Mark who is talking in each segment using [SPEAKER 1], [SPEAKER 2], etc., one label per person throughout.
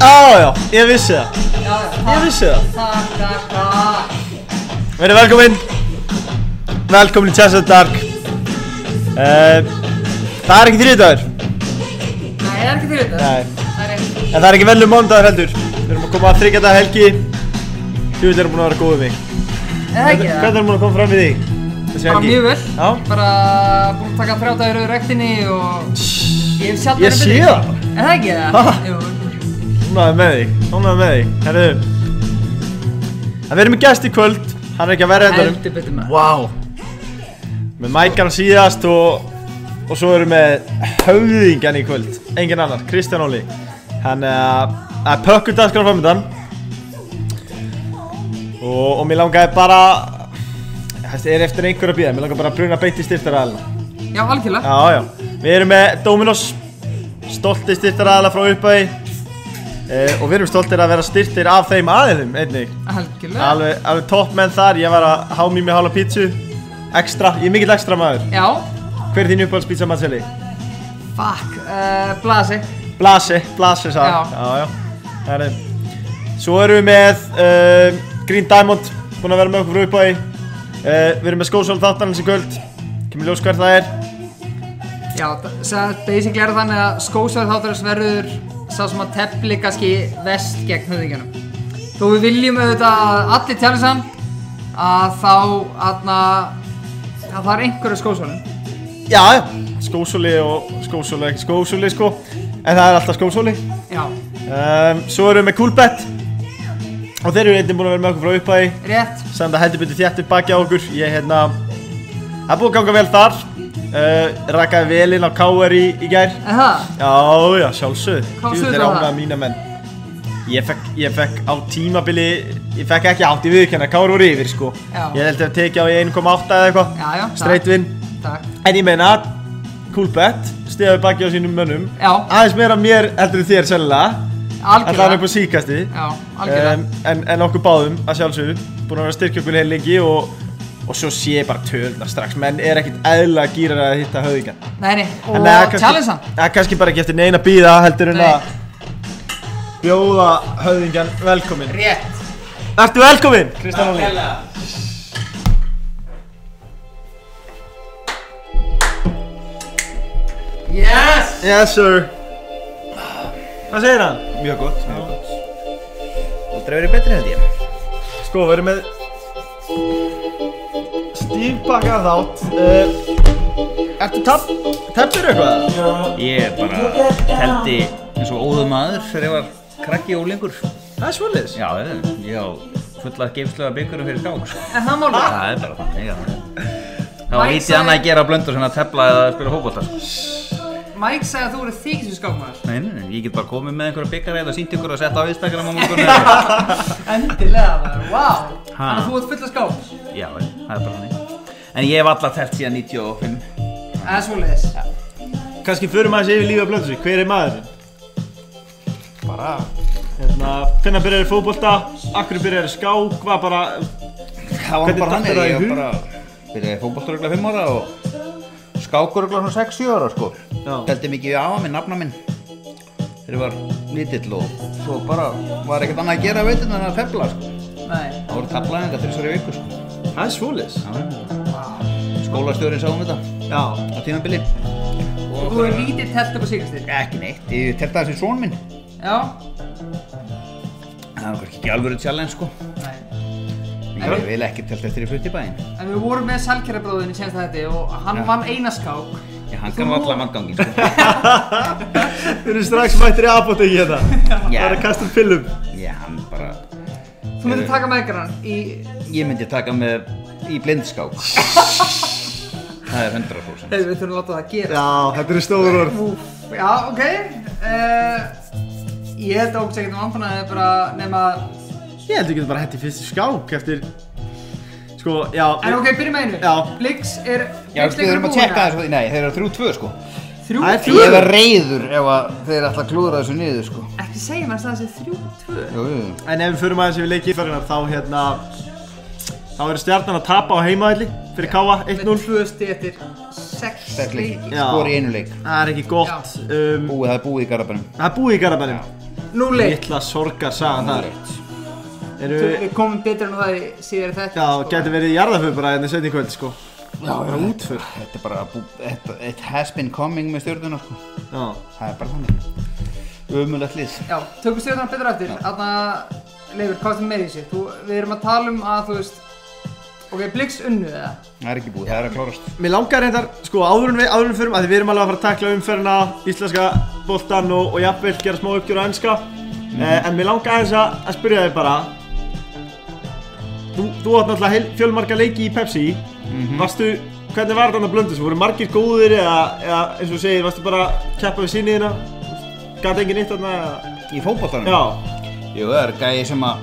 [SPEAKER 1] Já, já, ég vissi það,
[SPEAKER 2] Já,
[SPEAKER 1] ég
[SPEAKER 2] já,
[SPEAKER 1] vissi það.
[SPEAKER 2] takk, takk, takk.
[SPEAKER 1] Verið velkomin, velkomin í Chess of the Dark. Uh, það er ekki þriðdagur,
[SPEAKER 2] Nei, það er ekki til þetta.
[SPEAKER 1] Nei.
[SPEAKER 2] Það er ekki.
[SPEAKER 1] en það er ekki velum mánudagur heldur. Við erum að koma að þryggja dag helgi, þú erum búin að vera góð við mig.
[SPEAKER 2] Er það ekki það?
[SPEAKER 1] Hvernig erum búin að koma fram við þig? Þessi
[SPEAKER 2] Bara mjög vel.
[SPEAKER 1] Já,
[SPEAKER 2] Bara búin að taka frjátaður úr rektinni og... Ég hef sjálf
[SPEAKER 1] Ég
[SPEAKER 2] verið
[SPEAKER 1] sé
[SPEAKER 2] betri.
[SPEAKER 1] það.
[SPEAKER 2] Er það ekki það?
[SPEAKER 1] Ha?
[SPEAKER 2] Jú.
[SPEAKER 1] ánægður með þig, ánægður með þig. Herðu, en við erum með gest í kvöld, hann er ekki að vera endanum.
[SPEAKER 2] Heldur betur maður.
[SPEAKER 3] Vá,
[SPEAKER 1] Með mækan síðast og, og svo erum við höfðingan í kvöld, engin annar, Kristján Óli. Hann uh, er pökkur dagskráð framöndan og, og mér langaði bara, það er eftir einhverju að býða, mér langaði bara að bruna beint í styrtaraðalina.
[SPEAKER 2] Já, algjörlega.
[SPEAKER 1] Já, já, við erum með Dominos, stolti styrtaraðala frá uppæði uh, og við erum stoltir að vera styrtir af þeim aðilum einnig.
[SPEAKER 2] Algjörlega.
[SPEAKER 1] Alveg, alveg topp menn þar, ég var að há mér með hálfa pítsu, ekstra, ég er mikill ekstra maður.
[SPEAKER 2] Já.
[SPEAKER 1] Hver er þín uppáhaldspítsa Marcelli?
[SPEAKER 2] Fuck. Uh, Blasi.
[SPEAKER 1] Blasi, Blasi sagði
[SPEAKER 2] Já.
[SPEAKER 1] hann. Já, já. Það er Svo erum við með um, Green Diamond, búin að vera með okkur frá uppáði. Uh, við erum með skósól þáttanins í kvöld. Kemur ljós hver það er.
[SPEAKER 2] Já, það- það- basically er það þannig að skósverð þáttarins verður sá sem að tepli kannski vest gegn höfðingjörnum. Þó við viljum auðvitað að allir tjáli saman að þá aðna, að það er einhverju skósverðum.
[SPEAKER 1] Já, já. Skósóli og skósóli, ekki skósóli sko. En það er alltaf skósóli.
[SPEAKER 2] Já,
[SPEAKER 1] Um, svo erum við með Coolbet. Og þeir eru einnig búin að vera með okkur frá uppáði.
[SPEAKER 2] rétt.
[SPEAKER 1] sem það heldur betur þjættu baki á okkur ég hérna það er búið að ganga vel þar uh, rakkaði vel inn á KR í, í gær
[SPEAKER 2] Er það?
[SPEAKER 1] já já sjálfsögð
[SPEAKER 2] Hvað sögðu
[SPEAKER 1] þeir
[SPEAKER 2] það?
[SPEAKER 1] ánaða mína menn ég fekk, ég fekk á tímabili ég fekk ekki átt í viðkjanna KR voru yfir sko
[SPEAKER 2] Já.
[SPEAKER 1] ég held að teki á í 1.8 eða eitthvað
[SPEAKER 2] Já, já,
[SPEAKER 1] straight win
[SPEAKER 2] Takk.
[SPEAKER 1] en ég meina cool bet stiðaði baki á sínum mönnum
[SPEAKER 2] Já,
[SPEAKER 1] aðeins meira mér heldur en þér sennilega alltaf hann upp
[SPEAKER 2] algjörlega.
[SPEAKER 1] á síkasti
[SPEAKER 2] Já, algjörlega.
[SPEAKER 1] um, en, en okkur báðum að sjálfsögðu búin að vera að styrkja okkur heil lengi og, og svo sé ég bara tölna strax menn er ekkit eðla gýrar að hitta höfðingan
[SPEAKER 2] Nei, nei,
[SPEAKER 1] En það er
[SPEAKER 2] og tjáli saman.
[SPEAKER 1] það er kannski bara ekki eftir neina bíða heldur en
[SPEAKER 2] Nei.
[SPEAKER 1] að bjóða höfðingan velkomin
[SPEAKER 2] Rétt.
[SPEAKER 1] Ertu velkomin, Kristján Óli
[SPEAKER 2] Yes!
[SPEAKER 1] Yes sir Hvað segir hann? Mjög gott, mjög gott
[SPEAKER 3] aldrei verið betri en þetta ég.
[SPEAKER 1] Sko, við erum með stífbakað þátt uh, Ertu tapp, teppir eitthvað?
[SPEAKER 3] Ég bara teldi eins og óðu maður þegar ég var krakki og úlingur.
[SPEAKER 1] Það er svoleiðis
[SPEAKER 3] Já, ég, ég á fulla geimslega byggurum fyrir gang. sko.
[SPEAKER 2] Er það málið?
[SPEAKER 1] Ah.
[SPEAKER 3] Það er bara þannig, já. Það var
[SPEAKER 2] Mike
[SPEAKER 3] lítið
[SPEAKER 2] sagði-
[SPEAKER 3] annað að gera á blöndur sem að tefla eða spila hókbólta. Sko.
[SPEAKER 2] Mike sagði að þú eru þykist við skákmaður.
[SPEAKER 3] Nei, nei, nei, ég get bara komið með einhverja byggar eða sínt ykkur og sett á Instagram á morgunni.
[SPEAKER 2] Endilega maður, wow.
[SPEAKER 3] Ha.
[SPEAKER 2] Þannig að þú ert full af skákmaður.
[SPEAKER 3] já, það er bara þannig. En ég hef alltaf teft síðan 95.
[SPEAKER 2] Það er svoleiðis.
[SPEAKER 1] Kanski förum aðeins yfir lífið að blöndu sig, hver er maðurinn? Bara Hérna, hvenær byrjar þér fótbolta? Akkur byrjar þér skák? Hvað bara
[SPEAKER 3] Það var
[SPEAKER 1] Hvernig
[SPEAKER 3] bara
[SPEAKER 1] datt
[SPEAKER 3] þannig,
[SPEAKER 1] þér það í
[SPEAKER 3] ég
[SPEAKER 1] hug?
[SPEAKER 3] var bara byrjaði fókbalturugla 5 ára og skákurugla svona 6-7 ára sko
[SPEAKER 1] Já.
[SPEAKER 3] Teldi mikið við afa minn, nafna minn þegar ég var lítill og svo bara var ekkert annað að gera veit en að tefla sko
[SPEAKER 2] Nei.
[SPEAKER 3] Það voru taflaðingar til þessari viku sko
[SPEAKER 1] Það er svolis
[SPEAKER 3] Skólastjórin sáum um þetta
[SPEAKER 1] Já
[SPEAKER 3] á tímabili
[SPEAKER 2] Og þú er lítið telt upp á síkastir.
[SPEAKER 3] Ekki neitt, ég telta þessi són minn
[SPEAKER 2] Já.
[SPEAKER 3] Það var kannski ekki alvöru challenge sko
[SPEAKER 2] Nei.
[SPEAKER 3] Ég vil ekki telta eftir í futtibæin
[SPEAKER 2] En við vorum með Salkjærabróðin í senst þetta og hann
[SPEAKER 3] Já.
[SPEAKER 2] vann eina skák.
[SPEAKER 3] Ég hangar var allan vangangin sko
[SPEAKER 1] Þeir eru strax mættir í apotekki hérna Það
[SPEAKER 3] Já.
[SPEAKER 1] er að kasta upp pillum
[SPEAKER 3] Já, hann bara
[SPEAKER 2] Þú myndir
[SPEAKER 3] Heyrðu.
[SPEAKER 2] taka með ykkur hann í...
[SPEAKER 3] Ég myndi taka með í blindskák Það er 100%
[SPEAKER 2] Hey, við þurfum að láta það gera.
[SPEAKER 1] Já, þetta eru stóður orð
[SPEAKER 2] Úf, já, ok. Uh, ég held ógst ekkert um anfanaði bara nema...
[SPEAKER 1] Ég held ekki bara hætti fyrst í skák eftir Sko, já
[SPEAKER 2] En ok, byrjum með einu.
[SPEAKER 1] Já.
[SPEAKER 2] Blix er...
[SPEAKER 3] Já, við erum að tjekka þessu, nei, þeir eru 3-2 sko
[SPEAKER 2] Þrjú,
[SPEAKER 1] Það er
[SPEAKER 2] tvö.
[SPEAKER 1] Fjögur.
[SPEAKER 3] Ég er reyður ef að þeir ætla að klúðra þessu niður sko
[SPEAKER 2] Ekki segja mér að það sé þrjú, tvö.
[SPEAKER 3] Jú, jú, jú.
[SPEAKER 1] En ef við förum aðeins yfir leikifærinar þá hérna Þá eru stjarnan að tapa á heimaðli fyrir KA 1-0
[SPEAKER 2] Með tvö stétir. Sex
[SPEAKER 3] sex leikir,
[SPEAKER 2] leikir.
[SPEAKER 1] Já.
[SPEAKER 3] skori í einu leik
[SPEAKER 1] Það er ekki gott um,
[SPEAKER 3] Búið, það er búið í garabænum
[SPEAKER 1] Það er búið í garabænum
[SPEAKER 2] 0-1
[SPEAKER 1] litla sorgarsagan þar Eru
[SPEAKER 2] Við komum betur en það í sko. síðar þetta
[SPEAKER 1] Já, getur verið jarðaföð bara hérna setni í kvöld sko
[SPEAKER 3] Já,
[SPEAKER 1] bara útför
[SPEAKER 3] Þetta er bara, bú- þetta, it has been coming með stjórnuna sko.
[SPEAKER 1] Já,
[SPEAKER 3] Það er bara þannig. Ömulegt lið.
[SPEAKER 2] Já, tökum stjórnar betur eftir Þarna, Leifur, hvað er með í sig? Þú, við erum að tala um að, þú veist Ok, Blix unnu eða?
[SPEAKER 3] Það er ekki búið, það er að klárast.
[SPEAKER 1] Mér langar reyndar, sko, áður en við, áður en við förum, að því við erum alveg að fara að tekla umferðina, íslenska boltan og, og jafnvel gera smá uppgjör á ennska. Eh, en mér langar aðeins að, að spyrja þig bara, þú, þú átt náttúrulega heil, fjölmarga leiki í Pepsi, varstu, hvernig var þetta blöndu, voru margir góðir eða, eða eins og þú segir, varstu bara að keppa við síni þína, gæti engin eitt þarna, eða-
[SPEAKER 3] Í fótboltanum?
[SPEAKER 1] já,
[SPEAKER 3] Jú, það er gæi sem að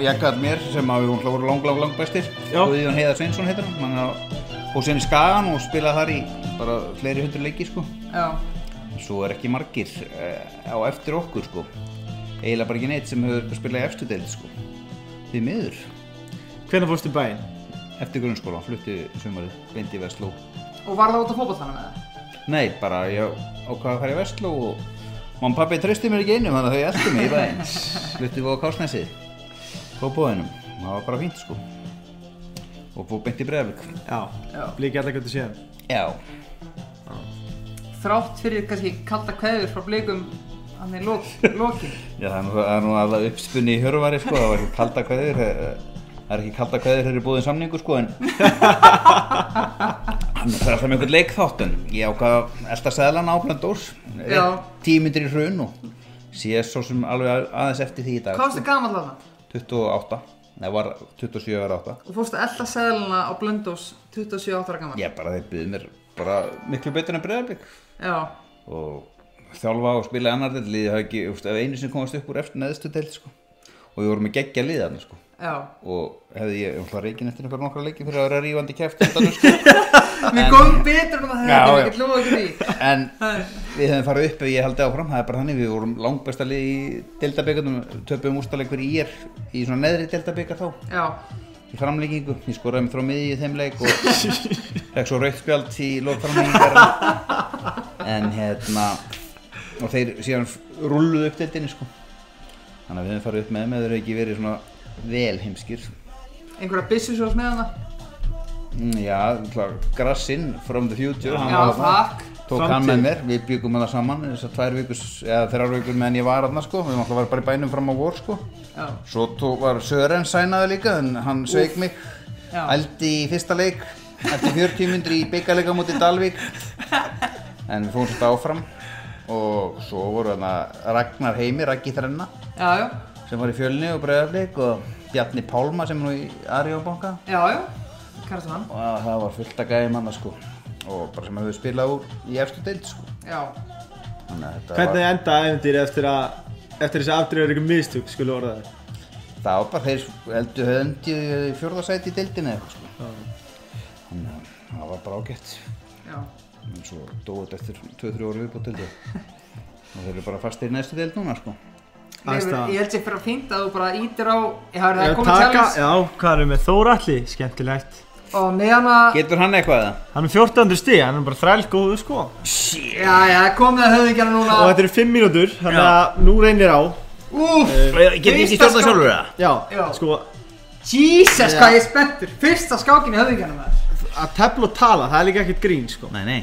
[SPEAKER 3] jakkaði mér sem að við vorum voru lang, lang, lang bestir
[SPEAKER 1] Já.
[SPEAKER 3] Guðjón Heiðar Sveinsson heitir hann hann að- fór sinni Skagan og spilaði þar í bara fleiri hundur leiki sko
[SPEAKER 2] Já,
[SPEAKER 3] svo er ekki margir uh, á eftir okkur sko eiginlega bara ekki neitt sem hefur spilað í efstu deild sko því miður
[SPEAKER 1] hvernig fórstu í bæinn?
[SPEAKER 3] eftir grunnskóla flutti sumarið beint í Vestló
[SPEAKER 2] og var það út af fótbolltanum eða?
[SPEAKER 3] nei, bara ég ákvaði að fara í Vestló og mamma og pappi treysti mér ekki einu þannig að þau eldi mig í bæinn fluttum við á Kásnesið Kópóðinum það var bara fínt sko og búið beint í Breiðavík
[SPEAKER 1] Já,
[SPEAKER 2] Já.
[SPEAKER 1] blíkja allar göndu síðan.
[SPEAKER 3] Já,
[SPEAKER 2] Þrátt fyrir kannski kalda kveður frá Blikum Þannig lok, lokin
[SPEAKER 3] já það er nú- það er nú alveg uppspunni í hörvari sko, það var ekki kalda kveður eh, það er ekki kalda kveður þegar er búið samningu sko en hann fer alltaf með einhvern leikþáttun ég ákvað að elda seðlan áblönd dórs
[SPEAKER 2] Já.
[SPEAKER 3] tímyndir í hrun og sé svo sem alveg að- aðeins eftir því í dag sko.
[SPEAKER 2] Hvað varstu gamall þarna?
[SPEAKER 3] 28, neða var 27 ára 8
[SPEAKER 2] Og fórstu að elda seðluna á Blöndós 27 ára gammal?
[SPEAKER 3] ég bara þeir byggði mér bara miklu betur en breyðarbygg
[SPEAKER 2] Já,
[SPEAKER 3] og þjálfa og spila í annar del liðið hafi ekki, úst, ef einu sem komast upp úr eftir neðstu del sko. og við vorum að geggja liðan sko.
[SPEAKER 2] já.
[SPEAKER 3] og hefði ég umhlað reikin eftir einhver nokkra leiki fyrir að vera rífandi kæft undanum, sko.
[SPEAKER 2] Við komum betur um að
[SPEAKER 3] Já,
[SPEAKER 2] þetta, við
[SPEAKER 3] já.
[SPEAKER 2] getum lofað okkur því.
[SPEAKER 3] en við hefðum farið upp ef ég held áfram, það er bara þannig við vorum langbesta lið í deltabyggarnum töpum úrstaleg fyrir ír í svona neðri deltabyggar þá
[SPEAKER 2] Já,
[SPEAKER 3] í framlengingu, ég skoraði mig þrá miði í þeim leik og fekk svo raukt spjald í lókframlengingar en hérna og þeir síðan rulluðu upp deildinni sko þannig að við höfum farið upp með þeim eða þeir eru ekki verið svona vel heimskir
[SPEAKER 2] einhverja byssusjós með hana.
[SPEAKER 3] Mm, já, klar, grassinn from the future hann
[SPEAKER 2] Já,
[SPEAKER 3] var þarna.
[SPEAKER 2] takk.
[SPEAKER 3] tók
[SPEAKER 1] Framtíð.
[SPEAKER 3] hann með mér, við byggum hana saman þessar tvær vikus, eða þrjár vikur meðan ég var hann sko, við náttúrulega varum bara í bænum fram á vor sko
[SPEAKER 2] Já,
[SPEAKER 3] Svo tó, var Sören sænaði líka en hann sveik mig
[SPEAKER 2] Já.
[SPEAKER 3] Ældi í fyrsta leik Eftir 40 myndir í byggarleika múti Dalvík En við fórum svolítið áfram Og svo voru þarna Ragnar Heimi, Raggi Þrenna
[SPEAKER 2] já, já,
[SPEAKER 3] Sem var í fjölni og bregðarleik Og Bjarni Pálma sem er nú í Arjóbanka
[SPEAKER 2] já, já. Kærastu hann.
[SPEAKER 3] Og það var fullt að gæði manna sko Og bara sem hefur spilað úr í efstu deild sko
[SPEAKER 2] Já,
[SPEAKER 3] Þannig að þetta
[SPEAKER 1] Hvernig enda æfintýri eftir að, eftir þessi afdreyður ykkur mistug, skulum orða það?
[SPEAKER 3] var Það var bara þeir heldur höfndi í fjórðasæti í deildinni eða eitthvað sko Þannig að það var bara ágætt
[SPEAKER 2] já.
[SPEAKER 3] en svo dóðu þetta eftir 2-3 ára viðbútt held ég og þeir eru bara fastir í næstu deild núna sko
[SPEAKER 2] Leifur,
[SPEAKER 1] Aðstaða.
[SPEAKER 2] ég held sér fyrir að fínt að þú bara ítir á, já, það
[SPEAKER 1] Já,
[SPEAKER 2] er komið
[SPEAKER 1] taka,
[SPEAKER 2] challenge.
[SPEAKER 1] já, hvað erum við Þóralli, skemmtilegt
[SPEAKER 2] Og með hana,
[SPEAKER 3] Getur hann eitthvað eða?
[SPEAKER 1] Hann er 14. stíð, hann er bara þræl góðu sko
[SPEAKER 2] já, já, komið að höfðingjana
[SPEAKER 1] Og
[SPEAKER 2] núna.
[SPEAKER 1] þetta eru 5 mínútur, þannig að nú reynir á
[SPEAKER 2] Úff,
[SPEAKER 3] Eh.
[SPEAKER 4] Getur ekki stjórnað sjálfur það?
[SPEAKER 1] Já,
[SPEAKER 2] Já.
[SPEAKER 1] sko,
[SPEAKER 2] Jesus, hvað ég er spenntur. Fyrsta skákin í höfðingjana með það.
[SPEAKER 1] að tefla og tala, það er líka ekkert grín sko
[SPEAKER 3] Nei, nei,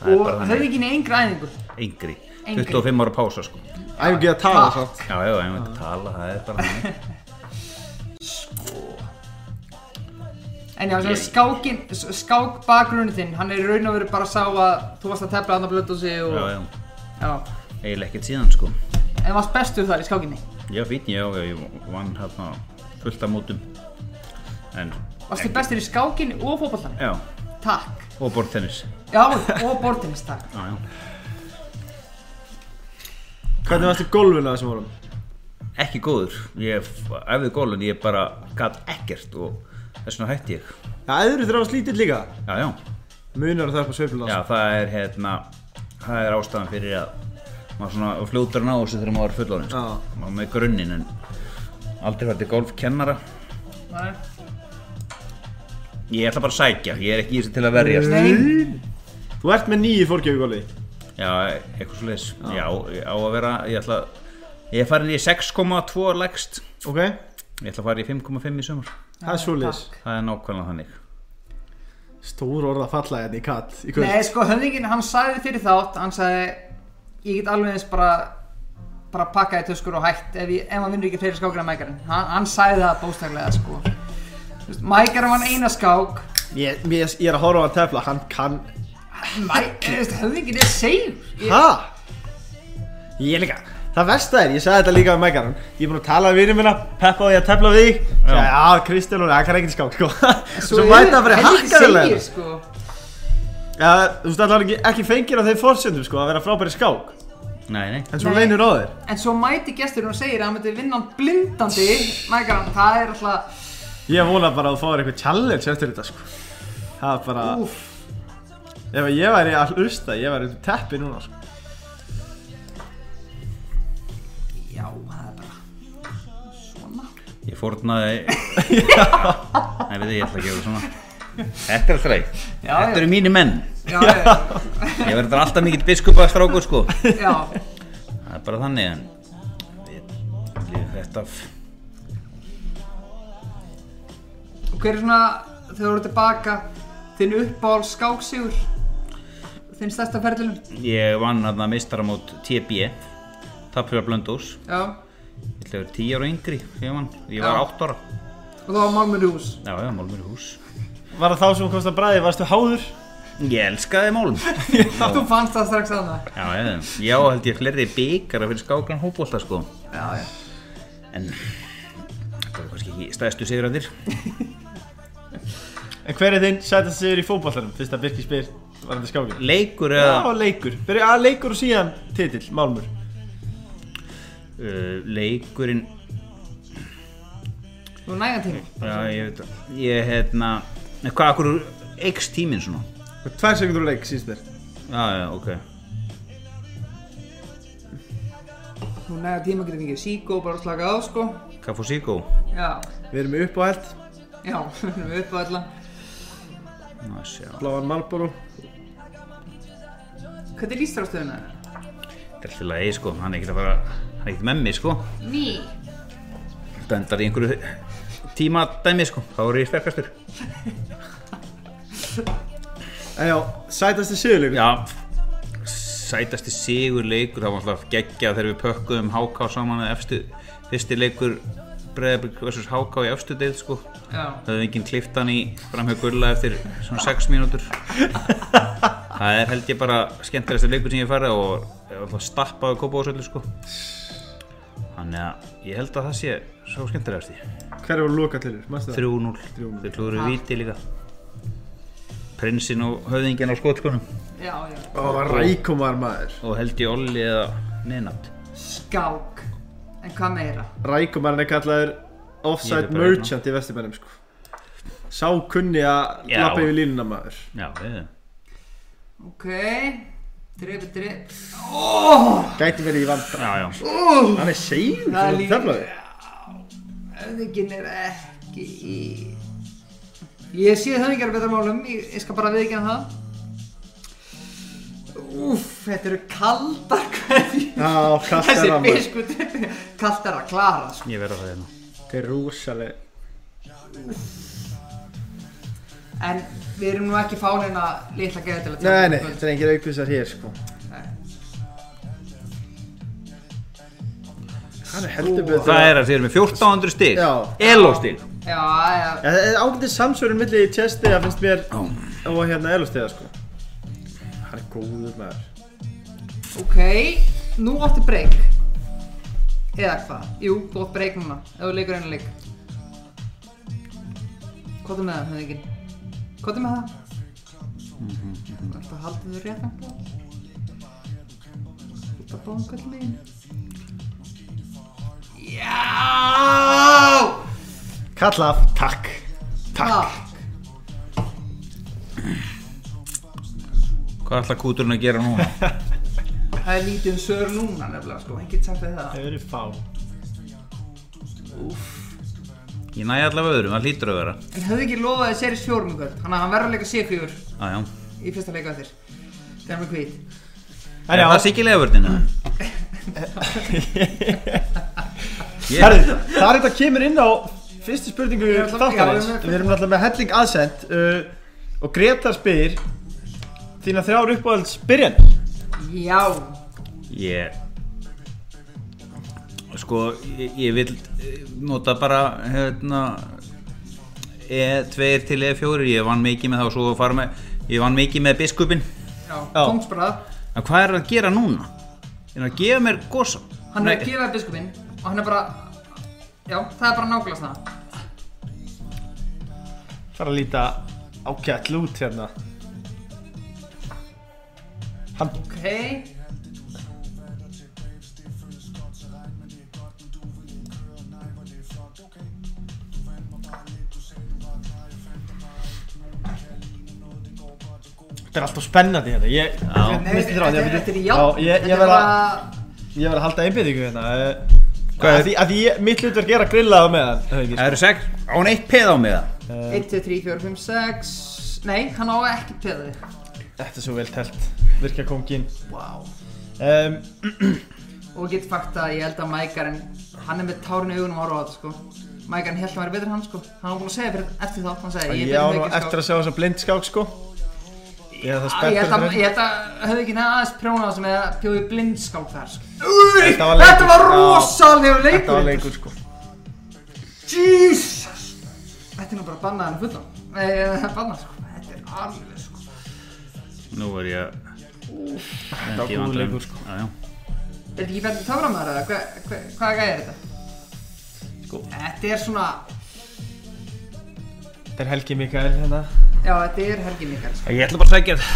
[SPEAKER 3] er
[SPEAKER 2] Og
[SPEAKER 3] bara þannig.
[SPEAKER 2] höfðingjana í engra æðingu.
[SPEAKER 3] yngri
[SPEAKER 2] Yngri.
[SPEAKER 3] 25 ára pása sko
[SPEAKER 1] Æfum ekki að tala
[SPEAKER 2] Hratt.
[SPEAKER 1] samt
[SPEAKER 3] Já, já, ég veit að tala, það er bara hann
[SPEAKER 2] En já, yeah. skákin, skák bakgrunni þinn, hann er í raun og veru bara sá að þú varst að tefla hann að blöta sig og...
[SPEAKER 3] Já, já,
[SPEAKER 2] já.
[SPEAKER 3] eiginlega ekkert síðan sko
[SPEAKER 2] En varst bestur þar í skákinni?
[SPEAKER 3] Já, fín, já, já, ég vann hérna fullt af mótum en
[SPEAKER 2] Varstu bestur í skákinni og fótbollanum?
[SPEAKER 3] Já,
[SPEAKER 2] Takk.
[SPEAKER 3] og bortennis
[SPEAKER 2] Já, og bortinist, takk.
[SPEAKER 3] Já, já
[SPEAKER 1] Hvernig varstu gólfinu að þessum vorum?
[SPEAKER 3] Ekki góður, ég æfði gólun, ég bara gat ekkert og þess vegna hætti ég
[SPEAKER 1] Já, eður þurfa að slítið líka
[SPEAKER 3] Já, já
[SPEAKER 1] Munar að það er på sveiflun
[SPEAKER 3] Já, það er hérna, það er ástæðan fyrir að maður svona fljótur að ná þessu þegar maður er fullorinn, sko.
[SPEAKER 1] Já.
[SPEAKER 3] maður er með grunninn en aldrei fætti golfkennara.
[SPEAKER 2] Nei.
[SPEAKER 3] Ég ætla bara að sækja, ég er ekki í þessu til að verjast.
[SPEAKER 1] Þú ert með nýju fórgjöfugóli
[SPEAKER 3] Já, eitthvað svo leiðis. Já, ég á að vera, ég ætla að Ég er farin í 6,2 lægst
[SPEAKER 1] Ok,
[SPEAKER 3] Ég ætla að fara í 5,5 í sumar
[SPEAKER 1] það er svoleiðis
[SPEAKER 3] Það er nákvæmlega þannig
[SPEAKER 1] Stór orða falla hérna í katt í kvöld
[SPEAKER 2] Nei, sko, höfðingin, hann sagði fyrir þátt, hann sagði, ég get alveg eins bara, bara pakkaði töskur og hætt ef, ég, ef hann vinnur ekki fleiri skákir en mækarinn. Hann, hann sagði það bóstaklega, sko. Þú veist, Mækarinn vann eina skák,
[SPEAKER 1] ég, mér, ég er að horfa á að tefla, hann kann
[SPEAKER 2] mæ- þú veist, höfðingin er seif. Ég-
[SPEAKER 1] Ha? Ég líka Það versta er, ég sagði þetta líka við mækaran Ég er búin að tala við vinnum minna, peppa á því að tefla við þig Sæði, já, Kristján og það kann ekki skák sko. Svo mæta að vera
[SPEAKER 2] helviti
[SPEAKER 1] hakkarlega
[SPEAKER 2] seigir, sko.
[SPEAKER 1] ja, Þú veist, allavega ekki, ekki fengir á þeim forsendum sko, að vera frábæri skák
[SPEAKER 3] Nei, nei
[SPEAKER 1] En svo
[SPEAKER 2] Nei.
[SPEAKER 1] leynir á þér
[SPEAKER 2] En svo mæti gesturinn og segir að hann myndi vinna hann blindandi Mækarinn, það er alltaf
[SPEAKER 1] Ég vona bara að þú fáir eitthvað challenge eftir þetta sko. Það er bara
[SPEAKER 2] Úff.
[SPEAKER 1] Ef að ég væri all usta, ég væri út í teppi núna sko.
[SPEAKER 2] Já, það er bara Svona
[SPEAKER 3] Ég fórnaði Nei, veit ég, ég ætla að gefa svona Þetta er alltaf leið
[SPEAKER 2] Já,
[SPEAKER 3] Þetta
[SPEAKER 2] já,
[SPEAKER 3] eru mínir menn
[SPEAKER 2] já,
[SPEAKER 3] Ég verður alltaf mikill biskupa strákur sko
[SPEAKER 2] já, já.
[SPEAKER 3] Það er bara þannig en Við- við- Þetta f-
[SPEAKER 2] Og hver er svona, þegar þú eru tilbaka Þinn uppáhald skáksígur Þinn stærsta ferðilum
[SPEAKER 3] Ég vann þarna mistaramót TB Tapfjörðar Blöndós
[SPEAKER 2] Já,
[SPEAKER 3] Ég ætla að vera 10 ára yngri sem ég vann Ég var
[SPEAKER 2] Já.
[SPEAKER 3] 8 ára
[SPEAKER 2] og þá var Málmur Rús
[SPEAKER 3] Já, já, málmur í hús
[SPEAKER 1] Var það þá sem komst að bræði, varstu háður?
[SPEAKER 3] Ég elskaði málm
[SPEAKER 2] Þú fannst það strax að það
[SPEAKER 3] Já, já, já, held ég fleiri byggara fyrir skákan hópólta sko
[SPEAKER 2] Já, já
[SPEAKER 3] En þetta var kannski ekki stæðstu sigraðir
[SPEAKER 1] En hver er þinn sætast sigur í fótballarum? Fyrst að Birki spyr, var þetta skákin?
[SPEAKER 3] Leikur
[SPEAKER 1] Já,
[SPEAKER 3] eða
[SPEAKER 1] leikur. Byrja að leikur og síðan titill, málmur.
[SPEAKER 3] uh, Leikurinn
[SPEAKER 2] Þú nægan tíma
[SPEAKER 3] Já, ég veit það Ég, hérna en Hvað, akkur X tíminn svona
[SPEAKER 1] Tvær sekundur leik, síst þér.
[SPEAKER 3] Já, já, ok
[SPEAKER 2] Þú nægan tíma getur fengið síkó og bara slaka á, sko
[SPEAKER 3] Cafosico
[SPEAKER 2] Já,
[SPEAKER 1] Við erum upp á held,
[SPEAKER 2] já, við erum uppáhaldan
[SPEAKER 3] Ná, sjá
[SPEAKER 1] bláan Marlboro.
[SPEAKER 2] Hvernig líst þér á stöðuna?
[SPEAKER 3] Þetta er alltaf lagi sko, hann er ekkert að fara Hann er ekkert með mig sko
[SPEAKER 2] Ný
[SPEAKER 3] Þetta endar í einhverju tíma dæmi sko Þá er ég sterkastur
[SPEAKER 1] En Eh, já, sætast sigur leikur.
[SPEAKER 3] Já, sætasti sigur leikur, það var alltaf geggjað þegar við pökkuðum HK saman að efstu, fyrsti leikur Breiðabrygg vs. HK í efstu deil sko.
[SPEAKER 2] Já
[SPEAKER 3] Það hefði enginn klift hann í framhjá gulla eftir svona 6 mínútur. Það er held ég bara skemmtilegasta leikur sem ég hef farið og ég var alltaf stappaði að kópa ásöldu sko. Þannig að ég held að það sé svo skemmtilegast í.
[SPEAKER 1] Hver voru loka til þér, maður það?
[SPEAKER 3] 3-0, þau klúður viti líka. Prinsinn og höfðinginn á skotkunum
[SPEAKER 2] Já, já.
[SPEAKER 1] Ó, það var rækumar maður.
[SPEAKER 3] og held ég Olli eða neðnátt.
[SPEAKER 2] Skák. En hvað meira?
[SPEAKER 1] Rækumar er kallaður
[SPEAKER 3] Ég
[SPEAKER 1] offside
[SPEAKER 3] er bara hérna.
[SPEAKER 1] merchant í vestumennum, sko. Sá kunni að
[SPEAKER 3] Já.
[SPEAKER 1] lappa yfir línuna maður.
[SPEAKER 3] Já, við þau.
[SPEAKER 2] Ok. Drip, drip. Oh,
[SPEAKER 1] Gæti verið í vandra.
[SPEAKER 3] Já, já.
[SPEAKER 1] Hann er segur,
[SPEAKER 2] það er
[SPEAKER 1] það er
[SPEAKER 2] líka...
[SPEAKER 1] teflaði.
[SPEAKER 2] Höfðingin er ekki í... Ég sé höfðingar betra málum, ég, ég skal bara viðkjanna það. Úff, þetta eru kaldar hverju.
[SPEAKER 1] Já, kastar
[SPEAKER 2] Þessi
[SPEAKER 1] hann maður.
[SPEAKER 2] biskup, kaldar að klara, sko.
[SPEAKER 3] Ég verð á það hérna.
[SPEAKER 1] Þetta er rúsaleg.
[SPEAKER 2] En við erum nú ekki fáleina litla geða til að
[SPEAKER 1] Nei,
[SPEAKER 2] tefla
[SPEAKER 1] nei,
[SPEAKER 2] í kvöld.
[SPEAKER 1] þetta er engir aukvisar hér, sko. Hann er heldur betur.
[SPEAKER 3] Það er að þið eru með 1400 stig.
[SPEAKER 1] Já.
[SPEAKER 3] Elo stig.
[SPEAKER 2] Já, já,
[SPEAKER 1] Já, það er ágætið samsvörun milli í tjesti að finnst mér og hérna elustega sko Hann er góður maður
[SPEAKER 2] Ok, nú áttu breyk Eða hvað? Jú, þú átt breyk núna Ef þú leikur einu leik Hvað er með það, höfðingin? Hvað er með það? Það er alltaf að halda þau rétt angla Út að bóða hvað legin Já!
[SPEAKER 1] Kalla, takk
[SPEAKER 2] Takk
[SPEAKER 3] Hvað ætla kúturinn að gera núna?
[SPEAKER 2] Það er lítið um sör núna nefnilega sko, hann getur sagt þig það
[SPEAKER 1] eru fá
[SPEAKER 3] Ég næ allavega öðrum, það hlýtur að vera.
[SPEAKER 2] En höfðu ekki lofaði series 4 um kvöld, þannig að hann verður að leika C4
[SPEAKER 3] Já, já.
[SPEAKER 2] í fyrsta leika þér Dermur Kvít
[SPEAKER 1] En
[SPEAKER 3] Er
[SPEAKER 1] já,
[SPEAKER 3] það sikkilega vörðinu?
[SPEAKER 1] Herri, það er þetta kemur inn á fyrstu spurningu
[SPEAKER 2] Ég ætla-
[SPEAKER 1] þáttarins
[SPEAKER 2] já, við erum með-
[SPEAKER 1] Við erum náttúrulega með helling aðsend uh, Og Greta spyr Þína þrjár uppáhalds byrjan
[SPEAKER 2] Já
[SPEAKER 3] Ég Sko, ég, ég vil eh, nota bara hérna E2 til E4 Ég vann mikið með það og svo fara með Ég vann mikið með biskupin
[SPEAKER 2] Já, kongsbræð
[SPEAKER 3] En hvað er að gera núna? Er hann að gefa mér gosa?
[SPEAKER 2] Hann er
[SPEAKER 3] Nei,
[SPEAKER 2] að gefa biskupinn og hann er bara Já, það er bara nákvæmlega það
[SPEAKER 1] Fara að líta ákjall út hérna Hann,
[SPEAKER 2] Ok
[SPEAKER 1] þetta er alltaf spennandi hérna Ég,
[SPEAKER 3] Já.
[SPEAKER 1] Mér finnst þetta ráð, ég-
[SPEAKER 2] Þetta er í
[SPEAKER 1] Já,
[SPEAKER 2] játn
[SPEAKER 1] ég, ég
[SPEAKER 2] Þetta er
[SPEAKER 1] verð að
[SPEAKER 2] bara-
[SPEAKER 1] Ég verð að halda einbyrðingu hérna uh, Hvað er því? Að því ég, mitt hlutverk er að grilla það með hann höfðu ekki,
[SPEAKER 3] Það eru sex Á hann eitt peð á mig það
[SPEAKER 2] 1, 2, 3, 4, 5, 6 Nei, hann á ekki peði
[SPEAKER 1] sko. Þetta er svo vel telt Virka kongin
[SPEAKER 2] Wow
[SPEAKER 1] um,
[SPEAKER 2] Og get fakt að ég held að Mækarinn Hann er með tárin í augunum ára á þetta sko Mækarinn held að hann væri betur en hann sko Hann var búin að segja fyrir eftir þátt Hann segja, ég
[SPEAKER 1] Ég
[SPEAKER 2] er
[SPEAKER 1] á
[SPEAKER 2] betur
[SPEAKER 1] nú
[SPEAKER 2] en
[SPEAKER 1] eftir
[SPEAKER 2] Haukinn,
[SPEAKER 1] að sjá þessa blindskák sko Ég er það
[SPEAKER 2] sko. Ég held
[SPEAKER 1] spenntur
[SPEAKER 2] að- ég held að höfðu ekki neða aðeins prjónað sem eða bjóði blindskák þar sko.
[SPEAKER 1] Þetta var
[SPEAKER 2] Þetta
[SPEAKER 1] leikur.
[SPEAKER 2] var
[SPEAKER 1] Já.
[SPEAKER 2] rosalegur leikur
[SPEAKER 1] Þetta var leikur sko
[SPEAKER 2] Jesus Þetta er nú bara bannað hann fullan Nei, það er bannað sko Þetta er alveg sko
[SPEAKER 3] Nú er ég Þetta
[SPEAKER 1] var góður leikur, sko.
[SPEAKER 3] já, já.
[SPEAKER 2] Er þetta ekki betur töframæður eða? Hva, hva, hvaða gæði er þetta?
[SPEAKER 1] Sko.
[SPEAKER 2] Þetta er svona
[SPEAKER 1] Þetta er Helgi Mikael hérna
[SPEAKER 2] Já, þetta er Helgi Mikael sko.
[SPEAKER 3] Ég ætla bara að segja það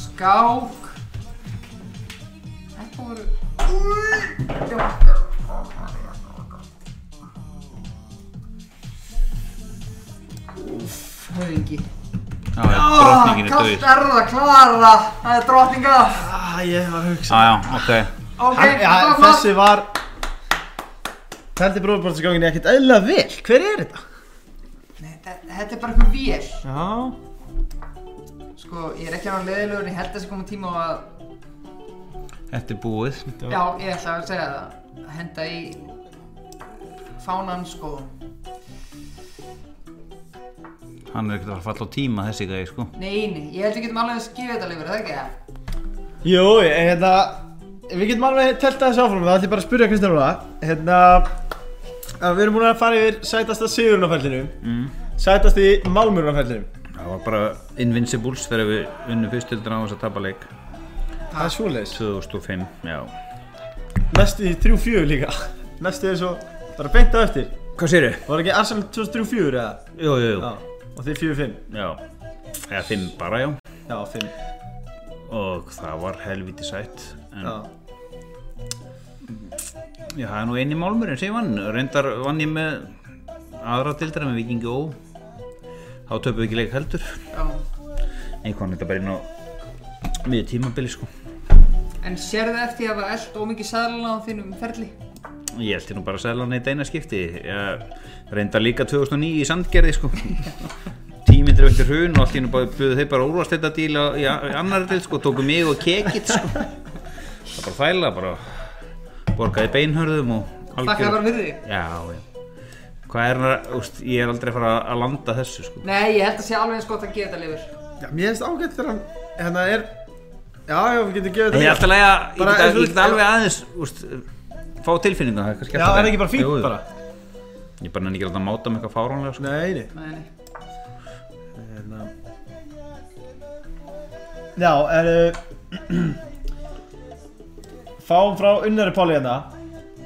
[SPEAKER 2] Skák Þetta voru Já. Úff, höfðingi
[SPEAKER 3] Já, Ah, já, drottningin er
[SPEAKER 2] Kallt
[SPEAKER 3] döið
[SPEAKER 2] er það, klara Það er drottninga
[SPEAKER 1] Ah, ég var að hugsa
[SPEAKER 3] Já, já, ok
[SPEAKER 2] Ok,
[SPEAKER 1] Ah, Hann, ja,
[SPEAKER 2] það var flott.
[SPEAKER 1] Þessi var Tældi bróðbróðsgangin ekkert eðlilega vel Hver er þetta?
[SPEAKER 2] Nei, þe- Þetta er bara eitthvað vél
[SPEAKER 1] Já
[SPEAKER 2] Sko, ég er ekki hann leðilegur Ég held að þessi komið tíma á að
[SPEAKER 3] Þetta er búið
[SPEAKER 2] Já, ég ætla að segja það að henda í fánan sko
[SPEAKER 3] Hann er ekkert að fara að falla á tíma þessi gæði, sko
[SPEAKER 2] Nei, nei, ég held við getum alveg að skifja þetta lífur, er það ekki það?
[SPEAKER 1] Jú, ég- hérna Við getum alveg telta þessu áfram Það ætlum ég bara að spyrja Kristján Óla Hérna að Við erum búin að fara yfir sætasta sigurinn á fellinum mm. Sætasti málmurinn á fellinum
[SPEAKER 3] Það var bara Invincibles þegar við unnum fyrstöldina á þess að tapa leik
[SPEAKER 1] Það er svoleiðis
[SPEAKER 3] 2005, já
[SPEAKER 1] Næstu í 3-4 líka Næstu er svo Bara beint á eftir
[SPEAKER 3] Hvað séru?
[SPEAKER 1] Var ekki Arsenal 2003-4 eða?
[SPEAKER 3] Jú, jú, jú
[SPEAKER 1] Já Og þið 4-5
[SPEAKER 3] Já, eða fimm bara, já
[SPEAKER 1] Já, 5
[SPEAKER 3] Og það var helviti sætt En
[SPEAKER 1] Já
[SPEAKER 3] ég hafði nú eini málmurinn sem ég vann Reyndar vann ég með aðra dildra með Vikingi Ó Þá töpum við ekki leik heldur
[SPEAKER 2] Já.
[SPEAKER 3] Einhvern þetta bara inn á miður tímabili, sko
[SPEAKER 2] En sérðu eftir að hafa eld ómikið saðlana á þínum ferli?
[SPEAKER 3] Ég held ég nú bara að selja hann eitt eina skipti ég, Reyndar líka 2009 í Sandgerði, sko Tímindri eftir hrun og allt í hennu buðu þeir bara úrvast þetta díl í í annar díl, sko Tóku mig og kekit, sko Það var bara þæla, bara borgaði beinhörðum og
[SPEAKER 2] Þakka það bara fyrir þig?
[SPEAKER 3] Já, já. Hvað er það, úst, ég er aldrei að fara að landa þessu, sko.
[SPEAKER 2] Nei, ég held að sé alveg eins gott að gefa þetta lífur
[SPEAKER 1] Já, mér finnst ágætt þegar hann Hérna er Já, já, við getum gefið
[SPEAKER 3] En ég er alltaf að, ég
[SPEAKER 1] Bara, eins
[SPEAKER 3] get að-
[SPEAKER 1] og
[SPEAKER 3] ég get
[SPEAKER 1] þú-
[SPEAKER 3] alveg aðeins, úst, fá tilfinningu, það er kannski
[SPEAKER 1] Já,
[SPEAKER 3] alltaf
[SPEAKER 1] er ekki bara fínt
[SPEAKER 3] Jú, jú.
[SPEAKER 1] bara
[SPEAKER 3] Ég bara nenni ekki að láta máta með eitthvað fáránlega, sko.
[SPEAKER 1] Nei, nei
[SPEAKER 2] Nei, nei
[SPEAKER 1] Hérna Já, er eh, Fáum frá unnari Páli hérna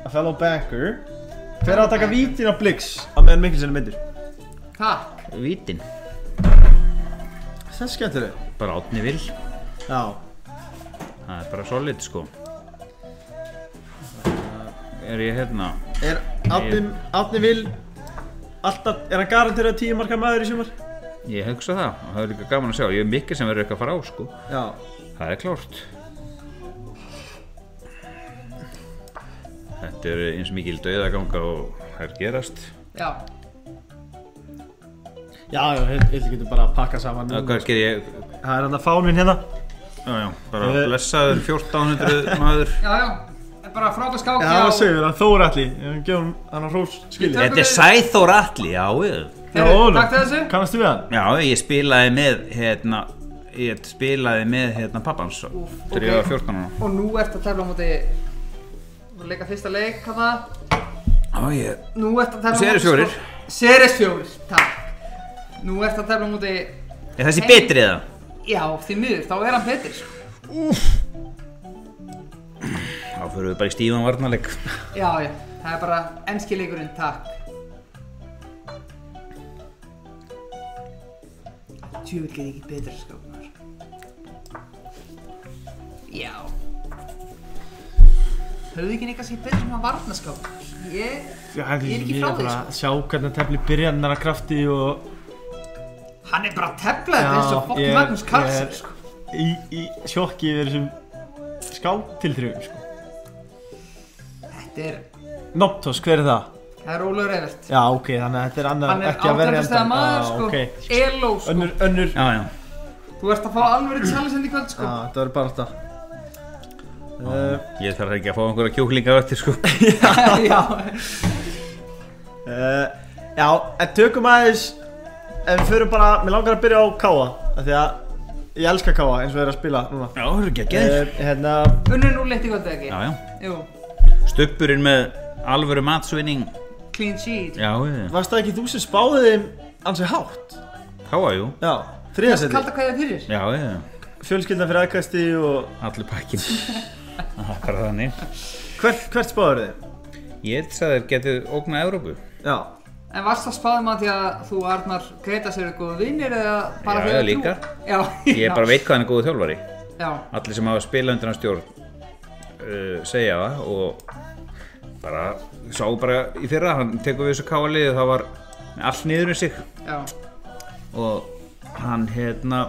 [SPEAKER 1] A fellow banker Hver er að taka vítin á Blix á meðan Mikkelsen er myndur?
[SPEAKER 2] Takk
[SPEAKER 3] sko. Vítin,
[SPEAKER 1] Það er skemmtileg
[SPEAKER 3] bara átni vil,
[SPEAKER 1] Já
[SPEAKER 3] það er bara solid, sko. Er ég hérna?
[SPEAKER 1] Er Átni, Átni vil Alltaf, er hann garantir að tíu marka maður í sumar?
[SPEAKER 3] Ég hugsa það, og það er líka gaman að sjá. Ég er mikil sem verður eitthvað að fara á, sko.
[SPEAKER 1] Já
[SPEAKER 3] Það er klárt. Þetta er eins mikil dauðaganga og það er gerast.
[SPEAKER 2] Já,
[SPEAKER 1] Já, já, ég vil getur bara að pakka saman
[SPEAKER 3] Já, hvað ger ég?
[SPEAKER 1] Það er hann að fáninn hérna
[SPEAKER 3] Já, já, bara
[SPEAKER 1] Eh,
[SPEAKER 3] blessaður 1400 maður
[SPEAKER 2] já, já bara frábært skák
[SPEAKER 1] það var segur að Þóralli, ég hef gefið hann að hrós skilja.
[SPEAKER 3] Þetta er Sæþór Atli, já ég.
[SPEAKER 2] Heyrðu, takk til þessu
[SPEAKER 1] Kannastu við hann?
[SPEAKER 3] Já, ég spilaði með, hérna, ég spilaði með, hérna, pappans Þegar
[SPEAKER 2] ok.
[SPEAKER 3] ég var 14 ára
[SPEAKER 2] Og nú ertu að tefla á móti Þú leika fyrsta leik hana.
[SPEAKER 3] Já, ég
[SPEAKER 2] Nú ertu að tefla á móti
[SPEAKER 3] Series fjórir.
[SPEAKER 2] sko- Series fjórir, takk Nú ertu að tefla á móti
[SPEAKER 3] Er þessi
[SPEAKER 2] Hey.
[SPEAKER 3] betri eða?
[SPEAKER 2] Já, því miður, þá er hann betur sko.
[SPEAKER 3] Þá fyrir við bara í stífan varnarleik
[SPEAKER 2] Já, já, það er bara enski leikurinn, takk Tjöfull get ég ekki sko, betur skápnar Já Höfðu ekki neikast ekki betur sem að varnaskáp? Ég, ég er ekki frá því sko
[SPEAKER 1] að sjá hvernig tefli byrjanar að krafti og
[SPEAKER 2] Hann er bara að tefla þetta eins og fokk
[SPEAKER 1] ég-
[SPEAKER 2] Magnús Karlsson
[SPEAKER 1] ég-
[SPEAKER 2] sko.
[SPEAKER 1] í, í sjokki yfir þessum skáttilþrifum sko.
[SPEAKER 2] Þetta er,
[SPEAKER 1] Noptos, hver er það?
[SPEAKER 2] það er Ólafur Evert
[SPEAKER 1] Já, ok, þannig að þetta er
[SPEAKER 2] Hann
[SPEAKER 1] annað
[SPEAKER 2] er
[SPEAKER 1] ekki að verja
[SPEAKER 2] átækastega maður
[SPEAKER 3] Ah,
[SPEAKER 1] Já,
[SPEAKER 2] sko
[SPEAKER 1] ok.
[SPEAKER 2] Eló sko
[SPEAKER 1] Önnur, önnur
[SPEAKER 3] Já, já
[SPEAKER 2] Þú ert að fá alveg challenge í
[SPEAKER 1] Já,
[SPEAKER 2] kvöld sko
[SPEAKER 3] Ah.
[SPEAKER 1] þetta verður bara þetta Uh,
[SPEAKER 3] Ég þarf ekki að fá einhverja kjúklinga öttir, sko
[SPEAKER 2] Já,
[SPEAKER 1] uh, já, en tökum aðeins En við förum bara, mér langar að byrja á Káa af Því að ég elska Káa eins og er að spila núna
[SPEAKER 3] Já, það eru geggjaðir
[SPEAKER 1] uh, Hérna,
[SPEAKER 2] unnur nú leitt í kvöld eða ekki?
[SPEAKER 3] Já, já
[SPEAKER 2] Jú,
[SPEAKER 3] Stuppurinn með alvöru matsvinning
[SPEAKER 2] clean sheet
[SPEAKER 3] Já, ég
[SPEAKER 1] varst það ekki þú sem spáði þeim ansi hátt?
[SPEAKER 3] Háa, jú
[SPEAKER 1] Já, þriðasetti
[SPEAKER 2] Kalda hvað það fyrir
[SPEAKER 3] Já, ég
[SPEAKER 1] Fjölskyldan fyrir aðkasti og
[SPEAKER 3] Allir pakkin Það er bara þannig
[SPEAKER 1] hvert, hvert spáður þið?
[SPEAKER 3] Ég held að þeir getið ógnað Európu
[SPEAKER 1] Já,
[SPEAKER 2] En varst það spáðum að því að þú Arnar Greta sér góða vinnir eða bara
[SPEAKER 3] Já,
[SPEAKER 2] þegar
[SPEAKER 3] já, líka.
[SPEAKER 2] Já,
[SPEAKER 3] Ég bara veit hvað hann er góðu þjálfari
[SPEAKER 2] Já,
[SPEAKER 3] allir sem hafa spilað undir hans stjórn uh, segja það og bara sá bara í fyrra, hann tekur við þessu káliði það var allt niður um sig
[SPEAKER 2] já,
[SPEAKER 3] og hann hérna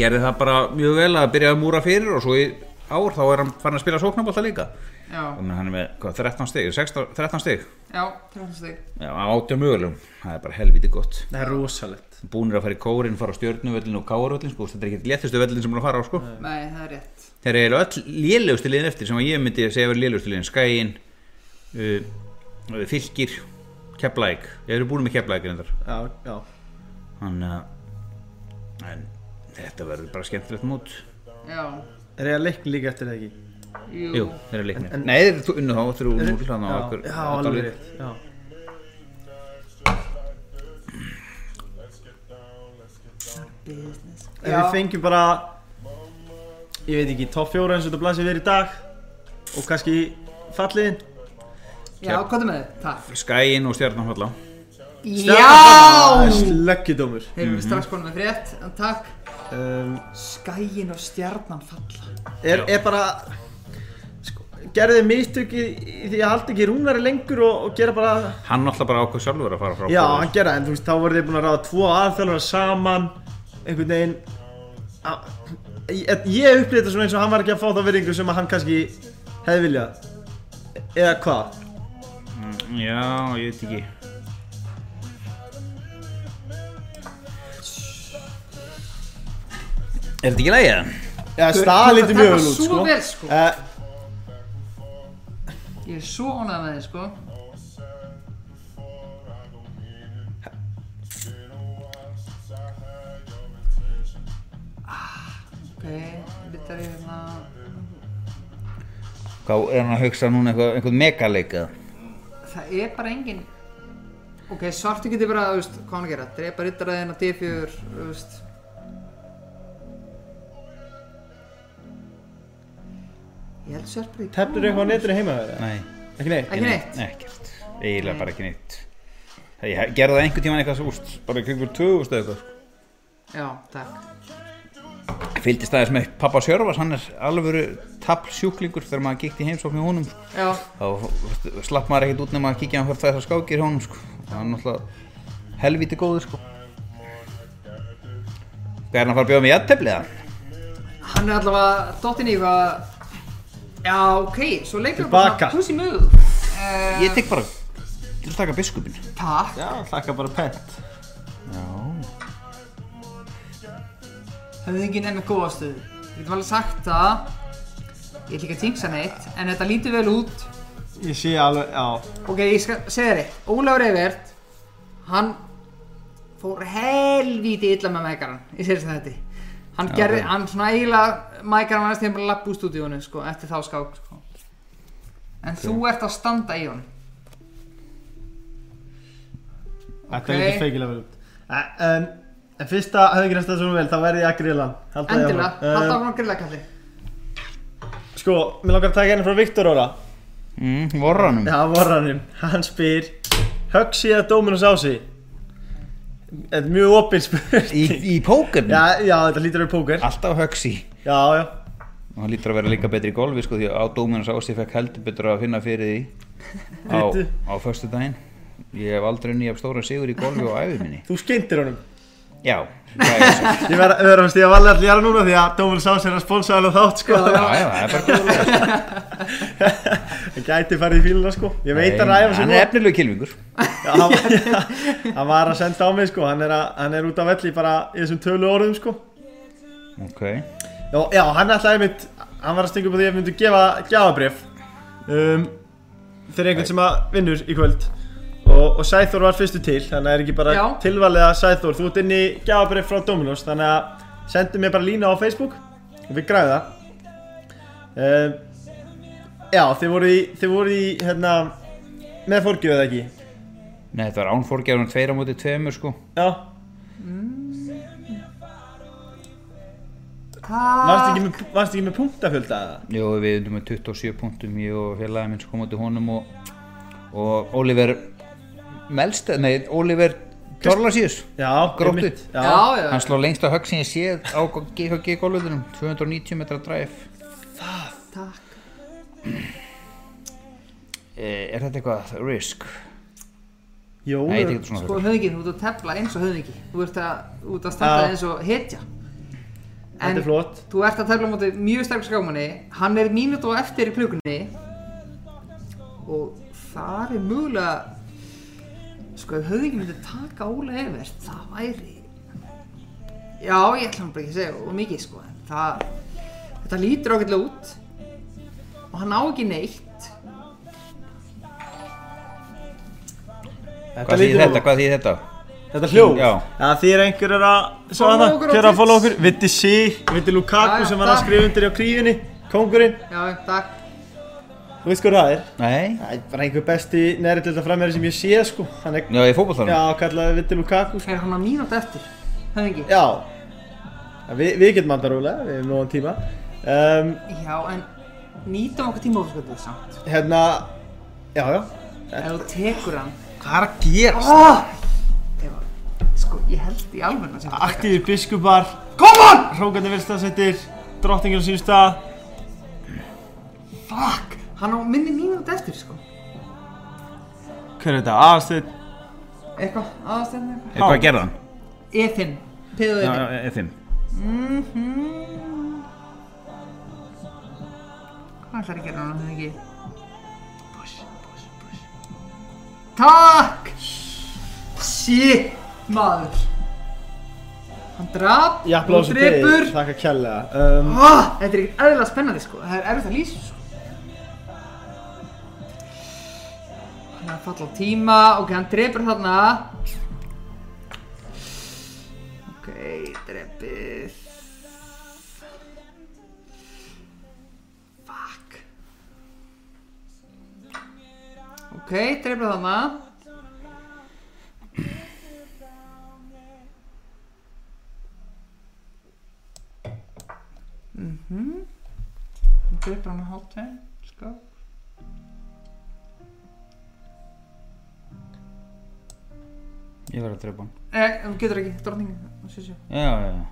[SPEAKER 3] gerði það bara mjög vel að byrja að múra fyrir og svo í ár þá er hann farin að spila sóknabólta líka
[SPEAKER 2] já,
[SPEAKER 3] og menn hann er með hvað, 13 stig, 16, 13 stig
[SPEAKER 2] já, trefnsteg
[SPEAKER 3] Já, átjá mögulegum, það er bara helviti gott
[SPEAKER 1] það er rosalegt
[SPEAKER 3] búnir að fara í kórin, fara á stjörnuvöllin og káarvöllin sko, þetta er ekki léttustu völlin sem hann fara á sko
[SPEAKER 2] Nei, það er rétt
[SPEAKER 3] Þeir eru öll lélegustu liðin eftir sem að ég myndi að segja að vera lélegustu liðin Skæin, uh, uh, Fylkir, Keflæk Ég eru búin með Keflæk reyndar
[SPEAKER 1] Já, já
[SPEAKER 3] Þannig að eh, en þetta verður bara skemmtilegt mót
[SPEAKER 2] Já,
[SPEAKER 1] Er ég að leikna líka eftir það ekki?
[SPEAKER 2] jú,
[SPEAKER 3] Jú, þeir eru leiknir Nei, þeir eru unnu þá, þrjú núl þannig á
[SPEAKER 1] Já,
[SPEAKER 3] okkur
[SPEAKER 1] já, alveg rétt Já
[SPEAKER 2] business
[SPEAKER 1] Ef við fengjum bara Ég veit ekki, topp fjóra eins og þetta blasir við í dag Og kannski falliðin
[SPEAKER 2] Já, hvað er með þið? Takk
[SPEAKER 3] Skæin og Stjarnanfalla
[SPEAKER 2] Já
[SPEAKER 1] Slöggidómur
[SPEAKER 2] Þeir eru
[SPEAKER 3] Mhm.
[SPEAKER 2] strax konum með frétt, en takk
[SPEAKER 1] um,
[SPEAKER 2] Skæin og stjarnan falla
[SPEAKER 1] er, er bara sko, Gerðið mistök í, í því að halda ekki rúnari lengur og, og gera bara
[SPEAKER 3] Hann náttúrulega bara ákveð sjálfur að fara frá
[SPEAKER 1] Já,
[SPEAKER 3] Kóru.
[SPEAKER 1] hann gerði það, en þú veist, þá voru þið búin að ráða tvo aðþjálfara saman einhvern veginn að, ég, ég upplýði þetta svona eins og hann var ekki að fá þá verðingu sem að hann kannski hefði viljað eða hvað
[SPEAKER 3] já, ég veit ekki Er þetta ekki lægið?
[SPEAKER 1] eða staða
[SPEAKER 2] þú ert
[SPEAKER 1] lítið
[SPEAKER 2] að
[SPEAKER 1] mjög
[SPEAKER 2] taka
[SPEAKER 1] vel út
[SPEAKER 2] svo
[SPEAKER 1] sko.
[SPEAKER 2] vel, sko.
[SPEAKER 1] Eh,
[SPEAKER 2] Ég er svo ánægð með þið, sko Ah, ok, litar ég hérna
[SPEAKER 3] Hvað er hann að hugsa núna eitthvað, einhvern megaleik eða?
[SPEAKER 2] Það er bara engin Ok, svartu getur bara, þú veist, hvað á hann að gera Drepa rittaraðina, D4, þú veist Ég held sér bara í
[SPEAKER 1] tefnir eitthvað á netinu heima þeirra?
[SPEAKER 3] Nei,
[SPEAKER 1] ekki neitt?
[SPEAKER 2] Ekki neitt
[SPEAKER 3] ekkert. Eiginlega bara ekki neitt. Ég gerði það einhvern tíman eitthvað úst, bara kringur 2000 eða eitthvað.
[SPEAKER 2] Já, takk
[SPEAKER 3] Fylgdist aðeins með pappa Sjörfars, hann er alvöru tablsjúklingur þegar maður kíkt í heimsókn í honum. sko.
[SPEAKER 2] Já,
[SPEAKER 3] Þá slapp maður ekkert út nema að kíkja hann fyrir þessar skákir hjá honum, sko. Og hann er náttúrulega helvíti góður, sko. Hvað er hann að fara að bjóða mig í aðtefliða?
[SPEAKER 2] Hann er allavega dottinn í eitthvað Já, ok, svo leikur hann
[SPEAKER 1] Tilbaka.
[SPEAKER 2] bara puss í möðu uh,
[SPEAKER 3] Ég tek bara, ég vil taka biskupin.
[SPEAKER 2] Takk
[SPEAKER 1] Já, þakka bara pent
[SPEAKER 3] Já.
[SPEAKER 2] Höfðu ekki nefnir góða stöðu Við getum alveg sagt það Ég ætla ekki að jinxa neitt, en þetta lítur vel út.
[SPEAKER 1] Ég sé alveg, já
[SPEAKER 2] Ok, ég skal segja þér eitt. Ólafur Eivert, hann fór helvíti illa með mækaran í sérst þetta. Hann
[SPEAKER 3] Já,
[SPEAKER 2] gerði,
[SPEAKER 3] ok.
[SPEAKER 2] hann svona eiginlega, mækaran var næst þegar bara lappu úr stúdíónu, sko, eftir þá skák, sko. En þú ert að standa í honum.
[SPEAKER 1] Þetta
[SPEAKER 2] Ok.
[SPEAKER 1] er ekki feikilega vel út En- Eh, En, en fyrsta hefði ekki restað svona vel, þá verði ég að grilla hann Halda því
[SPEAKER 2] Endilega,
[SPEAKER 1] áfram.
[SPEAKER 2] halda
[SPEAKER 1] Eh,
[SPEAKER 2] áfram að grilla kalli.
[SPEAKER 1] Sko, mér langar að taka henni frá Viktor Óra
[SPEAKER 3] mm, Vorranum
[SPEAKER 1] Já, vorranum, hann spyr Högsi eða Dominus Ási? Þetta er mjög opinn
[SPEAKER 3] Í,
[SPEAKER 1] spurning
[SPEAKER 3] í pókernu
[SPEAKER 1] já, já, þetta lítur við póker
[SPEAKER 3] Alltaf högsi
[SPEAKER 1] Já, já
[SPEAKER 3] Og hann lítur að vera líka betri í golfi sko því að á Dóminans Ási fekk heldur betur að finna fyrir því á,
[SPEAKER 1] Bíddu.
[SPEAKER 3] á föstu daginn. Ég hef aldrei nýjaf stóra sigur í golfi á æfið minni.
[SPEAKER 1] Þú skeintir honum
[SPEAKER 3] Já, það er svo.
[SPEAKER 1] Ég verð við verðum að stíða varlega til gera núna því að Dominus Ási er að sponsa alveg þátt sko
[SPEAKER 3] Já, já, það er bara góður.
[SPEAKER 1] Það gæti farið í fíluna sko Ég veit að ræfa sig
[SPEAKER 3] Hann er efnilegu kilvingur.
[SPEAKER 1] Já, hann, hann var að senda á mig sko, hann er, að, hann er út af velli bara í þessum tölu orðum sko
[SPEAKER 3] Ok.
[SPEAKER 1] Já, já hann ætlaði mitt, hann var að stinga upp á því að ég myndi gefa gjafabrif um, fyrir einhvern sem að vinnur í kvöld og, og Sæþór var fyrstu til, þannig að það er ekki bara
[SPEAKER 2] Já.
[SPEAKER 1] tilvalið að Sæþór, þú ert inn í gjafabrif frá Dominos, þannig að sendu mér bara lína á Facebook og við græðum það um, Já, þið voru í, þið voru í, hérna, með fórgjöf eða ekki?
[SPEAKER 3] Nei, þetta var ánforgjarnum tveir á móti tveimur sko.
[SPEAKER 1] Já, varst ekki, með- varstu ekki með punktafjölda eða?
[SPEAKER 3] Jó, við erum með 27 punktum, ég og félagin minn sko móti honum og, og Oliver Melst, nei, Oliver Torlasíus.
[SPEAKER 1] Já,
[SPEAKER 3] Gróttu.
[SPEAKER 1] einmitt,
[SPEAKER 2] Já, já, já.
[SPEAKER 3] Hann sló lengst á högg sem ég séð á GHG-golfutunum, 290 metra drive.
[SPEAKER 2] Takk.
[SPEAKER 3] Eh, Er þetta eitthvað risk?
[SPEAKER 1] Jó,
[SPEAKER 3] Nei, þetta er eitthvað svona
[SPEAKER 2] Sko
[SPEAKER 3] sko,
[SPEAKER 2] höfðingi, þú ert að tefla eins og höfðingi Þú ert að, út að standa
[SPEAKER 1] Já.
[SPEAKER 2] eins og hetja
[SPEAKER 1] þetta er flott
[SPEAKER 2] þú ert að tefla á móti mjög sterk skámanni Hann er mínútu á eftir í klukunni Og þar er mögulega Sko ef höfðingi myndi taka Óla Evert Það væri Já, ég ætla hann bara ekki að segja og mikið sko en það, Þetta lítur ákveðlega út Og hann á ekki neitt
[SPEAKER 1] Þetta
[SPEAKER 3] Hvað þýðir
[SPEAKER 1] lítur
[SPEAKER 3] þetta?
[SPEAKER 1] út.
[SPEAKER 3] Hvað þýðir þetta?
[SPEAKER 1] Þetta er hljóð
[SPEAKER 3] Já.
[SPEAKER 1] Það þýr einhver er að Svo
[SPEAKER 2] Follow
[SPEAKER 1] hana,
[SPEAKER 2] okkur á
[SPEAKER 1] hver er að
[SPEAKER 2] Twitch.
[SPEAKER 1] follow okkur Vitti sí, Vitti
[SPEAKER 2] Já,
[SPEAKER 1] Lukaku
[SPEAKER 2] já,
[SPEAKER 1] sem var að
[SPEAKER 2] takk.
[SPEAKER 1] skrifa undir á krífinni Kongurinn,
[SPEAKER 2] Já, takk
[SPEAKER 1] þú veist hvað það er
[SPEAKER 3] Nei,
[SPEAKER 1] Það er bara einhver besti næri til þetta framherri sem ég sé sko Hann er,
[SPEAKER 3] já, ég er fótballþarinn.
[SPEAKER 1] já, kallaði Vitti Lukaku sko.
[SPEAKER 2] Er hann á mínútu eftir? Höfðingi?
[SPEAKER 1] Já Ja, Vi, Við getum andar rólega, við hefum nógan tíma um,
[SPEAKER 2] Já, en nýtum okkur tímaofaskvöldið samt.
[SPEAKER 1] Hérna, já, já
[SPEAKER 2] Ef þú tekur hann.
[SPEAKER 1] Hvað er að gera?
[SPEAKER 2] Oh! Ef, að- sko, ég held í alveg að sem þú tekur.
[SPEAKER 1] Aktífir biskupar
[SPEAKER 2] Come on!
[SPEAKER 1] Hrókandi verðstafsettir Drottningin á sínum stað
[SPEAKER 2] Fuck! Hann á minni mínúti eftir, sko.
[SPEAKER 1] Hver er þetta? Aðastöð
[SPEAKER 2] Eitthvað, aðastefna eitthvað. E
[SPEAKER 4] Eh, Hvað gerði hann?
[SPEAKER 2] Efinn. Piðu
[SPEAKER 4] Já,
[SPEAKER 2] Efinn.
[SPEAKER 4] já, F5
[SPEAKER 2] Mhm. Hvað ætlar að gera hann, hefði ekki? Push, push, push. Takk! Shit, maður. Hann drap,
[SPEAKER 1] Já,
[SPEAKER 2] hann
[SPEAKER 1] blóðsum
[SPEAKER 2] drepur.
[SPEAKER 1] Takk að kjærlega um,
[SPEAKER 2] Ah, þetta er ekkert eðlilega spennandi sko, það er erfitt að lýsa sko. Hann er að falla á tíma, ok, hann drepur þarna. Ok, drepið. Fuck. Ok, drepur þarna. Hann drepur hann á hálftvein, sko.
[SPEAKER 3] Ég var að drepa hann.
[SPEAKER 2] Eh, þú getur ekki, drottningin, sjö sjö.
[SPEAKER 3] Já, já, já.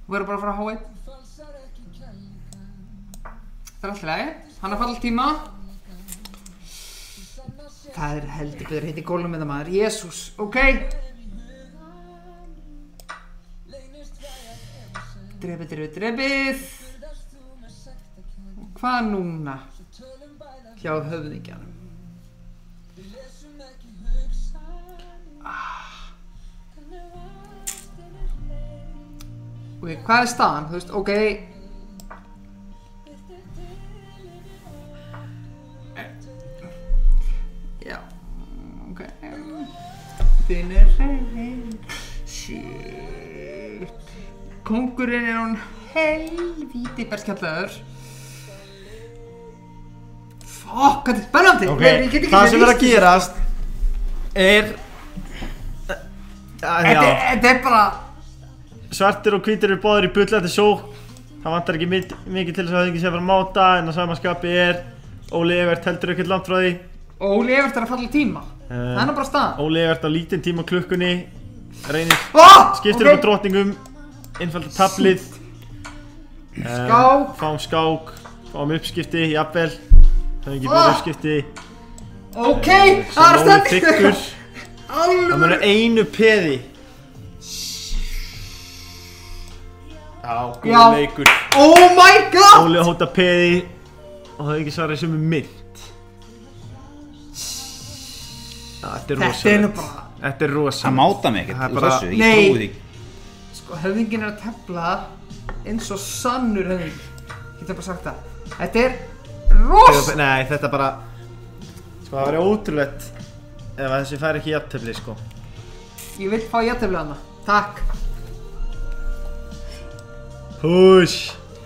[SPEAKER 2] Þú verður bara að fara að háa einn. Það er alltaf lagi. Hann er að falla á tíma. Það er heldur betur hitt í gólum með það maður. Jésús, ok. Drepið, drepið, drepið. Og hvað núna? Hjá höfðingjanum. Ok, hvað er staðan? Þú veist, ok Já, ok Þinn er reyðin Shit Kongurinn er hún helvíti berskjallaður Fuck, hvað er spennandi
[SPEAKER 1] Ok,
[SPEAKER 2] Ég get ekki
[SPEAKER 1] það sem er að
[SPEAKER 2] lýst-
[SPEAKER 1] gerast er Æ,
[SPEAKER 2] Þetta
[SPEAKER 1] já,
[SPEAKER 2] þetta er bara
[SPEAKER 1] svartir og hvítir eru báðir í bullandi sók það vantar ekki mik- mikið til þess að það ekki sé að fara að máta en að samanskapi er Óli Evert heldur ekkert langt frá því
[SPEAKER 2] Óli Evert er að falla í tíma
[SPEAKER 1] Eh.
[SPEAKER 2] Það er nú bara staðan
[SPEAKER 1] Óli Evert á lítinn tíma á klukkunni reynir,
[SPEAKER 2] oh,
[SPEAKER 1] skiptir upp á drottningum innfaldar tablið Eh,
[SPEAKER 2] Skák.
[SPEAKER 1] fáum skák fáum uppskipti, jafnvel það er ekki
[SPEAKER 2] Ah.
[SPEAKER 1] búið uppskipti
[SPEAKER 2] Ok, það er
[SPEAKER 1] Óli
[SPEAKER 2] stendur
[SPEAKER 1] tyggur. Það
[SPEAKER 2] Alveg
[SPEAKER 1] munur einu peði Já,
[SPEAKER 2] Já.
[SPEAKER 1] góð leikur
[SPEAKER 2] Oh my god
[SPEAKER 1] Óli hóta peði og það er ekki svarað sem er mynd Þetta er
[SPEAKER 2] Þetta er nú
[SPEAKER 1] rosalegt
[SPEAKER 2] bara
[SPEAKER 1] Þetta er
[SPEAKER 4] Það
[SPEAKER 1] rosalegt
[SPEAKER 4] máta mig
[SPEAKER 1] Það er
[SPEAKER 4] ekkert úr
[SPEAKER 1] bara-
[SPEAKER 4] þessu, ég
[SPEAKER 2] Nei.
[SPEAKER 4] trúi því
[SPEAKER 2] Sko, höfðingin er að tefla eins og sannur höfðing. Getur bara sagt það. Þetta er ros...
[SPEAKER 1] Þetta- Nei, þetta bara Sko, það væri ótrúlegt ef að þessi fær ekki jafntefli, sko
[SPEAKER 2] Ég vil fá jættefla hana. Takk.
[SPEAKER 1] Hús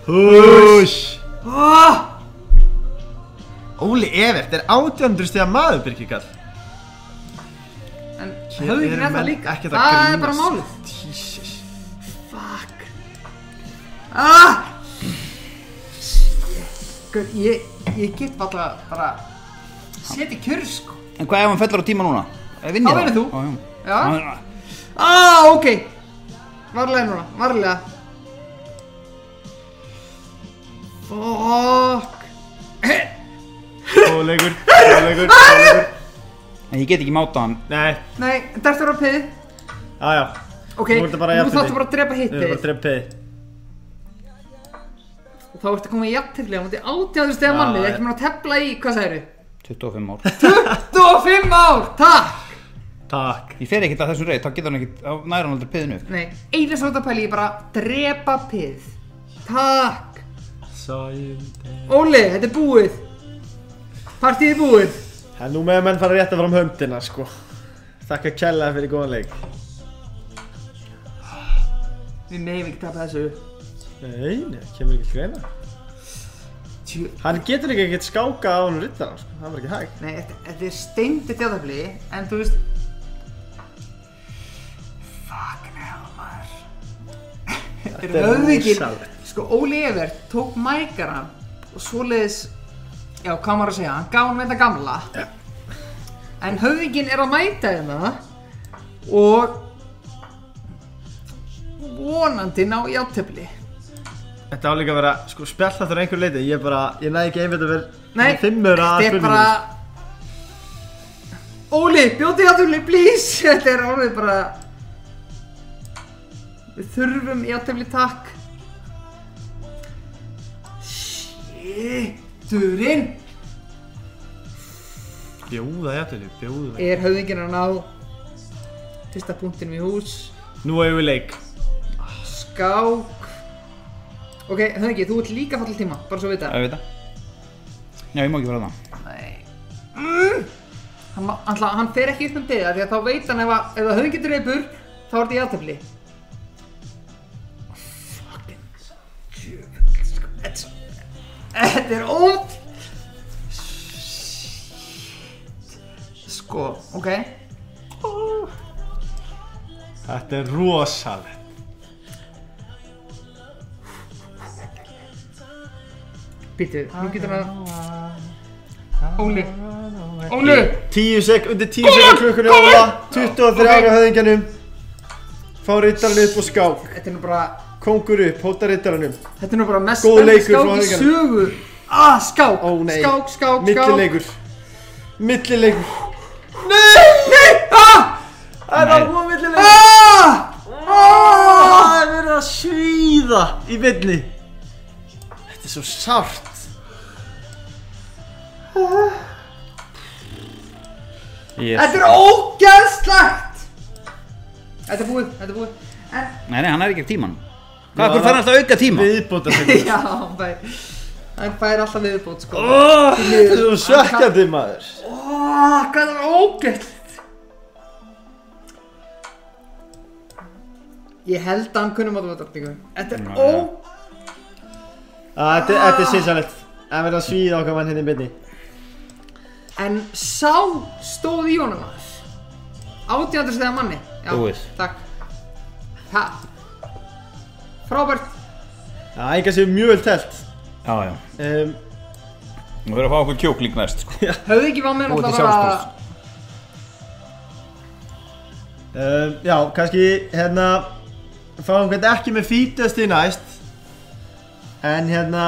[SPEAKER 1] Hús
[SPEAKER 2] Oh,
[SPEAKER 1] Óli Evert er 800 stiga maður, Birkikall
[SPEAKER 2] en höfðingin er það líka. Það er bara málið.
[SPEAKER 1] Jesus
[SPEAKER 2] Fuck. Ah! Guð, ég, ég get bara, bara setja í kjör, sko.
[SPEAKER 4] En hvað ef hann fellur á tíma núna? Ég vinn ég
[SPEAKER 2] Þá
[SPEAKER 4] það
[SPEAKER 2] vinnur þú.
[SPEAKER 4] Á,
[SPEAKER 2] Já.
[SPEAKER 4] já.
[SPEAKER 2] Ah, ok. Varlega núna, varlega. Fuck.
[SPEAKER 1] Góð leikur, góð leikur, góð leikur
[SPEAKER 4] En ég get ekki máta hann
[SPEAKER 1] Nei,
[SPEAKER 2] Nei, þetta er að piði.
[SPEAKER 1] aðja
[SPEAKER 2] Ok,
[SPEAKER 1] Nú er þetta bara
[SPEAKER 2] nú
[SPEAKER 1] jafntefli.
[SPEAKER 2] þáttu bara að drepa
[SPEAKER 1] Við erum bara að
[SPEAKER 2] hitti
[SPEAKER 1] drepa peði
[SPEAKER 2] Þá ertu að koma í jafntefli á múti átjáðu stega manni
[SPEAKER 1] Já,
[SPEAKER 2] Ekki mér að tefla í, hvað segirðu?
[SPEAKER 4] 25 ár
[SPEAKER 2] 25 ár, takk!
[SPEAKER 1] Takk
[SPEAKER 4] Ég fer ekkert að þessu reyð, þá getur hann ekkert, þá næra hann aldrei piðinu
[SPEAKER 2] Nei, eina sem þú ert að pæla í er bara að drepa pið Takk
[SPEAKER 1] Sæl
[SPEAKER 2] Óli, þetta er búið Partíð er búið
[SPEAKER 1] En nú meðan menn fara rétt að fram höndina sko Þakka kærlega fyrir góðan leik
[SPEAKER 2] Við meðum ekki tapa þessu
[SPEAKER 1] Nei, nei, kemur ekki til greina
[SPEAKER 2] Tjú,
[SPEAKER 1] Hann getur ekki ekkert skáka á hann rittara sko, það var ekki hægt
[SPEAKER 2] Nei, þetta, þetta er steindi djáðafli En þú veist Fucking hell, maður Þetta er höfðingin
[SPEAKER 1] rosalegt.
[SPEAKER 2] Sko, Óli Evert tók mækara og svoleiðis Já, hvað maður að segja, hann gaf hann með þetta gamla En höfðingin er að mæta hérna Og Vonandi ná játtöfli
[SPEAKER 1] Þetta á líka að vera, sko, spjall þetta á einhver leiti Ég bara, ég næði ekki einmitt að vera
[SPEAKER 2] Nei,
[SPEAKER 1] Fimmur að
[SPEAKER 2] þetta er bara Óli, bjóti játtöfli, please Þetta er orðið bara Við þurfum játtöfli, takk Shitturinn
[SPEAKER 1] Bjóða jættunni, bjóða
[SPEAKER 2] er höfðingin að ná fyrsta punktinum í hús
[SPEAKER 1] Nú hefur við leik
[SPEAKER 2] skák ok, höfðingi, þú ert líka fall tíma bara svo við
[SPEAKER 4] Já,
[SPEAKER 2] það
[SPEAKER 4] ég veit það Já, ég má ekki fara það
[SPEAKER 2] nei Mm. hann, má- hann, ætla- hann fer ekki upp um byggða því að þá veit hann ef, að, ef að höfðingin dreipur þá er þetta í aðtefli fucking djöfull, sko, þetta er svo- þetta er ótt sko, ok
[SPEAKER 1] Þetta er rosalegt
[SPEAKER 2] Býtu, nú getur hann að... Óli, Óli,
[SPEAKER 1] 10 sek, undir 10 sekund klukkunni Óla 23
[SPEAKER 2] Ok.
[SPEAKER 1] ára höfðingjanum Fá rittarann upp og skák
[SPEAKER 2] þetta er nú bara,
[SPEAKER 1] Kongur upp, hóta rittaranum
[SPEAKER 2] þetta er nú bara mest
[SPEAKER 1] Góð
[SPEAKER 2] spennandi
[SPEAKER 1] leikur frá
[SPEAKER 2] skák í
[SPEAKER 1] Henninganum.
[SPEAKER 2] sögu. Ah, skák,
[SPEAKER 1] Ó nei,
[SPEAKER 2] skák, skák, skák.
[SPEAKER 1] millileikur Millileikur
[SPEAKER 2] Nei, ah,
[SPEAKER 1] Það er
[SPEAKER 4] Nei.
[SPEAKER 1] það hún millileikur
[SPEAKER 2] ah,
[SPEAKER 1] Það er verið að svíða í villi Þetta er svo sárt
[SPEAKER 4] yes.
[SPEAKER 2] þetta er ógeðslegt. Þetta er búið, þetta er búið. En,
[SPEAKER 4] Nei, nei, hann er ekki tíman Hvað,
[SPEAKER 1] Já,
[SPEAKER 4] hvernig fær hann alltaf auka tíma?
[SPEAKER 1] Viðbóta sig
[SPEAKER 2] já, bæ, hann fær alltaf viðbót sko
[SPEAKER 1] Oh, þetta er svo svekkjandi maður
[SPEAKER 2] oh, hvað það var ógætt ég held að hann kunni matematikku þetta er ó
[SPEAKER 1] Ah, Þetta þetta er sinnsannlegt Það verður að svíða okkar mann hérna í byrni
[SPEAKER 2] en sá stóð í honum maður 1800 stegar manni já,
[SPEAKER 3] Búið.
[SPEAKER 2] takk ha. frábært
[SPEAKER 1] Það er einhvers veginn mjög vel telt
[SPEAKER 3] Já, já.
[SPEAKER 1] um,
[SPEAKER 3] Nú verður að fá okkur kjókling næst, sko.
[SPEAKER 2] höfðu ekki var með
[SPEAKER 5] Búið til
[SPEAKER 2] náttúrulega bara
[SPEAKER 5] sjálfstraust.
[SPEAKER 1] um, Já, kannski hérna Fáum hvernig ekki með fítast í næst En hérna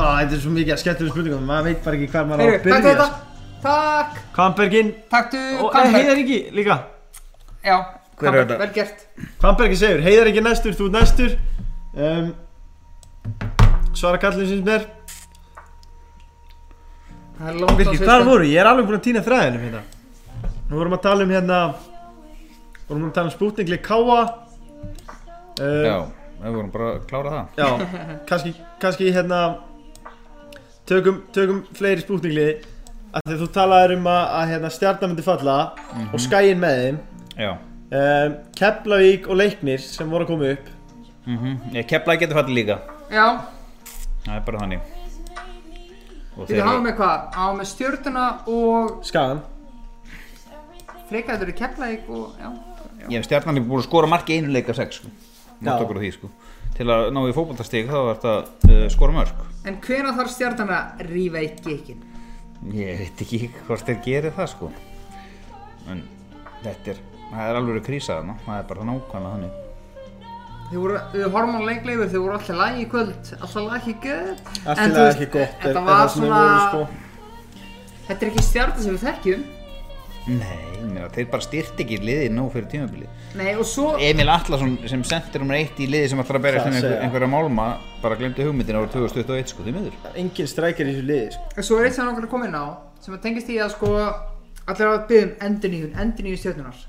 [SPEAKER 1] ah, Þetta er svo mikið að skemmtilega spurningum Maður veit bara ekki hvað maður á
[SPEAKER 2] Heyrðu,
[SPEAKER 1] að
[SPEAKER 2] takk
[SPEAKER 1] byrja
[SPEAKER 2] þetta Takk,
[SPEAKER 1] Kvambergin
[SPEAKER 2] takk du
[SPEAKER 1] Og eh,
[SPEAKER 2] Hvammberg
[SPEAKER 1] heiðar ekki líka
[SPEAKER 2] Já,
[SPEAKER 3] Hver er
[SPEAKER 2] Hvammberg,
[SPEAKER 3] þetta?
[SPEAKER 2] vel gert
[SPEAKER 1] Kvambergin segur, heiðar ekki næstur, þú ert næstur um, Svara kallin sinns mér
[SPEAKER 2] Það er langt á
[SPEAKER 1] Birkir,
[SPEAKER 2] sviðstöð.
[SPEAKER 1] hvað voru? Ég er alveg búinn að týna þræðinum hérna Nú vorum að tala um hérna vorum að tala um spútningli káa
[SPEAKER 3] Já,
[SPEAKER 1] uh,
[SPEAKER 3] við vorum bara að klára það.
[SPEAKER 1] Já, kannski, kannski hérna tökum, tökum fleiri spútningli af því að þú talaðir um að, að hérna, stjarnan myndi falla og skæin með þeim
[SPEAKER 3] Já.
[SPEAKER 1] um, Keflavík og Leiknir sem voru að koma upp
[SPEAKER 3] Mm Ég keflaði getur fallið líka.
[SPEAKER 2] Já,
[SPEAKER 3] Það er bara þannig. Og
[SPEAKER 2] við hafa með hvað? Hafa með stjörnuna og
[SPEAKER 1] Skagan
[SPEAKER 2] frekar þetta eru keflaðik og já
[SPEAKER 3] Ég hef stjarnan er búin að skora marki einu leika sex, sko.
[SPEAKER 1] Já.
[SPEAKER 3] Mátt okkur á því, sko. Til að ná í fótballtastig þá var þetta uh, skora mörg.
[SPEAKER 2] En hvena þarf stjarnan að rífa eitt gikkin?
[SPEAKER 3] Ég veit ekki hvort þeir gerir það, sko. En þetta er, það er alveg krísa þarna. Það er bara nákvæmlega þannig.
[SPEAKER 2] Þau voru, við horfum á leikleifur, þau voru alltaf lagi í kvöld, alltaf lagi í göð
[SPEAKER 1] Allt til að ekki gott er-
[SPEAKER 2] Þetta
[SPEAKER 1] er
[SPEAKER 2] var
[SPEAKER 1] það sem sko. við
[SPEAKER 2] svona,
[SPEAKER 1] vorum,
[SPEAKER 2] þetta er ekki stjarnan sem við þekkjum
[SPEAKER 3] Nei, ég meina, þeir bara styrt ekki liðið nóg fyrir tímabilið.
[SPEAKER 2] Nei, og svo,
[SPEAKER 3] Emil Atlason sem sendir um eitt í liði sem ætlar að berjast
[SPEAKER 1] Það
[SPEAKER 3] um einhver,
[SPEAKER 1] segja.
[SPEAKER 3] einhverja málma bara glemdi hugmyndin árið 2021 sko, því miður
[SPEAKER 1] sko. Engin strækir í þessu liði sko.
[SPEAKER 2] og svo er eitt sem okkur er komin á sem að tengist í að sko allir hafa um byggðum endurníðun, endurníðun stjörnunar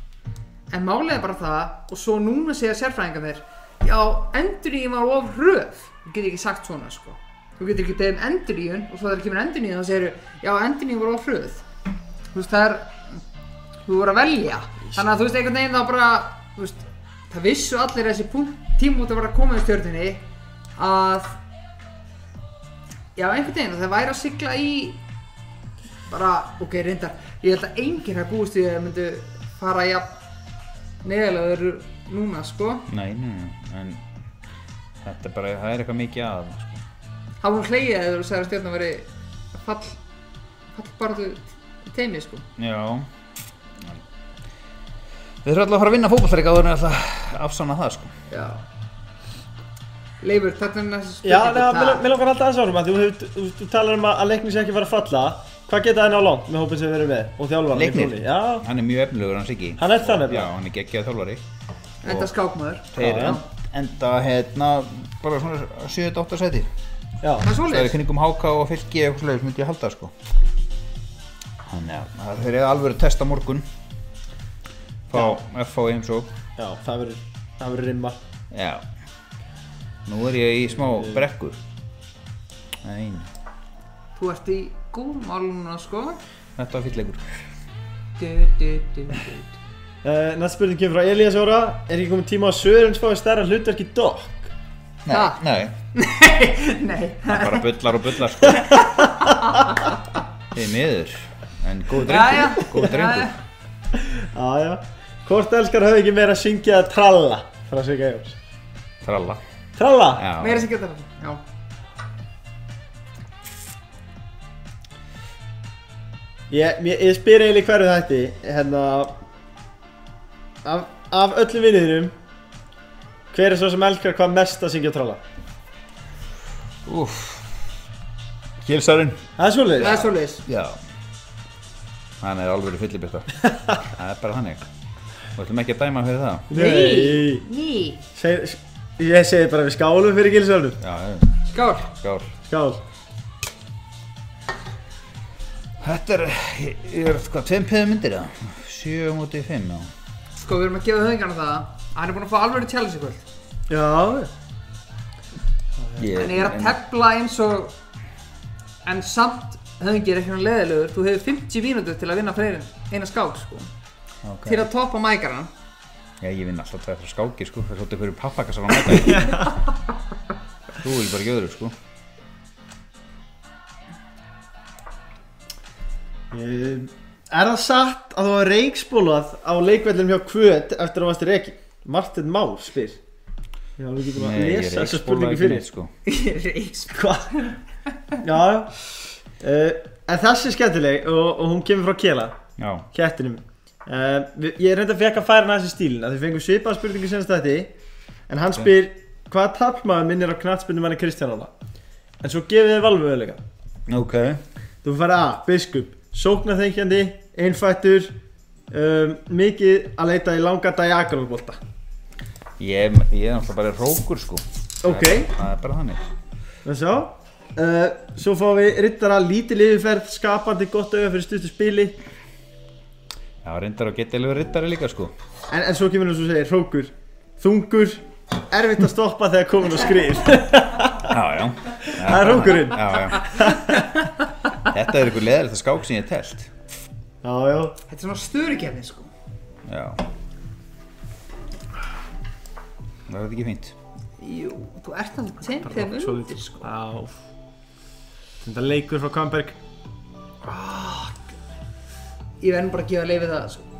[SPEAKER 2] en málið er bara það og svo núna segja sérfræðingarnir já, endurníðun var of hröð þú getur ekki sagt svona sko þú getur ekki beðið um endurníðun og svo þegar kemur endurníðun þá segir já, endurníðun var of hröð þú veist, það er þú voru að velja þannig að þú veist, einhvern veginn þá bara þú veist, það vissu allir að þessi punkt tímúti var að koma í stjörnunni að Já, einhvern veginn, að það væri að sigla í bara, ok, reyndar ég held að enginn hafi búist við að þeir myndu fara í að neðalega þeir eru núna, sko
[SPEAKER 3] Nei, nei, nei, en þetta er bara, það er eitthvað mikið að sko.
[SPEAKER 2] hafa hún hleyið eða þú sagði að stjórna veri fall fallbarðu teimi, sko
[SPEAKER 3] Já En Við þurfum alltaf að fara að vinna fótballtreik áður en alltaf að afsanna það sko
[SPEAKER 2] Já Leifur, þetta er næsta
[SPEAKER 1] Já,
[SPEAKER 2] spurning
[SPEAKER 1] neða, mér- mér langar alltaf aðeins árum að þú, hefur- þú, þú talar um að, að leiknir sé ekki fara að falla Hvað geta það ná langt með hópin sem við erum með og þjálfara
[SPEAKER 3] Leiknir?
[SPEAKER 1] Já,
[SPEAKER 3] Hann er mjög efnilegur, hans ekki
[SPEAKER 1] Hann er það nefnilega.
[SPEAKER 3] Já, hann er geggjað þjálfari
[SPEAKER 2] Enda skákmaður
[SPEAKER 3] Þeir
[SPEAKER 1] Já, já.
[SPEAKER 3] en- enda hérna bara svona 7-8 seti
[SPEAKER 1] já,
[SPEAKER 2] Það er
[SPEAKER 3] Það er í
[SPEAKER 2] svoleiðis
[SPEAKER 3] kringum háka og fylki eða eitthvað slags myndi ég halda sko Þannig að það- þeir eru alveg að testa á morgun Fá F á heimsók
[SPEAKER 1] já, það verður, það verður rimma
[SPEAKER 3] Já Nú er ég í smá brekku Nei, nei.
[SPEAKER 2] Þú ert í góðum álununa, sko
[SPEAKER 3] þetta var fyllegur
[SPEAKER 2] du, du, du, du.
[SPEAKER 1] uh, Næst spurning kemur frá Elías Óra Er ekki komið tíma á Sörens fáið stærra hlutverk í Dokk?
[SPEAKER 3] Nei,
[SPEAKER 2] Ha?
[SPEAKER 3] nei,
[SPEAKER 2] Nei,
[SPEAKER 3] það bara bullar og bullar sko Þið miður En góð
[SPEAKER 2] Jæja.
[SPEAKER 3] drengur, góð drengur
[SPEAKER 2] Jæja.
[SPEAKER 1] Já, já Hvort elskar höfðu ekki meira að syngja að tralla frá Svika Jóns?
[SPEAKER 3] Tralla
[SPEAKER 1] Tralla?
[SPEAKER 3] Já,
[SPEAKER 2] meira sem geta það Já,
[SPEAKER 1] Ég, ég, ég spyr eiginlega í hverju þætti hérna af, af öllum vinniðinum hver er svo sem elskar hvað mest að syngja og tralla?
[SPEAKER 3] úff Kilsarinn
[SPEAKER 1] Það er
[SPEAKER 2] það er
[SPEAKER 1] svolítið
[SPEAKER 2] svoleiðis
[SPEAKER 3] Já Hann er alveg fyllibista Það er bara þannig Við ætlum ekki að dæma hann fyrir það
[SPEAKER 1] Nei,
[SPEAKER 2] Ný
[SPEAKER 1] Seg, Ég segi bara við skálum fyrir Gilsvöldur
[SPEAKER 3] Já, já,
[SPEAKER 2] Skál
[SPEAKER 3] skál
[SPEAKER 1] Skál
[SPEAKER 3] Þetta er, ég ég er hvað, tveim piðum myndir eða? Sjö mútið fimm, já
[SPEAKER 2] Sko, við erum að gefa höfðingarna það að hann er búinn að fá alveg challenge í kvöld
[SPEAKER 1] Já
[SPEAKER 3] Ég-
[SPEAKER 2] En ég er að tefla eins og En samt höfðingi er ekki hann leðilegur Þú hefur 50 mínútur til að vinna fleiri en eina skák sko
[SPEAKER 3] Ok.
[SPEAKER 2] Til að toppa mækaran
[SPEAKER 3] Já, ég vinn alltaf tveir frá skáki, sko. Það er svolítið fyrir pappakassar á mæta. Þú vil bara ekki öðru, sko.
[SPEAKER 1] Um, er það satt að þú var reikspólað á leikvellum hjá Kvöt eftir að varst í reiki? Martin Má spyr. Já, við getum að
[SPEAKER 3] ég
[SPEAKER 1] lesa þessa
[SPEAKER 3] reykspólaði
[SPEAKER 1] spurningu
[SPEAKER 3] ekki
[SPEAKER 1] fyrir.
[SPEAKER 3] neitt, sko.
[SPEAKER 2] Reis
[SPEAKER 1] Hvað? Já, já. Uh, en þessi er skemmtileg og, og hún kemur frá Kela,
[SPEAKER 3] Já,
[SPEAKER 1] kettinum. Uh, við- ég reynda að fekk að færa næst í stílinn að þau fengum svipaða spurningu senast þetta en hann spyr hvað taflmaður minnir á knatsbyrnum hann er Kristjánóla en svo gefið þið valmöðuleika
[SPEAKER 3] ok.
[SPEAKER 1] Þú fær A, biskup, sóknarþengjandi, einfættur, um, mikið að leita í langa diagonalbolta.
[SPEAKER 3] Ég, ég er alltaf bara rókur, sko.
[SPEAKER 1] Ok.
[SPEAKER 3] Það er, það er bara þannig.
[SPEAKER 1] Það svo. Uh, svo fáum við rittara lítil yfirferð, skapandi gott auga fyrir stuttu spili.
[SPEAKER 3] Já, reyndar að geta alveg rittari líka, sko.
[SPEAKER 1] En, en svo kemur hann svo segir, hrókur, þungur, erfitt að stoppa þegar komin á skrið.
[SPEAKER 3] Já, já.
[SPEAKER 1] Það er hrókurinn.
[SPEAKER 3] Já, já. Þetta er ykkur leðilegt að skák sem ég hef telt.
[SPEAKER 1] Já, já.
[SPEAKER 2] Þetta er svona sturikefni sko
[SPEAKER 3] Já. Það er ekki fínt.
[SPEAKER 2] Jú, þú ert alveg tengt þeim undir sko
[SPEAKER 1] Já. Þetta er leikur frá Kvamberg.
[SPEAKER 2] Ég verðum bara að gefa leiði það sko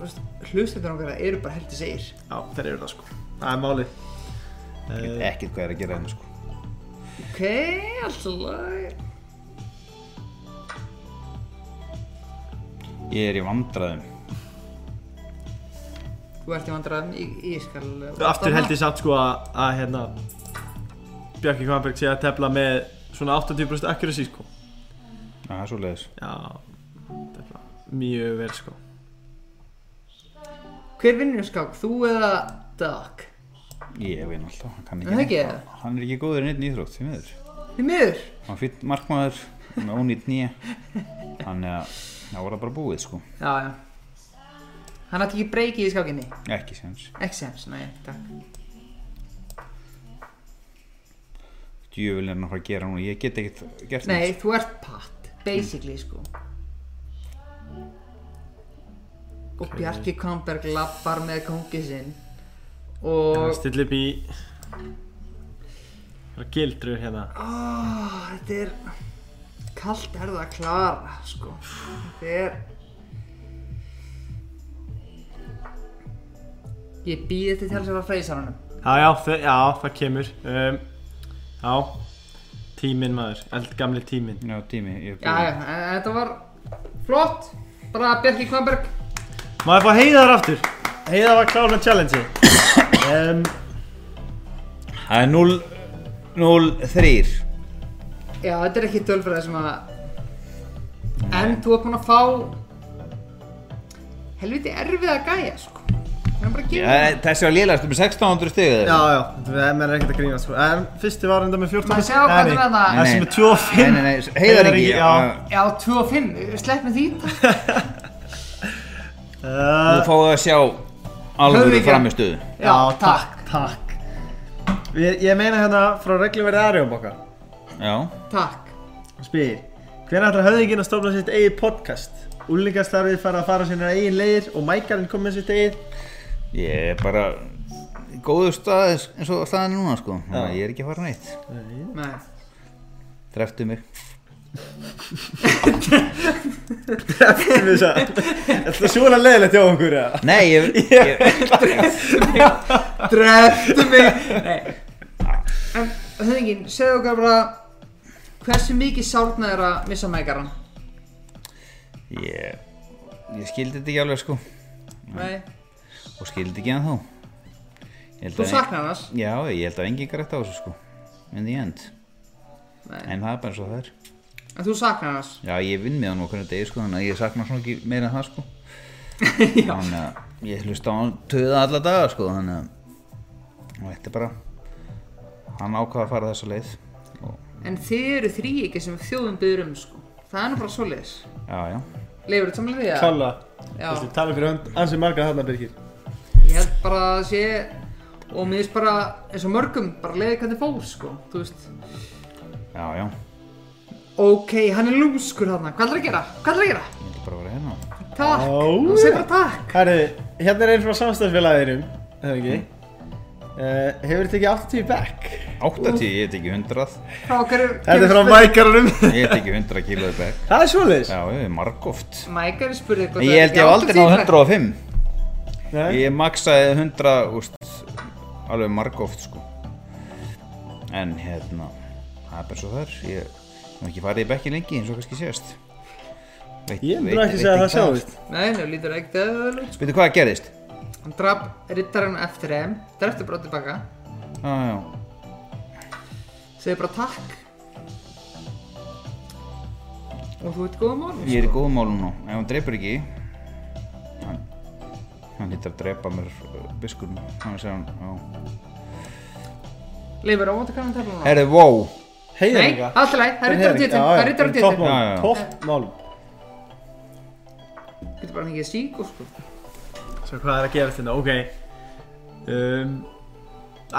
[SPEAKER 2] Hlustendur okkar eru bara heldur segir
[SPEAKER 1] Já, þeir eru það sko. Það er málið.
[SPEAKER 3] Ég veit ekkert hvað er að gera hérna, sko.
[SPEAKER 2] Ok, alltaf lag
[SPEAKER 3] Ég er í vandræðum.
[SPEAKER 2] Þú ert í vandræðum, ég, ég skal
[SPEAKER 1] Aftur held ég samt sko að, að hérna Bjarki Kvamberg sé að tefla með svona 80% accuracy sko
[SPEAKER 3] Já, það er svo
[SPEAKER 1] Já, tefla mjög vel sko
[SPEAKER 2] Hver vinnur í skák, þú eða Doug?
[SPEAKER 3] Ég vinn alltaf, hann kann ekki
[SPEAKER 2] Er það ekki?
[SPEAKER 3] neitt. Hann er ekki góður í neitt íþrótt, því miður
[SPEAKER 2] Því miður
[SPEAKER 3] Hann fyrir markmaður, hann er ónýtt nýja Þannig að það voru það bara búið sko
[SPEAKER 2] Já, já Hann átti ekki breykið í skákinni
[SPEAKER 3] Ekki séns
[SPEAKER 2] Ekki sens, nei, takk
[SPEAKER 3] Djöfull er hann að fara að gera núna, ég get ekkert gert
[SPEAKER 2] Nei, þú ert patt, basically sko Og Bjarki Kamberg lappar með kóngi sinn
[SPEAKER 1] Það
[SPEAKER 2] Og
[SPEAKER 1] stilli upp í Hvað gildrur hérna
[SPEAKER 2] oh, Þetta er Kalt er það að klara sko Þetta er Ég býði þetta til þess að freysa honum
[SPEAKER 1] Já, já, þau, já það kemur um, Já Tíminn maður, eldgamli tíminn
[SPEAKER 3] Já, tími, ég er
[SPEAKER 2] Já, já,
[SPEAKER 3] búið
[SPEAKER 2] en en þetta var flott Bara Bjarki Kvamberg
[SPEAKER 1] Maður fá heiðar aftur Heiðar var klár með challenge um,
[SPEAKER 3] Það er 0, 0, 3
[SPEAKER 2] Já, þetta er ekki tölfræði sem að En þú ert búinn að fá Helviti erfið að gæja, sko Það er bara að gera það
[SPEAKER 3] Þessi var lélægst með 1600 stig
[SPEAKER 1] Já, já, það er ekkert að grína sko En fyrsti var enda með 14
[SPEAKER 2] Maður sjá hvernig var það.
[SPEAKER 1] Það sem er 25
[SPEAKER 3] Nei, nei, nei, heiðar ekki
[SPEAKER 1] já.
[SPEAKER 3] já.
[SPEAKER 2] Já, 2 og 5, slepp með því takk.
[SPEAKER 1] Uh,
[SPEAKER 3] Nú fáið þið að sjá alvöru
[SPEAKER 2] Höfðingja.
[SPEAKER 3] framistuðu
[SPEAKER 2] Já, takk,
[SPEAKER 1] takk. Ég, ég meina hérna frá regluverði Arjón okkar.
[SPEAKER 3] Já,
[SPEAKER 2] takk
[SPEAKER 1] Spyr, hvernig ætlar höfðinginn að stofna sitt eigið podcast? Úlingastarfið fara að fara sínar eigin leiðir og mækarinn kom með sitt eigið.
[SPEAKER 3] ég er bara í góðu stað eins og staðan er núna sko Þannig að Ég er ekki að fara neitt
[SPEAKER 2] Nei,
[SPEAKER 3] Dreftu mig
[SPEAKER 1] Þetta er þetta svona leiðilegt hjá okkur eða?
[SPEAKER 3] Nei, ég, ég,
[SPEAKER 2] dreftu mig Nei En höfðingin, segðu okkar bara Hversu mikið sárna er að missa mækaran?
[SPEAKER 3] ég, ég skildi þetta ekki alveg sko
[SPEAKER 2] Nei,
[SPEAKER 3] Og skildi ekki hann þá
[SPEAKER 2] þú saknar hans?
[SPEAKER 3] Já, ég held að engin grætt á þessu sko In the end
[SPEAKER 2] Nei,
[SPEAKER 3] En það er bara eins og það er
[SPEAKER 2] en þú saknar hans?
[SPEAKER 3] Já, ég vinn með hann okkur en degi sko Þannig að ég sakna svona ekki meira en það sko Þannig að ég hlusta á hann töða alla daga sko Þannig að Og þetta er bara Hann ákvað að fara þessa leið og,
[SPEAKER 2] En þið eru þrý ekki sem þjóðum byður um, sko Það er nú bara svoleiðis
[SPEAKER 3] Já, já
[SPEAKER 2] Leifur þetta samlega því að?
[SPEAKER 1] Kalla.
[SPEAKER 2] Já.
[SPEAKER 1] Þetta tala fyrir hönd, ansið marga þarna Birgir.
[SPEAKER 2] Ég held bara að sé og mér finnst bara, eins og mörgum, bara leiði hvernig fór, sko, þú veist.
[SPEAKER 3] Já, já,
[SPEAKER 2] Ok, hann er lúmskur þarna, hvað er að gera? Hvað er að gera?
[SPEAKER 3] ég myndi bara að vera hérna
[SPEAKER 2] Takk,
[SPEAKER 1] Ó,
[SPEAKER 2] hann segir bara takk.
[SPEAKER 1] Herru, hérna er einn frá samstæðsfélagirum, hefur ekki? Uh, hefur þetta ekki 80 back?
[SPEAKER 3] 80, ég hef ekki 100
[SPEAKER 2] Frá hverju...
[SPEAKER 1] Þetta er frá
[SPEAKER 2] spurði-
[SPEAKER 1] mækarunum.
[SPEAKER 3] Ég hef ekki 100 kílóði back
[SPEAKER 1] það er svoleiðis.
[SPEAKER 3] Já, ég hef margóft
[SPEAKER 2] Mike er spurðið
[SPEAKER 3] Ég held ég hef aldrei náð 105
[SPEAKER 1] Nei.
[SPEAKER 3] Ég maksaði 100 úst, alveg margóft sko En hérna það er bara svo þar Ég hef ekki farið í bekki lengi eins og kannski sést veit,
[SPEAKER 1] Ég myndi nú ekki segja að það sjáist.
[SPEAKER 2] Nei, nú lítur það ekkert eða út.
[SPEAKER 3] Veitu hvað gerðist?
[SPEAKER 2] Hann draf rittarinn eftir þeim, dreftur bara tilbaka,
[SPEAKER 3] Já, já,
[SPEAKER 2] segir bara takk. Og þú ert góða málum,
[SPEAKER 3] ég er í góðum málum nú Ef hann dreipur ekki Hann, hann hittar að dreipa mér biskurum Hann segir hann, já
[SPEAKER 2] Leifur, óvæntu hvernig tefnum hann?
[SPEAKER 3] Herðu, wow
[SPEAKER 1] Heiðar
[SPEAKER 2] Nei,
[SPEAKER 1] líka.
[SPEAKER 2] allt í lagi, það er rittar á titil, það er rittar á titil.
[SPEAKER 3] Já, já, já.
[SPEAKER 1] Toppmálum.
[SPEAKER 2] Getur bara fengið sík og sko.
[SPEAKER 1] Svo hvað er að gerast þetta, ok um, Æ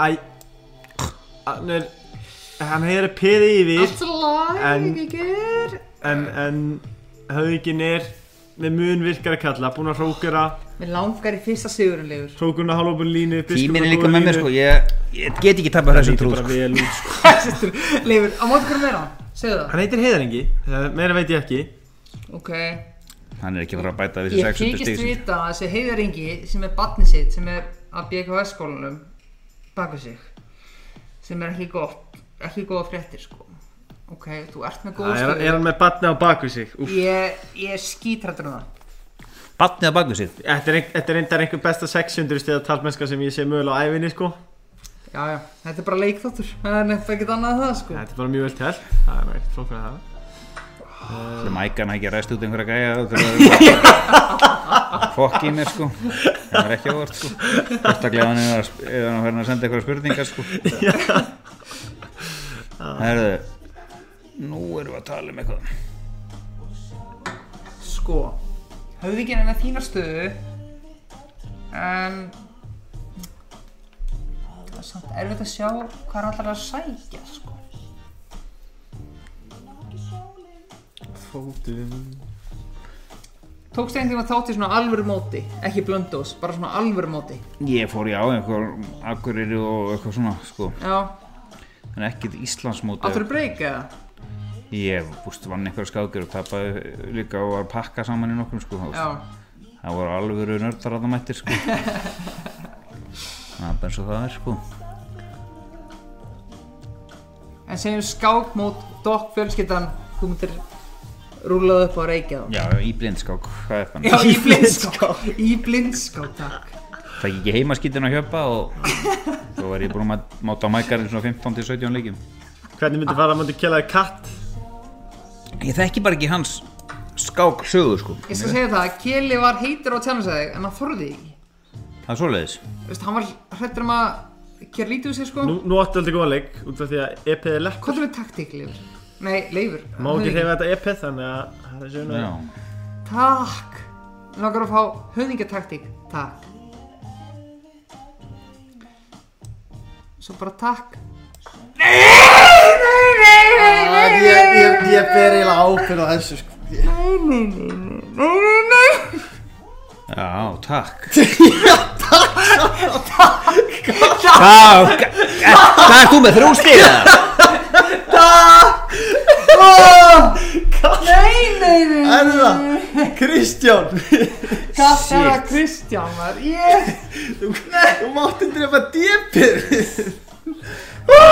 [SPEAKER 1] Hann er Hann hefur að piði yfir
[SPEAKER 2] Allt í lagi,
[SPEAKER 1] En-
[SPEAKER 2] ekki ger.
[SPEAKER 1] En, en höfðingin er með mun virkara kalla Búin að hrókera,
[SPEAKER 2] Mér langar í fyrsta sigurinn, Leifur.
[SPEAKER 1] hrókurna halvópun línu
[SPEAKER 3] Tíminn er líka með mér sko Ég, ég get ekki tappa
[SPEAKER 1] Það
[SPEAKER 3] þessum
[SPEAKER 1] lítur
[SPEAKER 3] trú
[SPEAKER 1] bara
[SPEAKER 3] sko.
[SPEAKER 1] vel út sko
[SPEAKER 2] Leifur, á móti hvernig meira hann? Segðu það.
[SPEAKER 1] Hann heitir Heiðarengi, meira veit ég ekki
[SPEAKER 2] Ok.
[SPEAKER 3] Hann er ekki að fara að bæta við
[SPEAKER 2] Ég
[SPEAKER 3] þessi 600
[SPEAKER 2] þykist
[SPEAKER 3] stíð
[SPEAKER 2] vita að þessi heiðaringi sem er batni sitt, sem er að BKS skólanum, baka sig. Sem er ekki gott, ekki góða fréttir, sko. Ok, þú ert með góða
[SPEAKER 1] Það er, er hann með batna á baku sig Úf.
[SPEAKER 2] Ég, ég er skítrættur um það.
[SPEAKER 3] Batnið að baka sér
[SPEAKER 1] Þetta er ein- þetta er reyndar einhver besta 600 stiða talmennska sem ég sé mögulega á æfinni sko
[SPEAKER 2] Já, já, þetta er bara leikþáttur. Það er nefnt ekkert annað að það, sko.
[SPEAKER 1] Þetta er bara mjög vel telt Það er nú ekkert flóknar að það
[SPEAKER 3] Sem ækan ekki að ræst út einhverja gæja þegar það- Fokk í mér sko Það er ekki óvart sko Sérstaklega ef hann er að- ef hann fyrir að senda einhverja spurningar sko Herðu Nú erum við að tala um eitthvað
[SPEAKER 2] Sko, höfðingin er með þína stöðu En Það er samt erfitt að sjá hvað hann ætlar að sækja sko.
[SPEAKER 1] Fótum
[SPEAKER 2] Tókst einhvern tíma þátt í svona alvöru móti Ekki blöndós, bara svona alvöru móti
[SPEAKER 3] Ég fór í á einhver Akureyri og eitthvað svona sko
[SPEAKER 2] Já,
[SPEAKER 3] En ekkert Íslandsmóti
[SPEAKER 2] áttur að breyka það
[SPEAKER 3] Ég búst vann einhverja skákir og tapaði líka og var að pakka saman í nokkrum sko þú veist.
[SPEAKER 2] Já,
[SPEAKER 3] Það voru alvöru nördar að það mættir sko Það er bara eins og það er sko
[SPEAKER 2] en segjum skák mót Dokk fjölskyldan, þú myndir rúlað upp á reykja þá
[SPEAKER 3] Já, í blindskák, hvað er
[SPEAKER 2] Já,
[SPEAKER 3] það?
[SPEAKER 2] í blindskák Í blindskák, takk
[SPEAKER 3] Það ekki heimaskýtin að hjöpa og þá var ég búinn að máta á mækarinn svona 15-17 leikjum
[SPEAKER 1] Hvernig myndi fara að myndi kella þér katt?
[SPEAKER 3] Ég þekki bara ekki hans skák sögu sko
[SPEAKER 2] Ég skal segja það, Keli var heitur á tjánasæði En hann þorði því ekki
[SPEAKER 3] Það er svoleiðis
[SPEAKER 2] Þú veist, hann var hrættur um að gera lítið úr sér sko
[SPEAKER 1] Nú, nú áttu aldrei góðan leik út af því að EP er lekk
[SPEAKER 2] Hvað er með taktík, Leifur? Nei, Leifur
[SPEAKER 1] Má ekki hreyfa þetta EP þannig að það er sjöna
[SPEAKER 3] Já,
[SPEAKER 2] Takk Mér langar að fá höfðingjataktík Takk Svo bara takk
[SPEAKER 1] Ég, ég, ég, ég ber eiginlega ábyrð á þessu sko
[SPEAKER 3] já, takk Já, takk Takk Það er þú með þrjú stíð
[SPEAKER 2] Nei, nei, nei, nei
[SPEAKER 1] Er það? Kristján
[SPEAKER 2] Hvað er það Kristján var? Ég
[SPEAKER 1] Þú þú mátti drefa dipir
[SPEAKER 3] Já,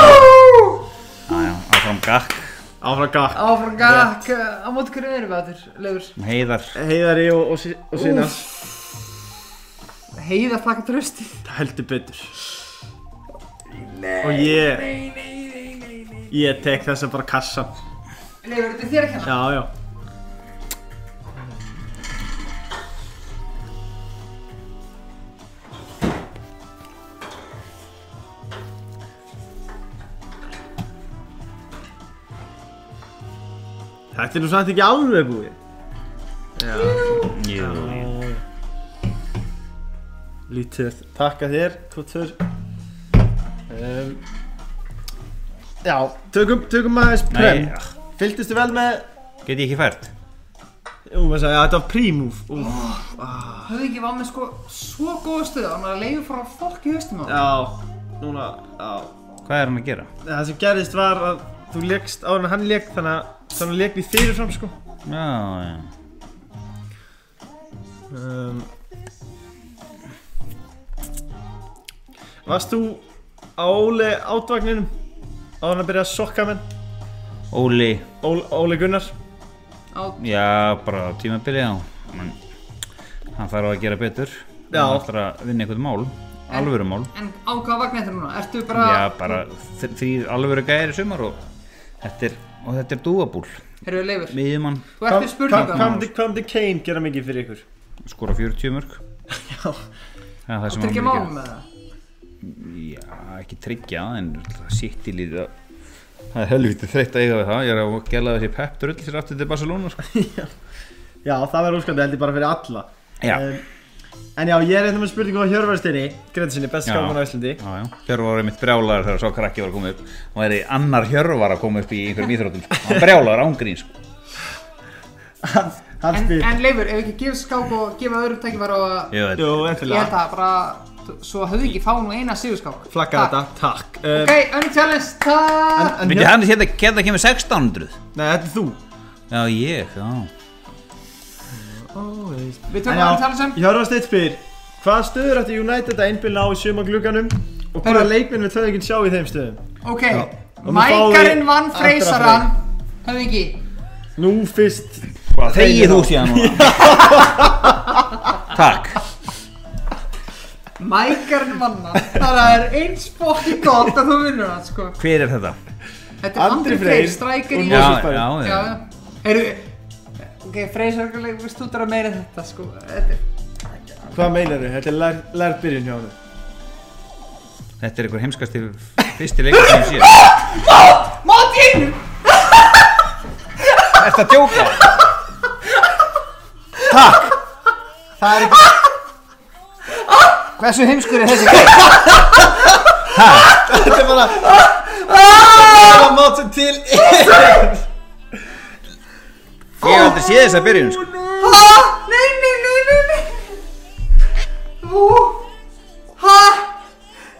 [SPEAKER 3] já, áfram gakk,
[SPEAKER 1] Áfram gakk
[SPEAKER 2] Áfram gakk Á móti hverju erum við áttur, Leifur?
[SPEAKER 3] heiðar
[SPEAKER 1] Heiðari og, og, Si- og sinna
[SPEAKER 2] Heiða þakka trösti
[SPEAKER 1] Það heldur betur Nei Og ég Nei, nei, nei, nei Ég tek þessa bara kassa
[SPEAKER 2] Leifur, þetta er þér ekki hana
[SPEAKER 1] Já, já Þetta er nú samt ekki alveg búið
[SPEAKER 3] Jú, jú.
[SPEAKER 1] Lítið Takk að þér, Kvotur um, Já, tökum, tökum aðeins prem
[SPEAKER 3] Nei.
[SPEAKER 1] Fylgdistu vel með
[SPEAKER 3] Get ég ekki fært?
[SPEAKER 1] Jú, maður sagði, já, þetta var prímúf Úf,
[SPEAKER 2] Höfðingi var með sko svo góða stuð Hann var að leiðu frá fólk í haustum á honum.
[SPEAKER 1] Já, núna, já
[SPEAKER 3] Hvað er hann að gera?
[SPEAKER 1] Það sem gerðist var að þú leggst áður en hann legg þannig að þannig legg við fyrirfram sko
[SPEAKER 3] Já, já
[SPEAKER 1] um, Varst þú á Óli átvagninum áður en að byrja að sokka menn
[SPEAKER 3] Óli
[SPEAKER 1] Óli, Óli Gunnar
[SPEAKER 2] Á-
[SPEAKER 3] Já, bara tímabili já Men, Hann þarf að gera betur
[SPEAKER 1] Já.
[SPEAKER 3] Hann ætlar að vinna eitthvað mál Alvöru mál
[SPEAKER 2] En á hvað vagn þetta núna? Ertu bara
[SPEAKER 3] Já, bara þr- þrír alvöru gæri sumar og þetta er, og þetta er dúabúl
[SPEAKER 2] Herru leifur
[SPEAKER 3] Miðjumann
[SPEAKER 2] Þú ert með
[SPEAKER 1] Hvað
[SPEAKER 2] spurningar
[SPEAKER 1] myndi- hvað myndi Kane gera mikið fyrir ykkur?
[SPEAKER 3] skora 40 mörg
[SPEAKER 1] Já.
[SPEAKER 3] Það er það sem
[SPEAKER 2] Tryggja
[SPEAKER 3] mun
[SPEAKER 2] málum
[SPEAKER 3] gera.
[SPEAKER 2] með það
[SPEAKER 3] Já, ekki tryggja, en sitt í líða Það er helviti þreytt að eiga við það Ég er að gæla þessi pepp drull sér aftur til Barcelona sko.
[SPEAKER 1] Já, það verður óskandi held ég bara fyrir alla
[SPEAKER 3] Já.
[SPEAKER 1] um, En já, ég er eitthvað með spurningu á Hjörvarsteini Gretsinni, best
[SPEAKER 3] Já.
[SPEAKER 1] skáman á Íslandi
[SPEAKER 3] Já, já, Hjörvar var einmitt brjálaður þegar sá krakki var að koma upp og er annar Hjörvar að koma upp í einhverjum íþrótum sko. hann brjálaður ángrín sko.
[SPEAKER 1] Hann hann
[SPEAKER 2] En,
[SPEAKER 1] spyr
[SPEAKER 2] en leifur, ef við ekki gefa skák og gefa öðrum tækifæri og að
[SPEAKER 3] Ég veit.
[SPEAKER 1] Jú,
[SPEAKER 2] Ég held
[SPEAKER 1] eftirlega
[SPEAKER 2] að bara, svo höfðu ekki fá nú eina sigurskák
[SPEAKER 1] Flakka þetta, takk um,
[SPEAKER 2] Ok, önnum challenge,
[SPEAKER 1] En,
[SPEAKER 2] takk
[SPEAKER 1] en
[SPEAKER 3] Veitir,
[SPEAKER 1] Hjör-
[SPEAKER 3] hann hérna hérna kemur 1600
[SPEAKER 1] Nei, þetta er þú
[SPEAKER 3] Já, ég, já
[SPEAKER 2] Við tökum önnum challenge sem
[SPEAKER 1] Hjörðarsteinn spyr Hvaða stöður ætti United að einbyrna á í sjöma glugganum og hvaða
[SPEAKER 2] Herru.
[SPEAKER 1] leikminn við töðum ekki sjá í þeim stöðum?
[SPEAKER 2] Ok,
[SPEAKER 1] Og nú fáum
[SPEAKER 2] mækarinn
[SPEAKER 1] við
[SPEAKER 2] vann
[SPEAKER 1] aftur að
[SPEAKER 2] freysaran Höfðu ekki
[SPEAKER 1] Nú fyrst
[SPEAKER 3] Þegið þú síðan núna Takk
[SPEAKER 2] Mækarinn vann hann Það er eins fokki gott að þú vinnur hann, sko
[SPEAKER 3] Hver er þetta?
[SPEAKER 2] Þetta er
[SPEAKER 1] Andri
[SPEAKER 2] Andri
[SPEAKER 1] Freyr
[SPEAKER 2] Freyr, strækir
[SPEAKER 1] og
[SPEAKER 2] í
[SPEAKER 3] Já,
[SPEAKER 1] Moses
[SPEAKER 3] já,
[SPEAKER 1] Berg.
[SPEAKER 3] já,
[SPEAKER 2] já, já. Heyrðu, ok, Freysar, við stútar að meira en þetta, sko Þetta er
[SPEAKER 1] Hvað meinar þau? Þetta er lær, lærð byrjun hjá hann
[SPEAKER 3] Þetta er einhver heimskasti fyrsti leikur sem ég sé
[SPEAKER 2] Mátt í einu!
[SPEAKER 3] Ertu að djóka?
[SPEAKER 6] Það er ekki
[SPEAKER 2] Hversu heimskur er þessi gæð?
[SPEAKER 1] Þetta er bara Það er mát sem til
[SPEAKER 3] Ég hef aldrei séð þess að byrjun sko.
[SPEAKER 2] Nei, nei, nei, nei, nei Ó, ha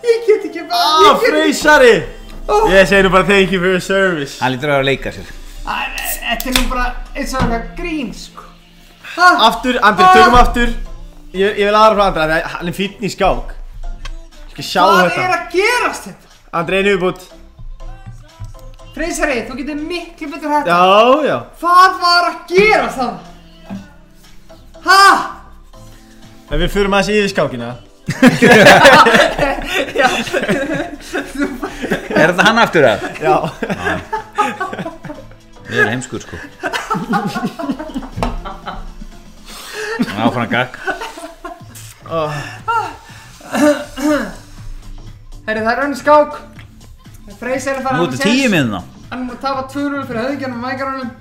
[SPEAKER 2] Ég get ekki
[SPEAKER 3] Ah,
[SPEAKER 2] bara
[SPEAKER 1] Á, freysari Ég segi nú bara thank you for your service
[SPEAKER 3] Hann lítur að vera að leika
[SPEAKER 2] Æ,
[SPEAKER 3] sér
[SPEAKER 2] Þetta er nú bara eins og eitthvað grín, sko Ha,
[SPEAKER 1] Aftur, Andri, tökum aftur Ég, ég vil aðra frá Andri, af því að hann er fýtn í skák Ég skal sjá
[SPEAKER 2] hvað er
[SPEAKER 1] þetta
[SPEAKER 2] að gerast þetta?
[SPEAKER 1] Andri, einu viðbútt
[SPEAKER 2] Freysari, þú getur miklu betur þetta
[SPEAKER 1] Já, já
[SPEAKER 2] Hvað var að gerast það? Ha,
[SPEAKER 1] En við förum aðeins yfir skákina
[SPEAKER 3] Er þetta hann aftur að?
[SPEAKER 1] Já
[SPEAKER 3] Við erum heimskur sko Hann áfram gagg
[SPEAKER 2] herri, það er önnur skák Freysari fara
[SPEAKER 3] Nú ertu tíu með það
[SPEAKER 2] Hann er búin að tapa 2-0 fyrir höfðingjarnum og mækarunum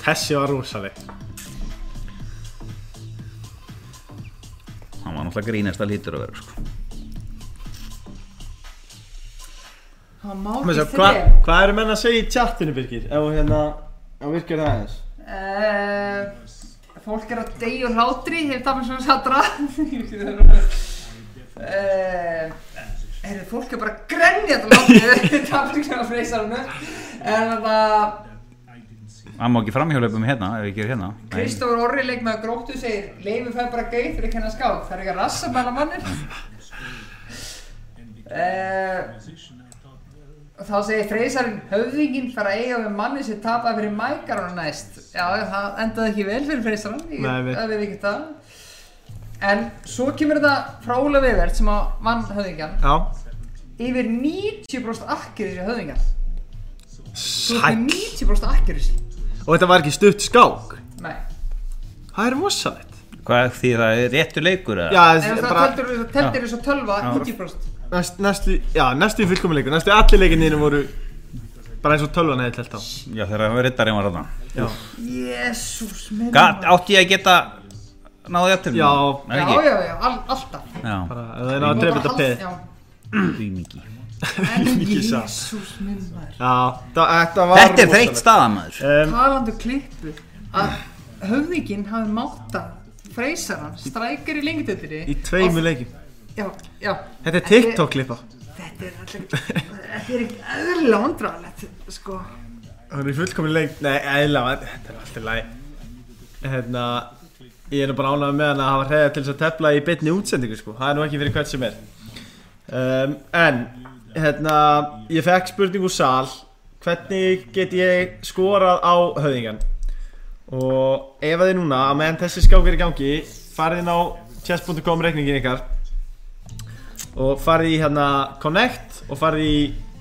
[SPEAKER 1] Þessi var rosaleg
[SPEAKER 3] Hann var náttúrulega grínast að lítur að vera sko
[SPEAKER 2] Hann má
[SPEAKER 1] Hvað
[SPEAKER 2] ekki
[SPEAKER 1] hva
[SPEAKER 2] þrjá
[SPEAKER 1] hvað eru menn að segja í chatinu Birgir? Ef þú hérna, ef þú virkar það aðeins
[SPEAKER 2] Uh, fólk er að deyja úr hlátri, hefur það með svona satra. uh, Herru, Eh, fólk er bara að grenja þetta hlátri, það er svona freysarunu. En það,
[SPEAKER 3] Hann má ekki framhjálöpum hérna ef ég ger hérna Nei.
[SPEAKER 2] Kristófur Orri leik með gróttu segir, leifin fær bara gauð fyrir hennar skák, það er ekki að rassa með hennar mannin. Uh, þá segir freysarinn, höfðinginn fær að eiga við manni sem tapaði fyrir mækarunum næst. Já, það endaði ekki vel fyrir freysarinn, ég
[SPEAKER 1] Nei, við-
[SPEAKER 2] get- það við ekki það. En svo kemur þetta frá Óla Vivert sem að vann höfðingjan
[SPEAKER 1] Já
[SPEAKER 2] yfir 90% akkurir í höfðingjan. Þú
[SPEAKER 1] Sæll.
[SPEAKER 2] ert með 90% akkurir.
[SPEAKER 1] Og þetta var ekki stutt skák
[SPEAKER 2] Nei.
[SPEAKER 1] Það er rosalegt
[SPEAKER 3] Hvað því það er réttu leikur eða?
[SPEAKER 1] Já,
[SPEAKER 2] En
[SPEAKER 1] þetta er
[SPEAKER 2] það
[SPEAKER 1] bara
[SPEAKER 2] teldur þess að teldir þess að tölva 90%
[SPEAKER 1] næst, næstu, já, næstu fullkomuleikur Næstu allir leikinnir voru bara eins og tölvan hefði telt á
[SPEAKER 3] Já þegar það var réttarinn var þarna
[SPEAKER 1] Já
[SPEAKER 2] Jésús minn
[SPEAKER 3] Gat, Átti ég að geta náðu jafntefni
[SPEAKER 1] Já.
[SPEAKER 2] Já,
[SPEAKER 3] ekki?
[SPEAKER 2] já, já, all, alltaf
[SPEAKER 3] já.
[SPEAKER 1] bara, ef það er náttúrulega að drepa þetta peð
[SPEAKER 3] Því mikið.
[SPEAKER 2] En
[SPEAKER 1] Mikið satt.
[SPEAKER 2] Jésús minn maður
[SPEAKER 1] Já, það, þetta var
[SPEAKER 3] þetta er þreytt staða maður
[SPEAKER 1] um,
[SPEAKER 2] Talandu klippu Að höfðinginn hafi máta Freysaran, strækir í lengdöldri
[SPEAKER 1] Í tveimu leikjum
[SPEAKER 2] Já, já
[SPEAKER 1] Þetta er TikTok klippa
[SPEAKER 2] Þetta er allir Þetta er ekki eðlilega vandrarlegt Sko
[SPEAKER 1] Það er í fullkomin leik Nei, eðlilega, en þetta er alltaf læg Hérna Ég er nú bara ánægð með hann að hafa hreða til þess að tefla í beinni útsendingu sko Það er nú ekki fyrir hvert sem er um, En Hérna Ég fekk spurning úr sal Hvernig get ég skorað á höfðingan Og ef að þið núna að meðan þessi skákir í gangi farið inn á chess.com reikningin ykkar og farið í hérna Connect og farið í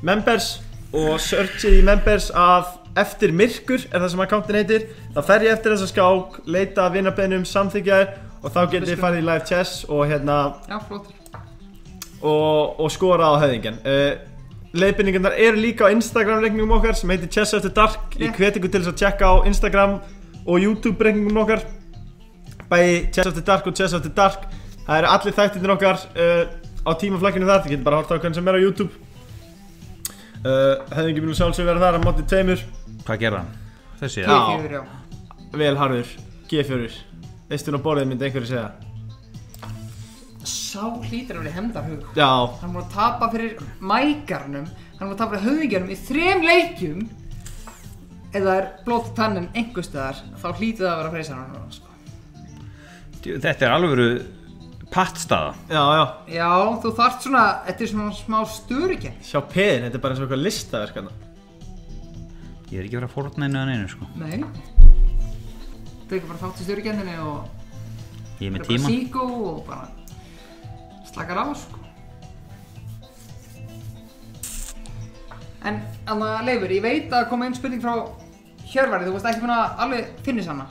[SPEAKER 1] Members og searchið í Members að eftir myrkur er það sem akkántin heitir þá fer ég eftir þessa skák, leita að vinabennum, samþykja þér og þá getið þið farið í live chess og hérna
[SPEAKER 2] Já, flottur
[SPEAKER 1] og, og skora á höfðingin uh, leiðbynningarnar eru líka á Instagram reikningum okkar sem heitir Chess After Dark ég
[SPEAKER 2] Rétt.
[SPEAKER 1] hveti ykkur til þess að tjekka á Instagram og YouTube reikningum okkar bæði Chess After Dark og Chess After Dark það eru allir þættirnir okkar uh, á tímaflakkinu þar, þið getur bara að horta á hvernig sem er á YouTube uh, höfðingin minn og sjálfsög vera þar á móti tveimur
[SPEAKER 3] hvað gerða hann? þessi
[SPEAKER 1] Já.
[SPEAKER 3] já.
[SPEAKER 2] Kefjur, já
[SPEAKER 1] vel harður, G4 veistun á borðið myndi einhverju segja
[SPEAKER 2] Sá hlýtur að vera hefnda hug
[SPEAKER 1] já,
[SPEAKER 2] Hann er búin að tapa fyrir mækarnum Hann er búin að tapa fyrir höfðingjarnum í þrem leikjum Ef það er blótt tannin einhver staðar Þá hlýtur það að vera freysaran núna sko.
[SPEAKER 3] eh, þetta er alvöru pattstaða
[SPEAKER 1] já, já
[SPEAKER 2] Já, þú þarft svona Þetta er svona smá störukenn
[SPEAKER 1] sjá peðin, þetta er bara eins og eitthvað listaverkana
[SPEAKER 3] ég er ekki að vera að forna einu en einu sko.
[SPEAKER 2] Nei Tekur bara þátt í störukenninni og
[SPEAKER 3] ég
[SPEAKER 2] er
[SPEAKER 3] er með
[SPEAKER 2] bara
[SPEAKER 3] tíma
[SPEAKER 2] síkó og bara Slakar á sko En, Anna Leifur, ég veit að kom einn spurning frá Hjörvari, þú veist ekki búin að alveg finnis hana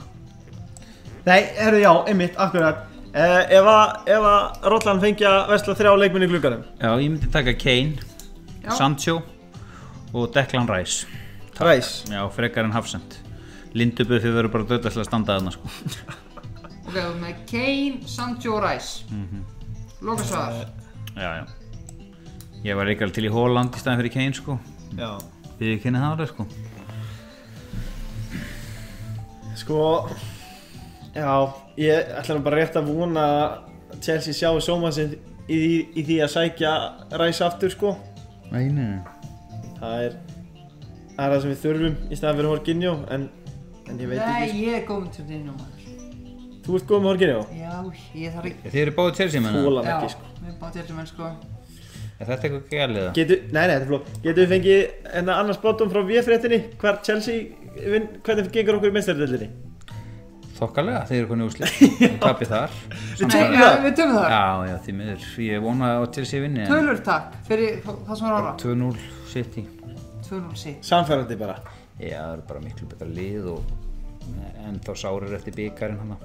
[SPEAKER 1] Nei, herru já, einmitt, akkurat uh, Ef að, ef að Rottland fengi að vesla þrjá leikminni gluggarum
[SPEAKER 3] já, ég myndi taka Kane,
[SPEAKER 2] Já.
[SPEAKER 3] Sancho og Declan Rice
[SPEAKER 1] Ræs
[SPEAKER 3] já, frekar en Hafsend Lindubu þið verður bara döðlega að standa þarna sko.
[SPEAKER 2] Ok, við erum með Kane, Sancho og Rice mm -hmm.
[SPEAKER 1] Eh,
[SPEAKER 2] Lokasvaðar
[SPEAKER 3] já, já ég var reikar til í Holland í staðan fyrir Kane sko.
[SPEAKER 1] Já
[SPEAKER 3] við kynni það alveg sko.
[SPEAKER 1] Sko Já, ég ætla nú bara rétt að vona að Chelsea sjáu sóma sinn í, í, í því að sækja Ræs aftur sko
[SPEAKER 3] nei, nei
[SPEAKER 1] Það er Það er það sem við þurfum í staðan fyrir Horginjó en, en ég veit
[SPEAKER 2] Nei,
[SPEAKER 1] ekki
[SPEAKER 2] ég er góðum til þinn og maður
[SPEAKER 1] sko. Þú ert góð með Horginjó?
[SPEAKER 2] Já, ég þarf ekki
[SPEAKER 3] Þið eru báðið Chelsea menna?
[SPEAKER 1] Hólan
[SPEAKER 2] Já,
[SPEAKER 1] ekki sko
[SPEAKER 2] við erum bátt hjálpum menn sko
[SPEAKER 3] Er þetta eitthvað gælið það?
[SPEAKER 1] Getu, nei, nei, þetta er flók Getum við fengið hérna annars bátum frá VF-réttinni Hvar Chelsea, vinn- hvernig gengur okkur í meistardellinni?
[SPEAKER 3] Þokkalega, þið eru konið úslið Ég tapir þar
[SPEAKER 2] Nei,
[SPEAKER 1] tökum
[SPEAKER 2] já,
[SPEAKER 1] það.
[SPEAKER 2] við töfum það
[SPEAKER 3] Já, já, því miður Ég vona að Chelsea vinni en
[SPEAKER 2] Tölur takk fyrir það sem var ára
[SPEAKER 3] 2-0 City
[SPEAKER 2] 2-0 sitt
[SPEAKER 1] Samfærandi bara
[SPEAKER 3] Já, það eru bara miklu betra lið og en þá sárir eftir byggarinn hann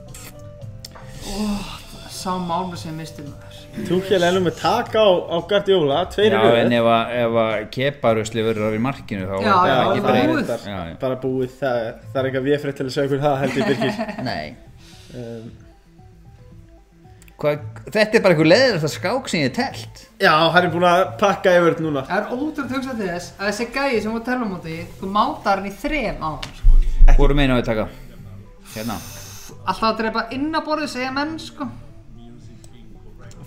[SPEAKER 2] Sá málur sem mistum maður
[SPEAKER 1] Túkjæl ennum með tak á, á Guardiola Tveir
[SPEAKER 3] Já,
[SPEAKER 1] í
[SPEAKER 3] en
[SPEAKER 1] röðu
[SPEAKER 3] ef að, ef að keparusli verður í markinu þá
[SPEAKER 2] Já,
[SPEAKER 3] er
[SPEAKER 2] já,
[SPEAKER 3] það
[SPEAKER 2] það er
[SPEAKER 3] ekki breyð
[SPEAKER 2] búið.
[SPEAKER 3] Já, já.
[SPEAKER 1] Bara búið, það, er- það er eitthvað VF-rétt til að segja okkur það held ég Birgir
[SPEAKER 3] Nei
[SPEAKER 1] um,
[SPEAKER 3] Hva, Þetta er bara eitthvað leðilegt að skák sem ég er telt
[SPEAKER 1] Já, hann er búin að pakka yfir þetta núna
[SPEAKER 2] Það er ótrúlega að hugsa til þess að þessi gæi sem við tölum út í Þú mátar hann í þrem sko. á hann
[SPEAKER 3] Hvor meina við taka? Hérna
[SPEAKER 2] Alltaf að drepa inn á borðið segja menn sko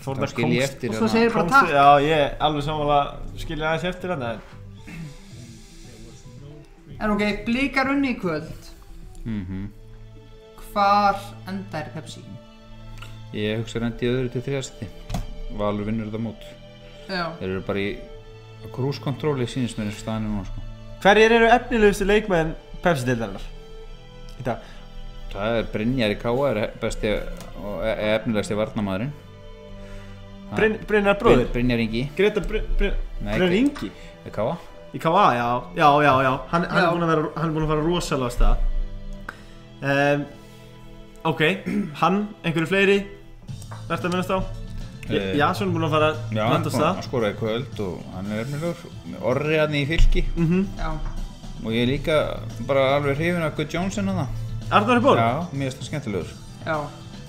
[SPEAKER 1] Fór
[SPEAKER 3] Þá skil ég eftir hérna.
[SPEAKER 2] Og svo segir bara takk
[SPEAKER 1] Já, ég alveg samanlega skilja aðeins eftir hann en
[SPEAKER 2] En ok, blíkar unni í kvöld
[SPEAKER 3] Mhm.
[SPEAKER 2] Hvar endar Pepsi?
[SPEAKER 3] Ég hugsa rendi öðru til þriðasti Valur vinnur þetta mót
[SPEAKER 2] Já
[SPEAKER 3] Þeir eru bara í cruise control í sínismennir staðinu núna sko.
[SPEAKER 1] Hverjir eru efnilegustu leikmenn Pepsi-deildarinnar? Í dag
[SPEAKER 3] Það er Brynjar í Káa er besti og e- e- efnilegasti varnamæðurinn
[SPEAKER 1] Bryn, Brynjar bróðir
[SPEAKER 3] Brynjar Ingi
[SPEAKER 1] Greta Bryn, Bryn,
[SPEAKER 3] Nei,
[SPEAKER 1] Brynjar
[SPEAKER 3] ekki.
[SPEAKER 1] Ingi
[SPEAKER 3] í Káa
[SPEAKER 1] Í K.A. já, já, já, já Hann, hann,
[SPEAKER 2] Já.
[SPEAKER 1] Er, búinn að vera, hann er búin að fara rosalega af stað um, Ok, hann, einhverju fleiri Verðt að minnast á
[SPEAKER 3] Eh,
[SPEAKER 1] Já, svo hann er búin að fara
[SPEAKER 3] hann
[SPEAKER 1] land af stað
[SPEAKER 3] skoraði í kvöld og hann er efnilegur Orri hann í fylki
[SPEAKER 1] Mm.
[SPEAKER 2] Já
[SPEAKER 3] og ég er líka bara alveg hrifin af Guð Johnson hann
[SPEAKER 1] Arnar er búin?
[SPEAKER 3] Já, mér finnst það skemmtilegur
[SPEAKER 2] Já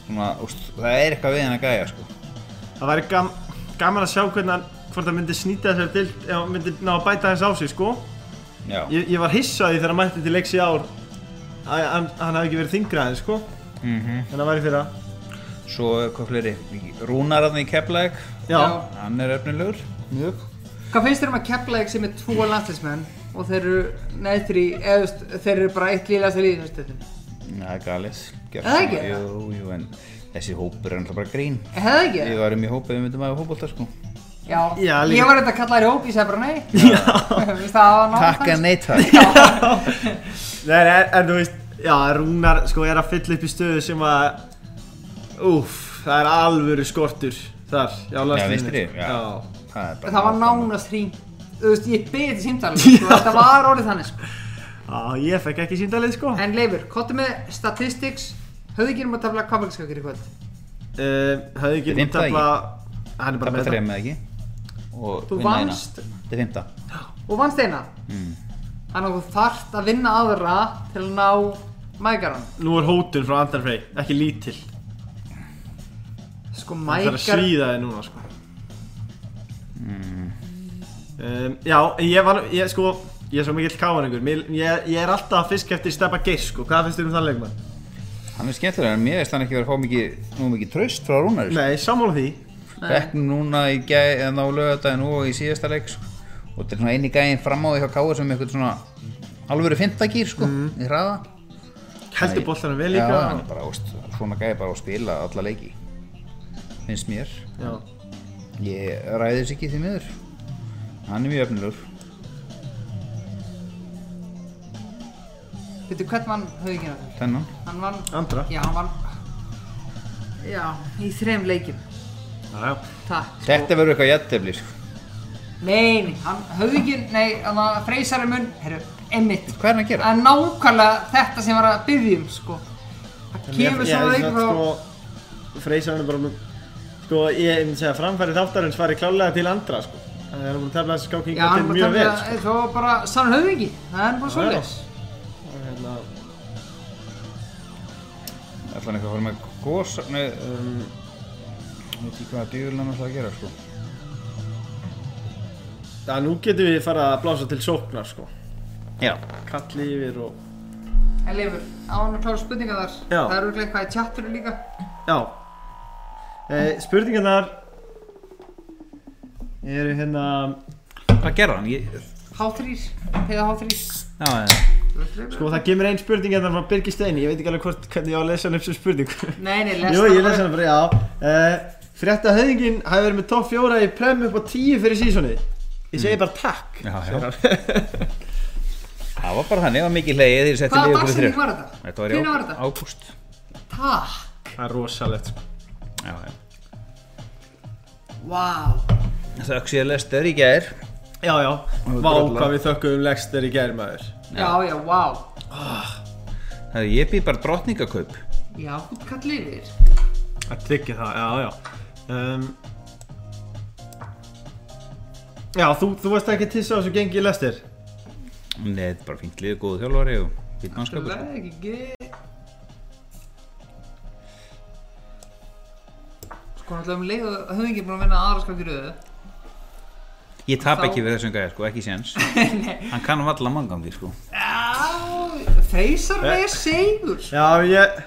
[SPEAKER 3] svona, úst, það er eitthvað við hann að gæja sko.
[SPEAKER 1] Það væri gam, gaman að sjá hvernig hann, hvort það myndi snýta þessari dild, ef hann myndi ná að bæta þess á sig, sko.
[SPEAKER 3] Já,
[SPEAKER 1] Ég, ég var hissaði þegar hann mætti til leiks í ár, að hann, hann hafi ekki verið þingra aðeins, sko.
[SPEAKER 3] Mhm.
[SPEAKER 1] En það væri fyrir að,
[SPEAKER 3] svo hvað fleiri Rúnar aðna í Keflæk
[SPEAKER 1] já,
[SPEAKER 2] Já.
[SPEAKER 3] hann er efnilegur
[SPEAKER 1] mjög.
[SPEAKER 2] Hvað finnst þér um að Keflavík sem er tvo landslismenn og þeir eru neðri, eða þú veist, þeir eru bara eitt líðast í líðinstöðin?
[SPEAKER 3] það er galið Gerst
[SPEAKER 2] Er það ekki?
[SPEAKER 3] svona, jú, jú, en þessi hópur er alltaf bara grín
[SPEAKER 2] Hefði ekki?
[SPEAKER 3] við varum í hópi, við myndum að hafa hópulta sko
[SPEAKER 2] Já,
[SPEAKER 1] Já, líka.
[SPEAKER 2] ég var eitthvað að kalla þér í hóp, ég segi bara nei. Já. Mér finnst það að ná
[SPEAKER 3] takk en neitt það
[SPEAKER 1] Nei, nei, en, en þú veist, já, Rúnar, sko, er að fylla upp í stöðu sem að, úff, það er alvöru skortur þar, já,
[SPEAKER 3] já,
[SPEAKER 1] landsliðinu,
[SPEAKER 3] vinstri,
[SPEAKER 1] sko.
[SPEAKER 3] já
[SPEAKER 1] já.
[SPEAKER 3] það er bara
[SPEAKER 2] Það var nánast hring. Þú veist, ég beði til símtalið, sko, þetta var orðið þannig, sko.
[SPEAKER 1] Já, ég fekk ekki síndalið, sko.
[SPEAKER 2] En Leifur, kottu með statistics, höfðu ekki um að tafla kafalskakir í kvöld?
[SPEAKER 1] Uh, hafði ekki
[SPEAKER 3] Við fimmta
[SPEAKER 1] tefla, hann er bara
[SPEAKER 3] tappa
[SPEAKER 1] með
[SPEAKER 3] þrejum eða ekki og
[SPEAKER 2] Þú
[SPEAKER 3] vinna eina.
[SPEAKER 2] vannst.
[SPEAKER 3] þetta er fymta
[SPEAKER 2] og vannst eina þannig að þú þarft að vinna aðra til að ná mækaran
[SPEAKER 1] Nú er hótun frá Andar Frey, ekki lítill.
[SPEAKER 2] sko
[SPEAKER 1] Það er að
[SPEAKER 2] mækar
[SPEAKER 1] svíða þig núna, sko.
[SPEAKER 3] Mm.
[SPEAKER 1] Um, já, en ég var, ég sko, ég er svo mikill káaningur. Mér- Ég, ég er alltaf að fiska eftir Steppa Geir, sko. Hvað finnst þér um þann leikmann?
[SPEAKER 3] hann er skemmtilega en mér veist hann ekki verið að fá mikið nú mikið tröst frá Rúnari sko.
[SPEAKER 1] Nei, sammála því.
[SPEAKER 3] bekknum núna í gæ, en á lögadaginn og í síðasta leik sko. og þetta er svona eini gæinn fram á því hjá Káur sem er eitthvað svona alvöru fymtagýr sko, í hraða
[SPEAKER 1] Mhm. Heldur boltanum vel
[SPEAKER 3] já,
[SPEAKER 1] líka.
[SPEAKER 3] hann er bara, óst, svona gæði bara á að spila alla leiki finnst mér
[SPEAKER 1] Já.
[SPEAKER 3] ég ræði þess ekki því miður hann er mjög öfnilegur
[SPEAKER 2] veitu hvern vann höfðingina þér?
[SPEAKER 3] þennan
[SPEAKER 2] hann vann,
[SPEAKER 1] Andra.
[SPEAKER 2] já hann vann já, í þrem leikjum
[SPEAKER 1] Já, já.
[SPEAKER 2] takk sko.
[SPEAKER 3] þetta verður eitthvað jættefli sko.
[SPEAKER 2] nei, nei, hann höfðingin, nei, hann var freysari mun herru, emmitt
[SPEAKER 3] hvað er hann að gera?
[SPEAKER 2] það er nákvæmlega þetta sem var að byggja um sko það kemur
[SPEAKER 1] Ég-
[SPEAKER 2] svona
[SPEAKER 1] ég-
[SPEAKER 2] leikur frá
[SPEAKER 1] Sko, Freysa hann er bara með, sko, ég myndi segja að framfæri þáttarins fari klálega til Andra, sko. Það er búin að tefla þessu
[SPEAKER 2] já,
[SPEAKER 1] skákinga
[SPEAKER 2] hann
[SPEAKER 1] til
[SPEAKER 2] bara
[SPEAKER 1] mjög vel,
[SPEAKER 2] tafla-
[SPEAKER 1] sko.
[SPEAKER 2] svo bara sann höfðingi það er bara
[SPEAKER 1] Já, já.
[SPEAKER 2] svoleiðis
[SPEAKER 1] Og Hérna,
[SPEAKER 3] ætla hann eitthvað að fara með gos nei, um, ég veit ekki hvað djúvel hann ætla að gera sko.
[SPEAKER 1] Já, nú getum við fara að blása til sóknar, sko.
[SPEAKER 3] já,
[SPEAKER 1] Kalli yfir og...
[SPEAKER 2] En Leifur, án að klára spurninga þar,
[SPEAKER 1] Já.
[SPEAKER 2] það eru eitthvað í tjattinu líka.
[SPEAKER 1] Já. E, spurningarnar eru hérna...
[SPEAKER 4] Hvað gerði hann? Ég...
[SPEAKER 2] H3, heiða H3.
[SPEAKER 4] Já, já.
[SPEAKER 1] Sko, það kemur einn spurning hérna frá Birgir Steini. Ég veit ekki alveg hvort, hvernig ég á að lesa hann upp sem spurning.
[SPEAKER 2] Nei, nei, lesa
[SPEAKER 1] Jú, ég lesa hann bara, já. E, frétta höfðingin hafi verið með topp fjóra í prem upp á tíu fyrir sísonið. Ég segi bara takk.
[SPEAKER 4] Já, já.
[SPEAKER 1] segir hann.
[SPEAKER 3] það var bara þannig, það var mikið leiðið því að setja
[SPEAKER 2] Hvaða
[SPEAKER 3] liðið okkur í
[SPEAKER 2] dagsetning
[SPEAKER 3] þrjum
[SPEAKER 2] var þetta?
[SPEAKER 4] Þetta var í
[SPEAKER 2] Hvenær var
[SPEAKER 4] ág-
[SPEAKER 2] þetta?
[SPEAKER 4] ágúst.
[SPEAKER 2] Takk.
[SPEAKER 1] Það er rosalegt, sko.
[SPEAKER 4] Já, já.
[SPEAKER 2] Vá.
[SPEAKER 3] það öksi að lester í gær
[SPEAKER 1] Já, já.
[SPEAKER 3] Og
[SPEAKER 1] Vá,
[SPEAKER 3] drolla.
[SPEAKER 1] hvað við þökkum Lexter í gær, maður.
[SPEAKER 2] Já, já, vá.
[SPEAKER 4] Það er ég býð bara drottningakaup.
[SPEAKER 2] Já, hún kallir yfir.
[SPEAKER 1] Að tryggja það, já, já. Um, já, þú, þú varst ekki tissa á þessu gengi í lestir.
[SPEAKER 4] Nei, þetta er bara fínt lið, góðu þjálfari og fínt mannskapur.
[SPEAKER 2] Það er ekki geið. Sko, náttúrulega um leið og höfðu ekki búin að vinna aðra skák í röðu.
[SPEAKER 4] Ég tap
[SPEAKER 2] Þá-
[SPEAKER 4] ekki við þessum gæja, sko, ekki séns.
[SPEAKER 2] Nei.
[SPEAKER 4] Hann kann valla mangangi, sko.
[SPEAKER 2] Já, freysar
[SPEAKER 1] Eh.
[SPEAKER 2] með segur.
[SPEAKER 1] Já, ég,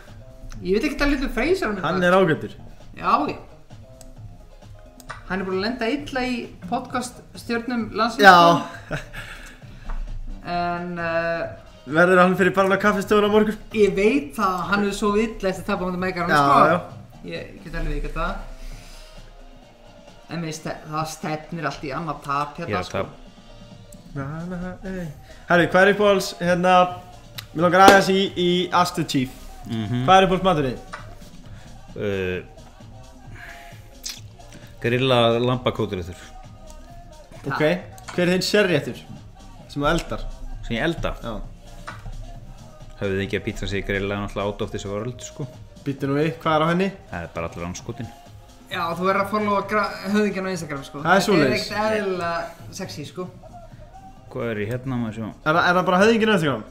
[SPEAKER 2] Ég veit ekki að lítið freysar hann
[SPEAKER 1] hann er ágættur.
[SPEAKER 2] Já, já. Hann er búin að lenda illa í podcaststjörnum landsins. sko.
[SPEAKER 1] Já,
[SPEAKER 2] En uh,
[SPEAKER 1] verður hann fyrir barna kaffestöðun á morgun?
[SPEAKER 2] ég veit það að hann hefur sofið illa eftir að tapa á mútið meikar hann
[SPEAKER 1] Já,
[SPEAKER 2] sko.
[SPEAKER 1] já.
[SPEAKER 2] Ég get alveg ekki þetta. En mér stef, það stefnir allt í annað tap
[SPEAKER 4] Ég
[SPEAKER 2] hérna
[SPEAKER 4] er að
[SPEAKER 2] sko.
[SPEAKER 4] tap.
[SPEAKER 1] Na, na, ey. Herri, hvað er uppáhalds, hérna, mér langar aðeins í, í Ask the Chief.
[SPEAKER 4] Mhm.
[SPEAKER 1] Hvað er uppáhalds maturinn?
[SPEAKER 4] Uh, grilla lambakóturöður
[SPEAKER 1] Ok, hver er þinn sérréttur? Sem þú eldar.
[SPEAKER 4] sem ég elda.
[SPEAKER 1] Já.
[SPEAKER 4] Höfðu ekki að pizza sig grilla náttúrulega át of þessu vörld, sko.
[SPEAKER 1] Býttu nú við, hvað er á henni?
[SPEAKER 4] Það er bara allir anskotin.
[SPEAKER 2] Já, þú verður að followa höfðingjan á Instagram sko.
[SPEAKER 1] Það er svoleiðis.
[SPEAKER 2] Þetta er ekkert eðlilega sexy sko.
[SPEAKER 4] Hvað er í hérna maður sjá?
[SPEAKER 1] Er, það- er það bara höfðingin öðru þegar?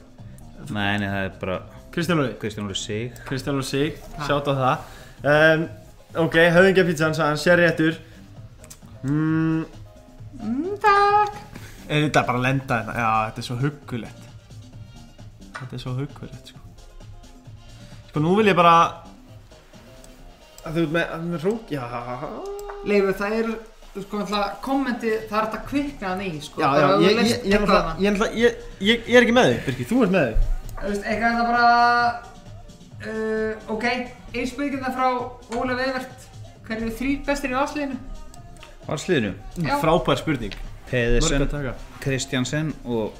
[SPEAKER 4] Nei, nei, það er bara
[SPEAKER 1] Kristján Lóri.
[SPEAKER 4] Kristján Úr Sig.
[SPEAKER 1] Kristján og Sig, sjátt á það. um, Ok, höfðingja pítsan, sagði hann, sér réttur mm,
[SPEAKER 2] Takk
[SPEAKER 1] Er þetta bara að lenda þetta? Já, þetta er svo huggulegt Þetta er svo huggulegt, sko Sko, nú vil ég bara að Þú ert með, að þú ert með rók, já
[SPEAKER 2] Leifu, það er sko, náttúrulega kommenti, það er hægt að kvikna hann í sko,
[SPEAKER 1] Já, já,
[SPEAKER 2] bara ef þú
[SPEAKER 1] ég, ég,
[SPEAKER 2] leist
[SPEAKER 1] ég, er
[SPEAKER 2] eitthvað
[SPEAKER 1] náttúrulega-
[SPEAKER 2] þarna.
[SPEAKER 1] ég, er náttúrulega- ég, ég, ég er ekki með þig, Birki, þú ert með þig
[SPEAKER 2] Þú veist, eitthvað er það bara uh, Ok, einspyrkjum frá Ólaf Evert Hver eru þrý bestir í afsliðinu?
[SPEAKER 4] Varsliðinu
[SPEAKER 2] Já.
[SPEAKER 1] Mm, Frábær spurning, mörg
[SPEAKER 4] Pedersen,
[SPEAKER 1] að taka
[SPEAKER 4] Kristjansen og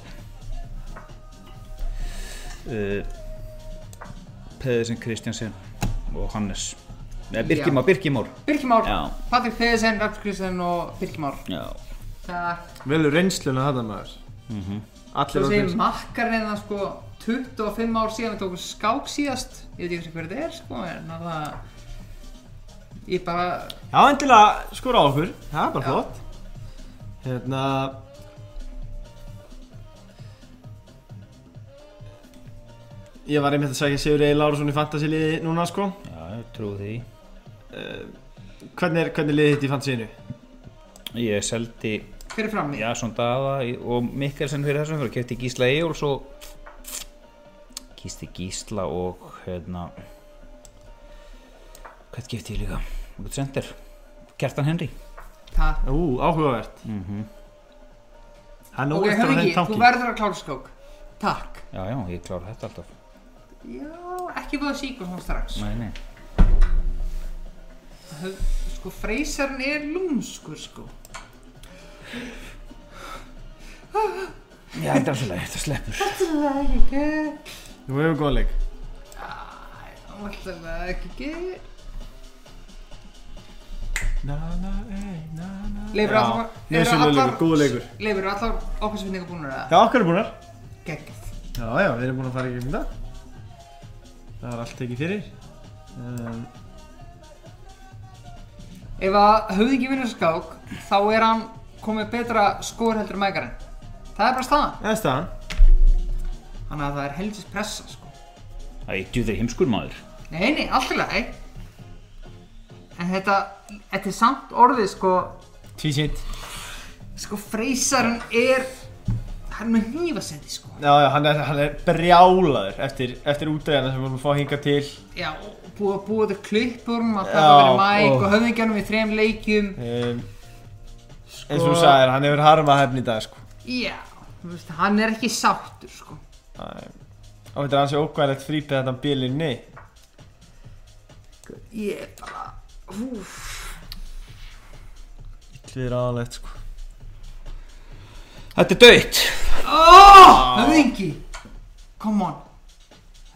[SPEAKER 4] uh, Pedersen, Kristjansen og Hannes Nei,
[SPEAKER 2] Já.
[SPEAKER 4] Birkimár, Birkimár
[SPEAKER 2] Birkimár,
[SPEAKER 4] Já.
[SPEAKER 2] Patrik Pedersen, Raps Kristjan og Birkimár
[SPEAKER 4] Já,
[SPEAKER 2] Það,
[SPEAKER 1] Velur reynsluna þetta maður
[SPEAKER 4] Mhm.
[SPEAKER 1] Allir
[SPEAKER 2] þú
[SPEAKER 1] á
[SPEAKER 2] segir
[SPEAKER 1] reynsluna
[SPEAKER 2] makkar reyna sko 25 ár síðan við tókum skák síðast Ég veit ekki hver þetta er sko, en það Ég bara,
[SPEAKER 1] Já, endilega skora á okkur, það er bara
[SPEAKER 2] Já.
[SPEAKER 1] flott Hérna Ég var einmitt að segja Sigur Egil Lárusson í fantasiliði núna sko
[SPEAKER 4] já, ég trúi því
[SPEAKER 1] Hvernig er, hvernig er liðið þitt í fantasíinu?
[SPEAKER 4] Ég seldi
[SPEAKER 2] hver er frammi?
[SPEAKER 4] Jason Dava í- og Mikkelsen fyrir þessum fyrir kefti Gísla Ejóls og kýsti Gísla og hérna hvað kefti ég líka? Hvað sendir? Kjartan Henry
[SPEAKER 2] Það
[SPEAKER 1] Ú, áhugavert
[SPEAKER 4] Mhm.
[SPEAKER 1] Hann
[SPEAKER 2] Ok,
[SPEAKER 1] óvist að
[SPEAKER 2] Hörningi,
[SPEAKER 1] henni
[SPEAKER 2] þú
[SPEAKER 1] tanki
[SPEAKER 2] verður að klára skák Takk
[SPEAKER 4] Já, já, ég klára þetta alltaf
[SPEAKER 2] Já, ekki búið að síka svona strax
[SPEAKER 4] Nei, nei
[SPEAKER 2] Hö- Sko, freysarinn er lúmskur sko
[SPEAKER 4] Já, þetta er svolítið, þetta sleppur
[SPEAKER 2] Það er ekki gæð
[SPEAKER 1] Þú hefur góðan leik
[SPEAKER 2] Það er ekki gæð
[SPEAKER 1] Na na ei, na na
[SPEAKER 2] Leifur
[SPEAKER 1] Já,
[SPEAKER 2] allar- eru
[SPEAKER 1] Nauðsynlegur
[SPEAKER 2] allar-
[SPEAKER 1] leikur, góð leikur
[SPEAKER 2] Leifur, eru allar okkur sem finningar búinur að
[SPEAKER 1] Já, okkar er búinar
[SPEAKER 2] geggjast
[SPEAKER 1] Já, já, við erum búin að fara í gegnum það Það er allt tekið fyrir um,
[SPEAKER 2] Ef að höfðingi vinnur skák, þá er hann komið betra skor heldur en mækarinn Það er bara staðan
[SPEAKER 1] Það er staðan
[SPEAKER 2] Þannig að það er helgis pressa sko
[SPEAKER 4] Það er djúður heimskur maður
[SPEAKER 2] Nei, nei, allt í lagi En þetta, þetta er samt orðið sko
[SPEAKER 1] Tvísýnt
[SPEAKER 2] Sko, freysarinn er, hann er með hnífasendi sko
[SPEAKER 1] Já, já, hann er, hann er brjálaður eftir, eftir útræðina sem við vorum að fá hinga til
[SPEAKER 2] Já, og búið að búa þetta klippur um að
[SPEAKER 1] Já,
[SPEAKER 2] það verið mæk
[SPEAKER 1] ó.
[SPEAKER 2] og höfðingjanum í þrem leikjum
[SPEAKER 1] um, eins og þú sagðir, hann hefur harma hefn í dag sko.
[SPEAKER 2] Já, þú veist, hann er ekki sáttur sko
[SPEAKER 1] Æ, og þetta er hans er ókvæðilegt frípið þetta bílinni
[SPEAKER 2] Ég er bara, húf
[SPEAKER 1] Hlýðir aðalegt sko.
[SPEAKER 4] Þetta er döitt
[SPEAKER 2] Oh, höfðingi Come on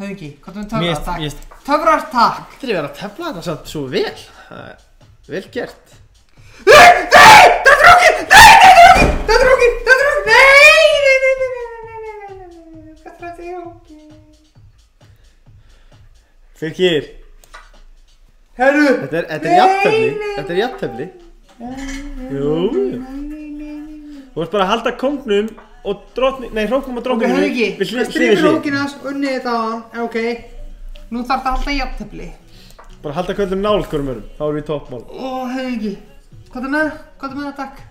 [SPEAKER 2] Höfðingi, hvað er
[SPEAKER 1] Mér
[SPEAKER 2] töfrar
[SPEAKER 1] finnst-
[SPEAKER 2] takk?
[SPEAKER 1] mér finnst-
[SPEAKER 2] Töfrar takk
[SPEAKER 1] Þetta er verið að tefla þetta samt svo vel Það er Vel gert
[SPEAKER 2] Þetta er okkur, þetta er okkur Nei, nei, nei, nei, nei, nei, nei, nei, nei, nei Þetta er þetta okkur
[SPEAKER 1] Fyrkir,
[SPEAKER 2] Herru
[SPEAKER 1] þetta er, þetta er
[SPEAKER 2] Nei,
[SPEAKER 1] jafntefli
[SPEAKER 2] nei,
[SPEAKER 1] Þetta er jafntefli Jú jú. Þú ert bara að halda kongnum og drottning, nei, hróknum og
[SPEAKER 2] Ok,
[SPEAKER 1] drottning
[SPEAKER 2] höfðingi,
[SPEAKER 1] við hlið-
[SPEAKER 2] það
[SPEAKER 1] hlið við
[SPEAKER 2] strýmir
[SPEAKER 1] hlið.
[SPEAKER 2] okkur hans Unnið þetta á hann, en ok Nú þarf þetta alltaf jafntefli
[SPEAKER 1] Bara halda köllum nált hverjum örum, þá erum við í toppmál
[SPEAKER 2] Ó, höfðingi Hvað er með það? Hvað er með það takk?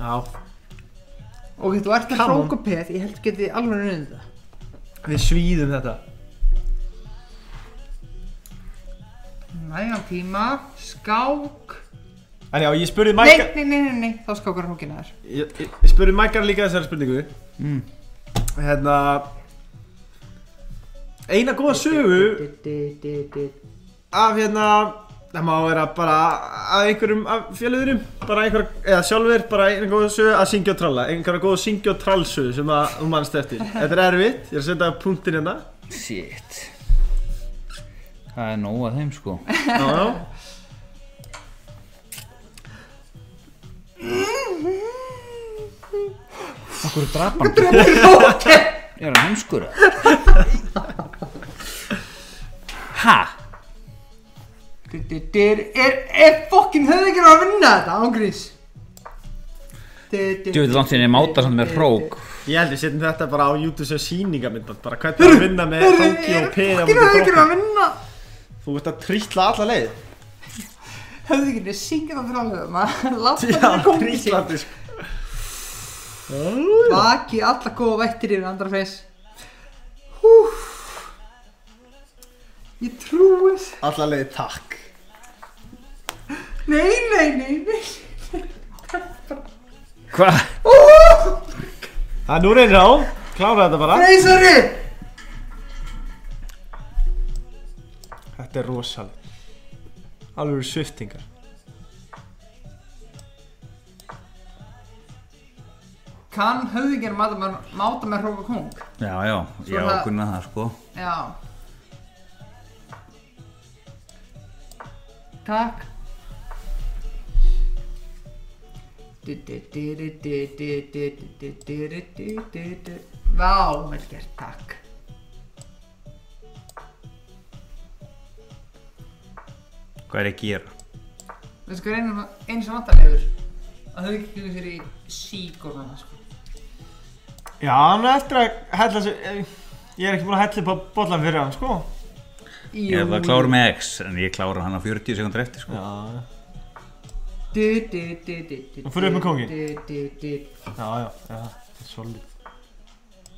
[SPEAKER 1] Já,
[SPEAKER 2] Ok, þú ert með
[SPEAKER 1] Come on.
[SPEAKER 2] hrókupeð Ég held geti alveg unnið þetta
[SPEAKER 1] Við svíðum þetta
[SPEAKER 2] Nægan tíma, skák
[SPEAKER 1] En já, ég spurði
[SPEAKER 2] Nei,
[SPEAKER 1] Mækar
[SPEAKER 2] nei, nei, nei, nei, þá skákar hrókina þér
[SPEAKER 1] ég, ég- ég spurði Mækar líka þessari spurningu
[SPEAKER 2] Mm.
[SPEAKER 1] Hérna Eina góða sögu af hérna Það má vera bara að einhverjum af fjöluðurum Bara einhverja, eða sjálfur, bara eina góða sögu að syngja og tralla Einhverja góða syngja og trallsögu sem að þú mannst eftir Þetta er erfitt, ég er að setja punktin hérna
[SPEAKER 4] Shit Það er nóg að þeim sko
[SPEAKER 1] Já, já
[SPEAKER 4] Akkur draf hann Draf hann Er hann heimskur? eða? Ha?
[SPEAKER 2] Er, er, er fokkin höfðingir að vinna þetta, ángrís
[SPEAKER 4] Djúður langt sinni máta samt með hrók
[SPEAKER 1] Ég held við setjum þetta bara á YouTube sem sýningamindband Bara hvernig við vinna með Tóki og Pena
[SPEAKER 2] Fucking höfðu ekki að vinna
[SPEAKER 1] Þú ert að trýtla alla leið
[SPEAKER 2] Höfðu ekki að syngja það fyrir alveg maður Láta
[SPEAKER 1] Já,
[SPEAKER 2] það komið sér
[SPEAKER 1] trýtlandi sko
[SPEAKER 2] Baki alla góða vættir yfir andra freys Ég trúi þess
[SPEAKER 1] Alla leið, takk
[SPEAKER 2] Nei, nei, nei, nei
[SPEAKER 4] Hvað?
[SPEAKER 1] Það er nú reynir á Klára þetta bara
[SPEAKER 2] Nei, sorry
[SPEAKER 1] Þetta er rosaleg Alveg eru sviftingar
[SPEAKER 2] Kann höfðu ekki að máta með, máta með hróka kong
[SPEAKER 4] Já, já,
[SPEAKER 2] Svo
[SPEAKER 4] já,
[SPEAKER 2] það-
[SPEAKER 4] kunna það sko
[SPEAKER 2] Já Takk Vá, vel gert, takk
[SPEAKER 4] Hvað er ég að gera?
[SPEAKER 2] Veistu hvað er einu, einu sem vantarlegur? Að þau ekki hlutu sér í síkornuna, sko
[SPEAKER 1] Já, hann er eftir að hella sér Ég er ekki búin að hella upp á bollan fyrir hann sko
[SPEAKER 4] Ég er það klár með X En ég klára hann á 40 sekundar eftir sko
[SPEAKER 1] Já,
[SPEAKER 2] Du, du, du, du, du,
[SPEAKER 1] Og fyrir upp með kónginn.
[SPEAKER 2] Du, du, du,
[SPEAKER 1] já, já, já Þetta er svolít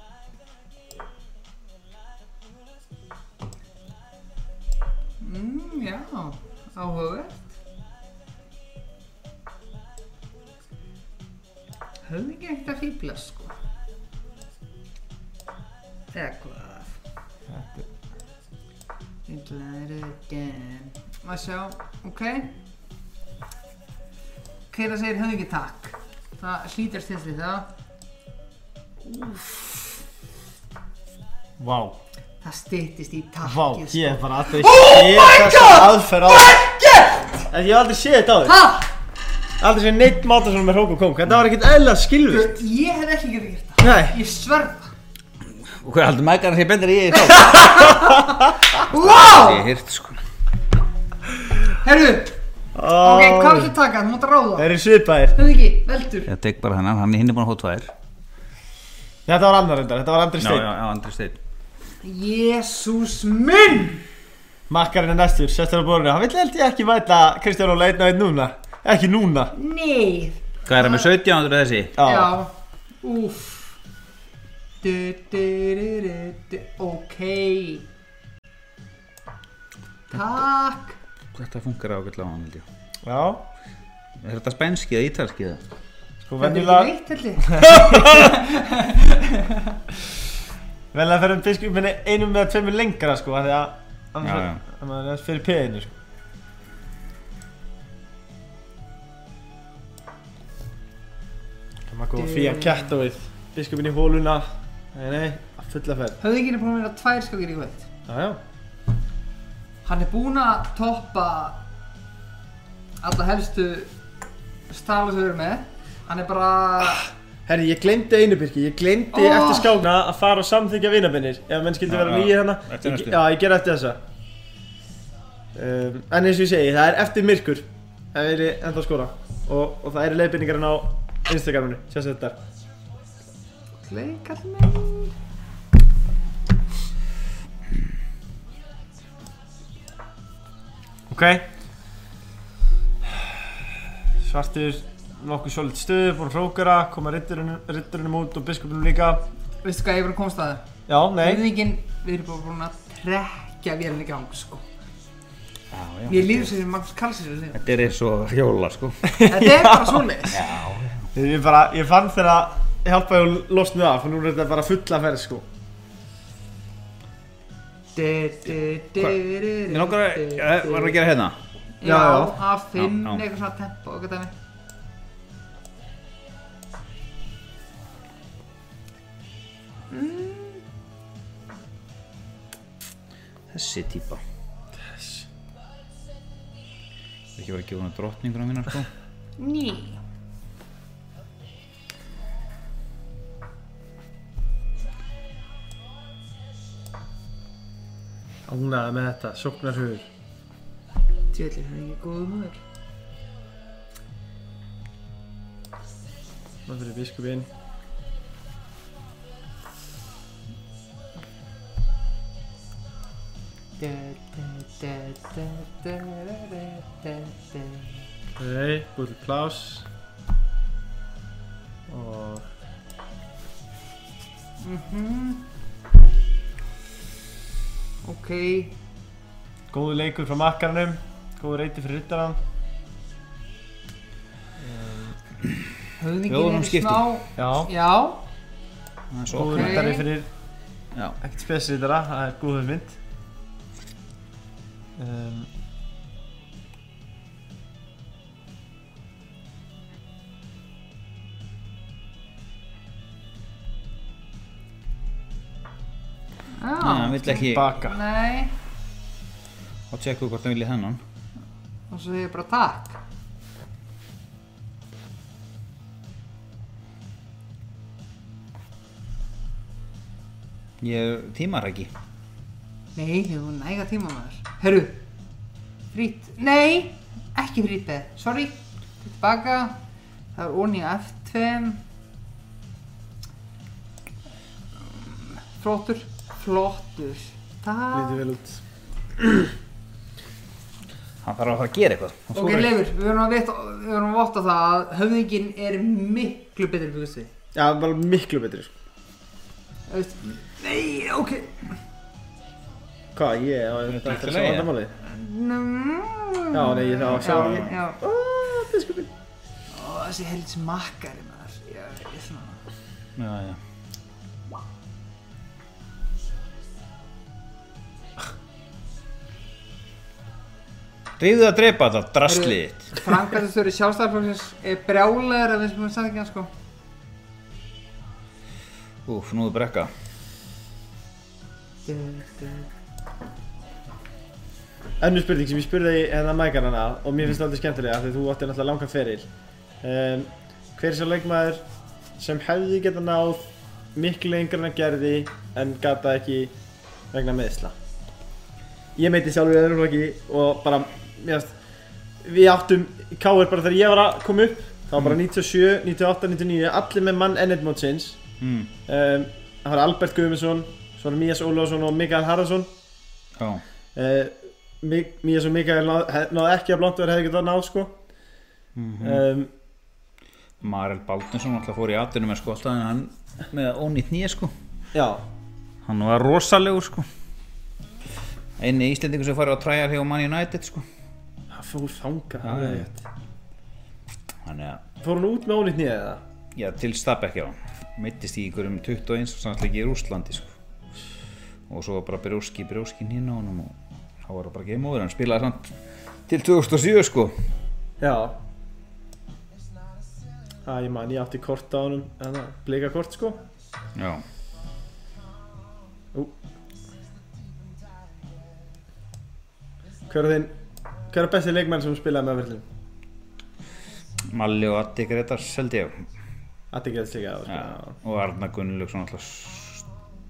[SPEAKER 2] Mm, já, áhugavert. Höfðu ekki ekkert að fýbla, sko. Eða hvað? Ég glæði þetta. Að sjá, ok. Keira segir höfðu ekki takk. Það hlýtur til því það.
[SPEAKER 1] Vá,
[SPEAKER 2] Það styttist í takkið,
[SPEAKER 1] vá,
[SPEAKER 2] sko.
[SPEAKER 1] ég er bara aldrei séð þessa aðferð á En ég hef aldrei séð þetta á þér
[SPEAKER 2] Ha!
[SPEAKER 1] Aldrei séð neitt máta svona með hrók og kóng Þetta var ekkert eðla skilvilt
[SPEAKER 2] Ég hef ekki getið gert það.
[SPEAKER 1] Nei.
[SPEAKER 2] Ég sverða.
[SPEAKER 4] Og hvað heldur maður að sé bendur í ég þá?
[SPEAKER 2] Vá!
[SPEAKER 4] Ég hirt sko
[SPEAKER 2] Herru, ok, hvað viltu taka? Þú mátt að ráða.
[SPEAKER 1] Þeir eru svipaðir
[SPEAKER 2] Höfðu ekki, veldur.
[SPEAKER 4] Ég tek bara hennan, hann er hinn er búin að hóta þær
[SPEAKER 1] Þetta var annar reyndar, þetta var andri
[SPEAKER 4] Já, já,
[SPEAKER 1] stein
[SPEAKER 4] já, Andri Steinn
[SPEAKER 2] Jésús minn!
[SPEAKER 1] Makkarinn er næstur, sestur á borðinu Hann vill held ég ekki mæta Kristján Óla einn og einn núna Ekki núna
[SPEAKER 2] Nei.
[SPEAKER 4] Hvað er hann með 17 ándur þessi?
[SPEAKER 2] Já. Úff. Du, du, du, du, du. Ok. Takk.
[SPEAKER 4] Þetta funkar ágætlega á hann, held ég
[SPEAKER 1] Já,
[SPEAKER 4] Er þetta spænski eða ítalski eða?
[SPEAKER 1] sko
[SPEAKER 2] Þetta er ekki
[SPEAKER 1] venjulega
[SPEAKER 2] neitt, held ég.
[SPEAKER 1] Venjulega ferum biskupinni einum með tveimur lengra sko af Því að
[SPEAKER 4] Já, já.
[SPEAKER 1] annars er- annars er aðeins fyrir piðinu sko Það maður góð fíja kjætt á við Biskupinn í hóluna Nei, nei, að fulla ferð
[SPEAKER 2] Höfðu ekki búin að vera tvær skakir í kvöld.
[SPEAKER 1] Já, já
[SPEAKER 2] Hann er búinn að toppa alla helstu stala sem við erum með. Hann er bara...
[SPEAKER 1] Herri, ég glemdi einu byrki, ég glemdi
[SPEAKER 2] Oh.
[SPEAKER 1] eftir skákna að fara og samþykja vinabinnir ef menn skildi
[SPEAKER 4] Já,
[SPEAKER 1] vera
[SPEAKER 4] já.
[SPEAKER 1] nýjir hana
[SPEAKER 4] Eftir
[SPEAKER 1] Ég-
[SPEAKER 4] næstu.
[SPEAKER 1] Já, ég ger eftir þessa um, En eins og ég segi, það er eftir myrkur Það er ennþá að skora og, og það eru leiðbynningarinn á Instagraminu, sést þetta er
[SPEAKER 2] Kleikall minn
[SPEAKER 1] Ok Svartur nokkuð svolít stuð, búinn að hrókara, koma ritturunum út og biskupinum líka
[SPEAKER 2] Veistu hvað ég var að komast að það?
[SPEAKER 1] Já, nei,
[SPEAKER 2] Reyðingin, við erum bara búin að trekja vélinn í gang, sko
[SPEAKER 4] Já, já
[SPEAKER 2] Mér líður sér sem Magnús Karlsson er líður
[SPEAKER 4] Þetta er eins og hjóla, sko
[SPEAKER 2] Þetta er bara svoleiðis
[SPEAKER 1] ég, bara, ég fann þegar að hjálpa ég að losna það, fyrir nú er þetta bara fulla ferð sko
[SPEAKER 4] Mér langar að, eh, var það að gera hérna?
[SPEAKER 2] Já,
[SPEAKER 1] Já, já.
[SPEAKER 2] að finna
[SPEAKER 4] Já, já.
[SPEAKER 2] eitthvað svona tempo og eitthvað dæmi
[SPEAKER 4] Þessi típa Þessi Ekki verið að gefa hún að drottninguna mína, sko
[SPEAKER 2] Ný
[SPEAKER 1] Ánæði með þetta, sóknarhugur
[SPEAKER 2] Tjöldin, hann er ekki góðu maður
[SPEAKER 1] Maður fyrir biskupinn
[SPEAKER 7] Nei, búið til pláss og
[SPEAKER 2] Mhm. Ok,
[SPEAKER 1] Góðu leikur frá makkaranum, góðu reyti fyrir ryttaran.
[SPEAKER 2] höfðingin
[SPEAKER 3] Hljóðunum
[SPEAKER 2] er
[SPEAKER 3] skipti.
[SPEAKER 2] smá
[SPEAKER 1] Já,
[SPEAKER 2] Já,
[SPEAKER 1] góðu
[SPEAKER 2] Ok.
[SPEAKER 1] okay. ryttari fyrir
[SPEAKER 3] Já.
[SPEAKER 1] ekkert spesryttara, það er góð hugmynd. Um,
[SPEAKER 3] hann
[SPEAKER 2] já,
[SPEAKER 3] vill ekki
[SPEAKER 1] baka.
[SPEAKER 2] nei
[SPEAKER 3] og tjekku hvort hann vilja þennan
[SPEAKER 2] Og svo hefur bara takk
[SPEAKER 3] ég tímar ekki
[SPEAKER 2] Nei, hefur hún næga tíma maður Herru, frít, nei, ekki frítbeð, sorry Tilbaka, það er onni á F2 Flottur, flottur Það,
[SPEAKER 1] Lítið vel út.
[SPEAKER 3] hann þarf að fara að gera eitthvað
[SPEAKER 2] ok,
[SPEAKER 3] Og svo er-
[SPEAKER 2] Leifur, við verðum að vita, við verðum að votta það að höfðingin er miklu betri en byggjast við
[SPEAKER 1] Já, bara miklu betri. sko.
[SPEAKER 2] Þú veist, Nei, ok
[SPEAKER 1] Hvað, ég, já, ég
[SPEAKER 3] Þetta er
[SPEAKER 1] ætla
[SPEAKER 3] allt í
[SPEAKER 1] að
[SPEAKER 3] lagi.
[SPEAKER 1] sjá vandamálið.
[SPEAKER 2] Já,
[SPEAKER 1] Já, nei, ég þá, sjá,
[SPEAKER 2] já, já.
[SPEAKER 1] Ó, biskupinn.
[SPEAKER 2] Ó, þessi helds makkari maður Ég, ég svona
[SPEAKER 3] já, já. Rífðu að drepa þetta, draslið þitt.
[SPEAKER 2] Frankastur sjálfstæðarflóksins er brjálæður af þessum við sagði ekki hann sko
[SPEAKER 3] Úf, nú er brekka.
[SPEAKER 1] Önnur spurning sem ég spurði þig hérna mækarna hana og mér finnst það aldrei skemmtilega af því þú átti náttúrulega langan feril um, Hver er sá leikmaður sem hefði geta náð miklu lengra en að gerði en gata ekki vegna meðsla Ég meiti sjálfur í öðrum flokki og bara, mér finnst Við áttum káir bara þegar ég var að koma upp Það var bara 97, 98, 99, allir með mann ennett mótsins
[SPEAKER 3] Mm.
[SPEAKER 1] um, Það var Albert Guðmundsson, svo var Mías Ólafsson og Mikael Harðarsson
[SPEAKER 3] Já.
[SPEAKER 1] uh, Mías og Mikael náð, hef- náðu ekki að blóndverð hefði getað náð sko
[SPEAKER 3] Mhm.
[SPEAKER 1] um,
[SPEAKER 3] Eh, Marel Baldinsson alltaf fór í atvinnum með sko, skoltaðin hann með ónýtt nýja sko.
[SPEAKER 1] Já,
[SPEAKER 3] Hann var rosalegur sko. Einni íslendingur sem farið á træjar hjá Man United sko.
[SPEAKER 1] það fór þanga
[SPEAKER 3] Já, já, Þannig að,
[SPEAKER 1] Fór hún út með ónýtt nýja eða?
[SPEAKER 3] já, til Stabæk já. Mittist í ykkur um 21 og samtlæki í Rúslandi sko. Og svo var bara brjóski, brjóski hinn á honum og þá var það bara game over. Hann spilaði samt til 2007 sko.
[SPEAKER 1] Já Það ég man, ég átti kort á honum hérna, blika kort sko
[SPEAKER 3] Já.
[SPEAKER 1] Hver er þinn, hver er besti leikmenn sem spilaði með verðlum?
[SPEAKER 3] Malli og Addi Gretars held ég.
[SPEAKER 1] Addi Greðs líka það
[SPEAKER 3] Já,
[SPEAKER 1] sko
[SPEAKER 3] og Arna Gunnlaugsson alltaf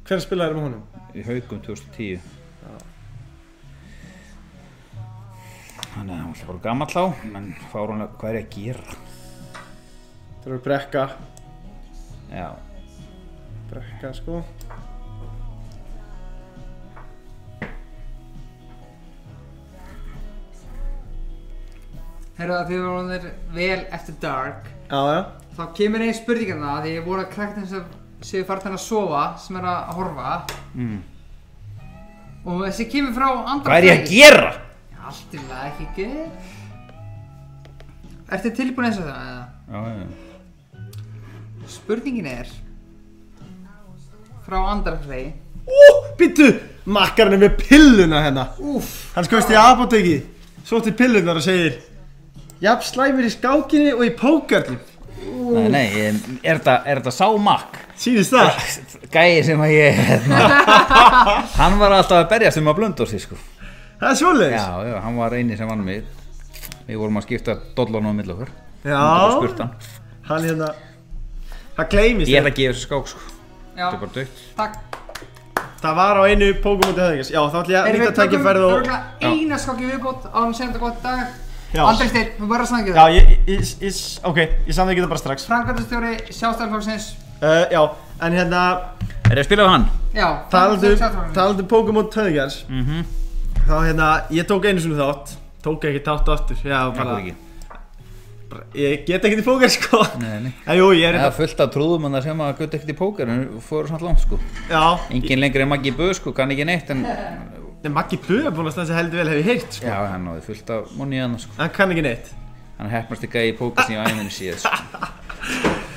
[SPEAKER 1] Hver spilaði með honum?
[SPEAKER 3] í haugum 2010 þannig að hann var alltaf bara gammal á menn fár hann hvað er ég að gera
[SPEAKER 1] Það eru brekka,
[SPEAKER 3] já,
[SPEAKER 1] brekka sko
[SPEAKER 2] Herra að þið voru orðnir vel eftir dark
[SPEAKER 1] Já, já,
[SPEAKER 2] Þá kemur einn spurningan það Því ég voru að krakkna sem séu fartin að sofa Sem er að horfa
[SPEAKER 3] Mm.
[SPEAKER 2] Og þessi kemur frá andra
[SPEAKER 3] hvað er ég að
[SPEAKER 2] fræði.
[SPEAKER 3] gera
[SPEAKER 2] Allt í lagi ekki gett Ertu tilbúin eins og það eða?
[SPEAKER 3] já, já,
[SPEAKER 2] Spurningin er Frá andra frey
[SPEAKER 1] Ú, býttu, makkarinn er með pilluna hérna
[SPEAKER 2] Úff
[SPEAKER 1] Hann skoðist í apoteki, svo til pillunar og segir Jafn slæmir í skákinni og í pókarnum
[SPEAKER 3] nei, nei, ég- er þetta- er þetta sámak
[SPEAKER 1] Sýnist það?
[SPEAKER 3] gæi sem að ég hérna, hann var alltaf að berjast um að blönda sig sko
[SPEAKER 1] Það er svoleiðis?
[SPEAKER 3] já, já, hann var eini sem vann mig við vorum að skipta dollunum á milli okkur og spurt
[SPEAKER 1] Já,
[SPEAKER 3] hann
[SPEAKER 1] hann hérna Það gleymist
[SPEAKER 3] ég ætla að gefa þessu skák sko
[SPEAKER 2] Já,
[SPEAKER 3] þetta er bara dögt
[SPEAKER 2] takk
[SPEAKER 1] Það var á einu pókumóti það ekki Já, þá ætla ég að nýta tækifærið og
[SPEAKER 2] örugglega eina skokki viðbót á hann sem þetta gott dag
[SPEAKER 1] Já.
[SPEAKER 2] Andri Steinn, við verðum að snakka
[SPEAKER 1] Já, ég, ég, ég, ok, ég samði ekki það bara strax uh,
[SPEAKER 2] Frankvæmdastjóri sjálfstæðarflokksins
[SPEAKER 1] Já, en hérna
[SPEAKER 3] er ég að spila á hann?
[SPEAKER 2] Já,
[SPEAKER 1] Talandi um
[SPEAKER 2] Sjálfstæðisflokksins.
[SPEAKER 1] Pokémon Töðgjars mm -hmm. þá hérna, ég tók einu svona þátt Tók ekki þátt aftur Já, bara,
[SPEAKER 4] Akkur ekki
[SPEAKER 1] bara, ég get ekki til póker sko
[SPEAKER 3] Nei, nei.
[SPEAKER 1] En jú, ég er
[SPEAKER 3] Það
[SPEAKER 1] hérna
[SPEAKER 3] er fullt af trúðum en það sem að gutta ekkert í póker en fóru samt langt sko
[SPEAKER 1] Já,
[SPEAKER 3] Engin lengri en Maggi Böð sko, kann ekki neitt en já,
[SPEAKER 1] en Maggi Böð er búin að stansa heldur vel hef ég heyrt sko
[SPEAKER 3] hann náði fullt af monni annars sko
[SPEAKER 1] Hann kann ekki neitt
[SPEAKER 3] Hann hefnast ekki að í póker sem ég á æminni síð sko.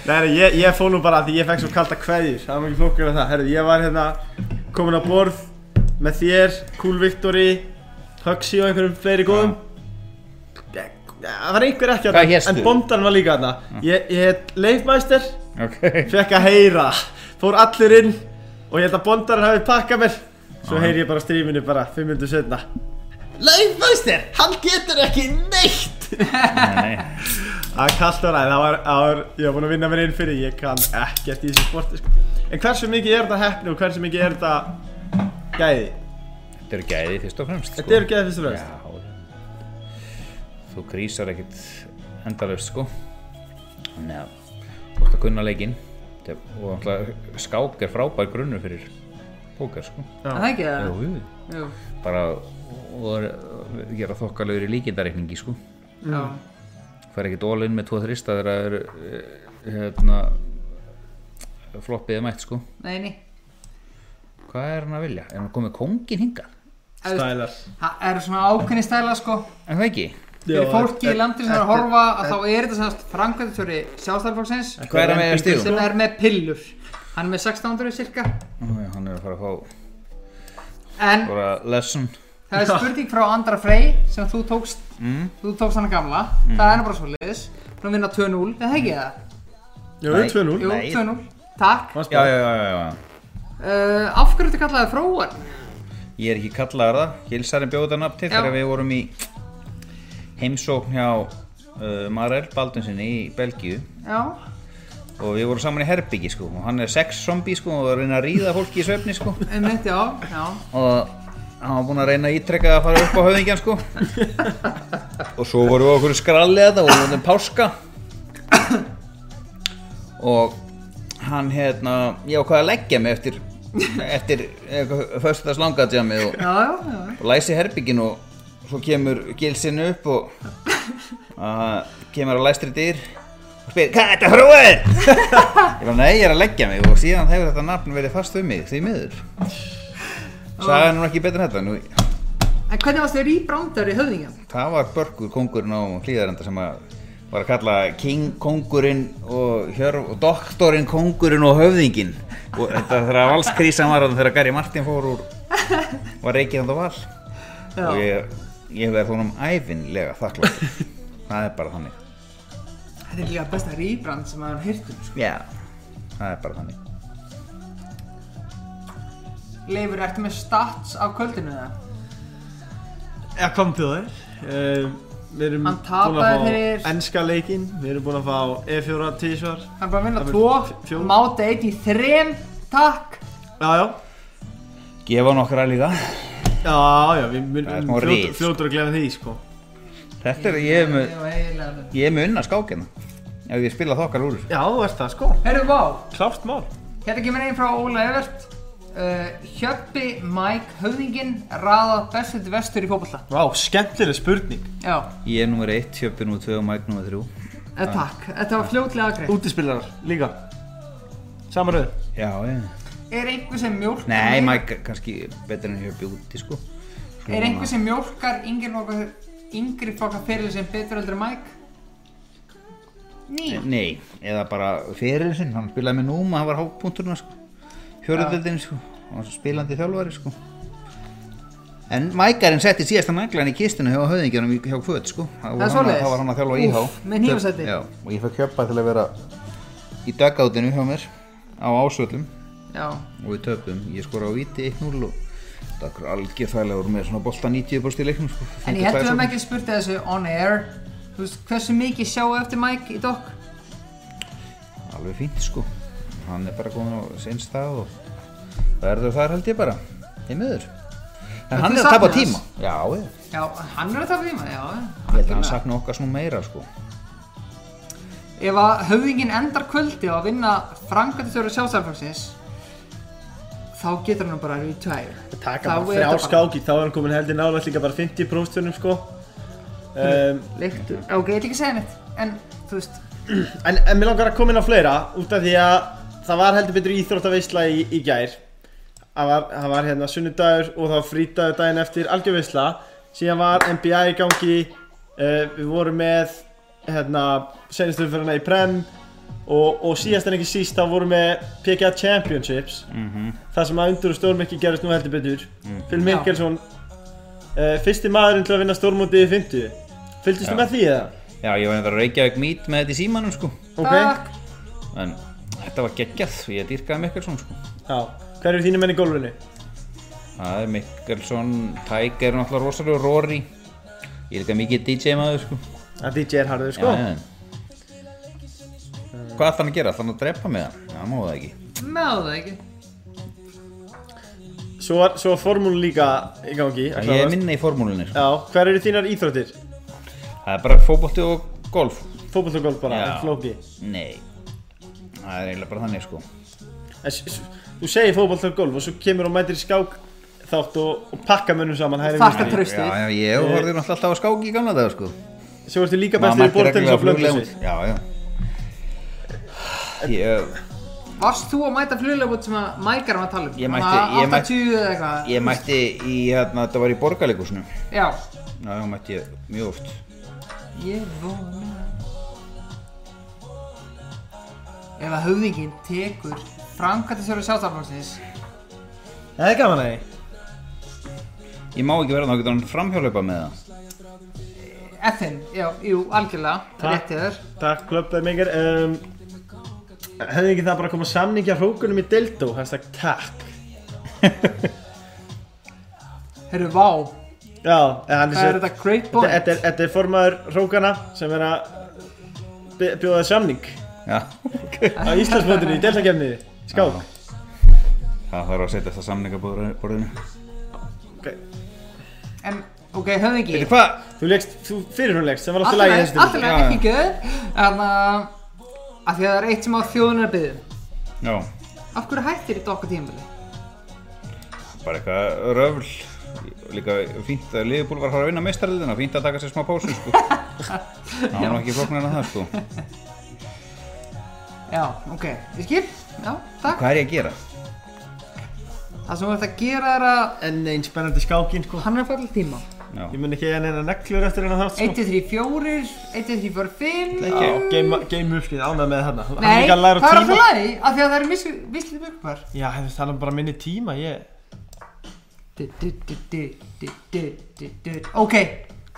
[SPEAKER 1] Nei, nei, ég, ég fór nú bara að því ég fekk svo kalda kveðjur Það var ekki flókur með það Herðu, ég var hérna komin á borð með þér, Cool Victory Huxi og einhverjum fleiri góðum Ég- Það var einhver ekki
[SPEAKER 3] Hvað héstu? Mm.
[SPEAKER 1] En bondan var líka þarna Ég, ég heit Leifmeister
[SPEAKER 3] Ok
[SPEAKER 1] Fekk að heyra Fór allir inn Og ég held að bondarinn hafi pakkað mér Svo heyri ég bara á stríminu bara 5 minnum setna Leifmeister, hann getur ekki neitt
[SPEAKER 3] Nei, nei.
[SPEAKER 1] Það er kallt og ræð, það var, það var, ég var búinn að vinna mér inn fyrir, ég kann ekkert í þessu sporti sko. En hversu mikið er þetta heppni og hversu mikið er þetta gæði?
[SPEAKER 3] Þetta eru gæði fyrst og fremst sko.
[SPEAKER 1] Þetta eru gæði fyrst og fremst.
[SPEAKER 3] Já, þú krísar ekkert endalaust sko Þannig að þú ert að kunna leikinn Þetta er- og alltaf skák er frábær grunnur fyrir póker sko
[SPEAKER 2] Það er ekki það?
[SPEAKER 3] Jú,
[SPEAKER 2] Jú.
[SPEAKER 3] bara og er- gera þokkalegur í líkindareikningi sko
[SPEAKER 1] Mm.
[SPEAKER 2] Já.
[SPEAKER 3] fær ekkert all in með 2-3 staðir að er hérna floppið er mætt sko
[SPEAKER 2] Nei, nei.
[SPEAKER 3] hvað er hann að vilja? er hann komið kóngin hingað?
[SPEAKER 2] Ef þú-
[SPEAKER 1] Stælar.
[SPEAKER 2] Það eru svona ákveðni stæla sko.
[SPEAKER 3] er það ekki?
[SPEAKER 2] Fyrir
[SPEAKER 1] Já, e-
[SPEAKER 2] fólki í landinu sem er að
[SPEAKER 3] þetta-
[SPEAKER 2] horfa að þá er þetta semast framkvæmdastjóri sjálfstæðarflokksins
[SPEAKER 3] hvað er hann með að stíðu?
[SPEAKER 2] sem er með pillur. Hann er með 600 cirka.
[SPEAKER 3] hann er að fara að fá
[SPEAKER 2] En
[SPEAKER 3] bara lesson
[SPEAKER 2] það er spurning frá Andra Frey sem þú tókst,
[SPEAKER 3] Mm?
[SPEAKER 2] þú tókst hann gamla.
[SPEAKER 1] Mm.
[SPEAKER 2] Það er nú bara svolítið. Hún vinna 2-0, er það ekki það?
[SPEAKER 1] Jú,
[SPEAKER 3] Nei.
[SPEAKER 1] 2-0.
[SPEAKER 2] Jú,
[SPEAKER 3] Nei.
[SPEAKER 2] 2-0. Takk.
[SPEAKER 1] Fannst
[SPEAKER 3] já,
[SPEAKER 1] bara-
[SPEAKER 3] já, já, já, já.
[SPEAKER 2] Uh, af hverju þetta kallaði fróan?
[SPEAKER 3] ég er ekki kallaðar það Hilsarinn bjóði það nafn til
[SPEAKER 2] Já.
[SPEAKER 3] þegar við vorum í heimsókn hjá uh, Marel Baldunsinni í Belgíu
[SPEAKER 2] Já.
[SPEAKER 3] og við vorum saman í herbyggi sko og hann er sex zombi sko og er að reyna að ríða fólki í svefni sko
[SPEAKER 2] Einmitt, já, já.
[SPEAKER 3] og hann var búinn að reyna að ítrekka að fara upp á höfðingjan sko og svo vorum við okkur skrallið þetta og vorum við páska og hann hérna ég ákvaði að leggja mig eftir eftir föstudags langadjami og,
[SPEAKER 2] Já, já, já.
[SPEAKER 3] og læsi herbyggin og svo kemur gilsinn upp og uh, kemur að læstri dyr og spyr, hvað er þetta hrúið? ég bara, nei, ég er að leggja mig og síðan hefur þetta nafn verið fast um mig, því miður sagði nú ekki betur en þetta nú,
[SPEAKER 2] En hvernig varst þér í brandar í höfðingjan?
[SPEAKER 3] það var Börgur kongurinn á hlýðarenda sem að var að kalla King kongurinn og, hjörf, og doktorinn kongurinn og höfðinginn og þetta þegar valskrísan var þarna þegar Gary Martin fór úr var reikið hann á
[SPEAKER 2] Já.
[SPEAKER 3] val og ég, ég verð honum æfinlega þakklátt það er bara þannig
[SPEAKER 2] Þetta er líka besta rýbrand sem maður hýrt um, sko.
[SPEAKER 3] já, það er bara þannig
[SPEAKER 2] Leifur, ertu með stats af kvöldinu það?
[SPEAKER 1] Já, kom til þér. Um, við erum
[SPEAKER 2] Hann
[SPEAKER 1] búin að fá
[SPEAKER 2] tapaði fyrir-
[SPEAKER 1] ennska leikinn, við erum búin að fá E E4 tísvar.
[SPEAKER 2] Hann er bara að vinna
[SPEAKER 1] Það er f-
[SPEAKER 2] tvo,
[SPEAKER 1] fjór-
[SPEAKER 2] máta eitt í þrem, takk.
[SPEAKER 1] Já, já.
[SPEAKER 3] gefa nokkra líka
[SPEAKER 1] Já, já, við
[SPEAKER 3] Það er
[SPEAKER 1] munum
[SPEAKER 3] smá
[SPEAKER 1] fljótur,
[SPEAKER 3] ris.
[SPEAKER 1] fljótur að glemja því sko.
[SPEAKER 3] þetta er, ég er með
[SPEAKER 2] Já, eiginlega alveg.
[SPEAKER 3] ég er með unna skákina ef ég spila þokkar úr
[SPEAKER 1] Já, þú ert það sko.
[SPEAKER 2] Herru, vá,
[SPEAKER 1] Klárt mál.
[SPEAKER 2] hérna kemur einn frá Óla Evert. Uh, Hjöppi, Mike, höfðinginn, raðað bestu til vestur í fótballa.
[SPEAKER 1] Vá, skemmtileg spurning.
[SPEAKER 2] Já,
[SPEAKER 3] ég er nummer 1, Hjöppi nummer 2 og Mike nummer 3
[SPEAKER 2] eh, takk. Þetta var fljótlega greið.
[SPEAKER 1] Útispilarar líka. Samaröður.
[SPEAKER 3] já, já
[SPEAKER 2] Er einhver sem mjólkar...
[SPEAKER 3] nei,
[SPEAKER 2] meira-
[SPEAKER 3] Mike kannski betur en Hjöppi úti sko Svona-
[SPEAKER 2] Er einhver sem mjólkar yngri flokka, yngri flokka fyrir sem betur heldur en Mike? Ný.
[SPEAKER 3] nei, eða bara fyrir sinn hann spilaði með núma, hann var hápunkturna sko hjörðuldin sko hann var spilandi þjálfari sko En Mækarinn setti síðasta naglan í kistinu hjá höfðingjónum hjá Kvöt sko. Það
[SPEAKER 2] Það er
[SPEAKER 3] var hann að-
[SPEAKER 2] svoleiðis.
[SPEAKER 3] þá var hann að þjálfa
[SPEAKER 2] Úff,
[SPEAKER 3] íhá.
[SPEAKER 2] með hnífasæti.
[SPEAKER 3] Já, og ég fekk hjöppa til að vera í dagautinu hjá mér á ásvöllum
[SPEAKER 2] Já.
[SPEAKER 3] og við töpum, ég skora á viti 1-0 og þetta er okkur algjör þægilega voru með svona bolta 90% í leiknum sko.
[SPEAKER 2] En ég heldur við hefum ekki spurt að þessu on air Þú veist, hversu mikið sjáu eftir Mike í dokk?
[SPEAKER 3] alveg fínt sko hann er bara komin á sinn stað og verður þar held ég bara í miður en hann
[SPEAKER 2] þið
[SPEAKER 3] er að tapa
[SPEAKER 2] saknið
[SPEAKER 3] tíma já, ég,
[SPEAKER 2] Já, hann er að tapa tíma, já
[SPEAKER 3] ég held að hann
[SPEAKER 2] algjörlega.
[SPEAKER 3] sakna okkar svona meira sko
[SPEAKER 2] Ef að höfðingin endar kvöldi á að vinna frangatistjóri sjálfstæðarflokksins þá getur hann bara retire
[SPEAKER 1] taka
[SPEAKER 2] Þá
[SPEAKER 1] bara
[SPEAKER 2] er
[SPEAKER 1] þrjá
[SPEAKER 2] þetta bara-
[SPEAKER 1] skáki, þá er hann komin heldur nálægt líka bara 50 prófstörnum sko um,
[SPEAKER 2] Leiktu, ok, ég ætla ekki að segja neitt En, þú veist,
[SPEAKER 1] En, en mér langar að koma inn á fleira út af því að það var heldur betur íþróttaveisla í, í gær það var, það var hérna sunnudagur og það var frítagur daginn eftir algjörveisla síðan var NBA í gangi uh, við vorum með hérna senastumferðina í Prem og, og síðast en ekki síst þá vorum við PGA Championships þar sem að undur og stórmikki gerist nú heldur betur Phil Mickelson uh, fyrsti maðurinn til að vinna stórmótið í 50 fylgdist þú
[SPEAKER 3] Já.
[SPEAKER 1] með því eða?
[SPEAKER 3] Já, ég var einhver að Reykjavík mít með þetta í símanum sko
[SPEAKER 1] Ok.
[SPEAKER 2] takk
[SPEAKER 3] En þetta var geggjað, ég dýrkaði Mikkelson sko
[SPEAKER 1] Já, hver eru þínu menn í gólfinu?
[SPEAKER 3] Það er Mikkelson, Tiger er náttúrulega rosalega Rory Ég er líka mikið DJ maður sko
[SPEAKER 1] Að DJ er harður sko
[SPEAKER 3] já, já. Hvað ætti hann að gera? Ætti hann að drepa með hann? Já, má það ekki
[SPEAKER 2] Máðu það ekki
[SPEAKER 1] Svo var, svo var formúlu líka í gangi að
[SPEAKER 3] Já, Ég
[SPEAKER 1] klárast.
[SPEAKER 3] er minna í formúlinni sko
[SPEAKER 1] Já, hver eru þínar íþróttir?
[SPEAKER 3] Það er bara fótbolti og golf
[SPEAKER 1] Fótboll og golf bara,
[SPEAKER 3] Já.
[SPEAKER 1] en flóki
[SPEAKER 3] Nei Það er eiginlega bara þannig sko
[SPEAKER 1] en, s- s- Þú segir fótboll og golf og svo kemur og mætir í skák þátt og, og pakka mönnum saman hægri
[SPEAKER 2] Þakka
[SPEAKER 1] vinstri.
[SPEAKER 2] traustið.
[SPEAKER 3] Já, já, ég horfði náttúrulega alltaf að skáki í gamla dag sko
[SPEAKER 1] Svo ertu líka
[SPEAKER 3] Maður
[SPEAKER 1] bestur í
[SPEAKER 3] mætti
[SPEAKER 1] bortennis
[SPEAKER 3] reglulega
[SPEAKER 1] og flögglösi
[SPEAKER 3] fluglega út. Já, já Ég,
[SPEAKER 2] Varst þú að mæta fluglega út sem að Mækar var að tala um?
[SPEAKER 3] Ég mætti-
[SPEAKER 2] Svona
[SPEAKER 3] ég mætti-
[SPEAKER 2] 80 eða eitthvað
[SPEAKER 3] ég mætti í hérna, þetta var í borgarleikusinu
[SPEAKER 2] Já
[SPEAKER 3] Já, já, mætti ég mjög oft
[SPEAKER 2] Ég vona Ef að höfðingin tekur Frankatisverðu sjálfstaflóksins
[SPEAKER 1] Það er gaman að því
[SPEAKER 3] Ég má ekki vera þannig að geta hann framhjálpa með það
[SPEAKER 2] FN, já, jú, algjörlega
[SPEAKER 1] Takk.
[SPEAKER 2] Rétt yfir
[SPEAKER 1] Takk, klöpðaði mikið um, Hefði ekki það bara koma samningja hrókunum í Dildo, hashtag takk
[SPEAKER 2] Herru, vá
[SPEAKER 1] Já, en hann
[SPEAKER 2] Hvað er þetta great point?
[SPEAKER 1] Þetta er- þetta er formaður hrókana sem er að bj- bjóða þér samning
[SPEAKER 3] Já, ok
[SPEAKER 1] á Íslandsmótinu í deltakefniði skák
[SPEAKER 3] Já. Það þarf að setja þetta samningaborðinu
[SPEAKER 1] okay.
[SPEAKER 2] En, ok, höfðingi
[SPEAKER 3] Veitir hvað?
[SPEAKER 1] þú leikst, þú fyrir hún leikst sem var alltaf lægið þessu
[SPEAKER 2] Alltaf
[SPEAKER 3] Já,
[SPEAKER 2] er
[SPEAKER 3] já.
[SPEAKER 2] ekki göð En að af Því að það er eitt sem á þjóðunar byggðum
[SPEAKER 3] Já,
[SPEAKER 2] Af hverju hættir þetta okkar tímabili?
[SPEAKER 3] bara eitthvað röfl Líka fínt að Liðbúl var að fara að vinna meistarliðina Fínt að taka sér smá pásu sko Það var nú ekki flóknar en það sko
[SPEAKER 2] Já, ok, ég skil Já, takk
[SPEAKER 3] Hvað er ég að gera?
[SPEAKER 2] Það sem þú ert að gera er að
[SPEAKER 1] enn einn spennandi skákin sko
[SPEAKER 2] Hann er að fara til tíma
[SPEAKER 3] Já,
[SPEAKER 1] ég mun ekki að neina neglur eftir hennar þátt
[SPEAKER 2] 1,
[SPEAKER 1] sko
[SPEAKER 2] 2, 3, 4 1, 2, 3, 4, 5
[SPEAKER 3] Nei,
[SPEAKER 1] Já, geima- geim uppskið ánað með þarna Hann er líka
[SPEAKER 2] Nei,
[SPEAKER 1] að
[SPEAKER 2] það er
[SPEAKER 1] læra á
[SPEAKER 2] alltaf
[SPEAKER 1] tíma
[SPEAKER 2] lagi Af því að það eru mislið mjögpar
[SPEAKER 1] Já, hann er talað um bara minni tíma ég
[SPEAKER 2] Ok,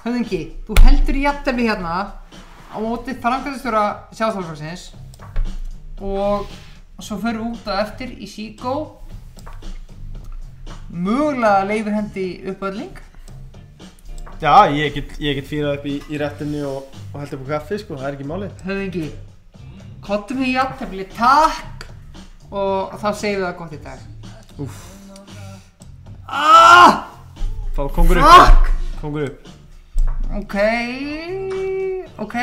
[SPEAKER 2] höfðingi Þú heldur í jafntefni hérna Á móti frangastjóra sjálfstofnflokksins Og Svo fyrir út að eftir í Síkó Mögulega leifir hendi uppöðling
[SPEAKER 1] Já, ég get, ég get fýrað upp í, í réttinni og, og held upp á kaffi sko, það er ekki málið
[SPEAKER 2] höfðingi kottum við jafntefli, takk og þá segjum við það gott í dag Úff ah,
[SPEAKER 1] Fá kongur upp,
[SPEAKER 2] Fuck
[SPEAKER 1] kongur upp
[SPEAKER 2] Ok Ok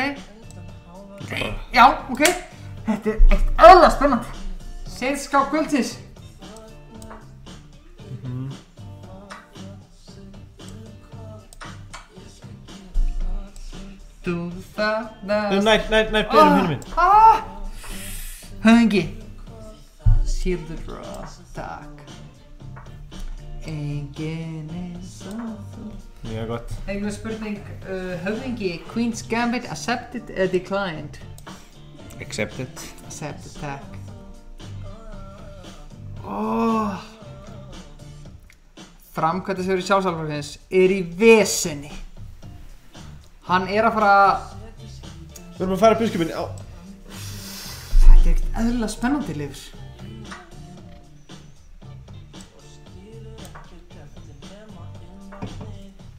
[SPEAKER 2] Já, ok Þetta er eitt öðla spennandi Seinská kvöldsins Þú
[SPEAKER 1] Nei,
[SPEAKER 2] þarna
[SPEAKER 1] nær, nær, nær, beinum hinn minn
[SPEAKER 2] Ah! Höfðingi Sýrðu röð Takk Engin eins og þú
[SPEAKER 1] Mjög gott
[SPEAKER 2] Einhver spurning uh, Höfðingi Queen's Gambit Accepted or declined?
[SPEAKER 3] accept it
[SPEAKER 2] Accepted, takk oh. Framkvæmtasjóri sjálfsálfarfins er í vesenni Hann er að fara
[SPEAKER 1] Við erum að fara byrskupin á
[SPEAKER 2] Þetta er ekkert eðlilega spennandi lifur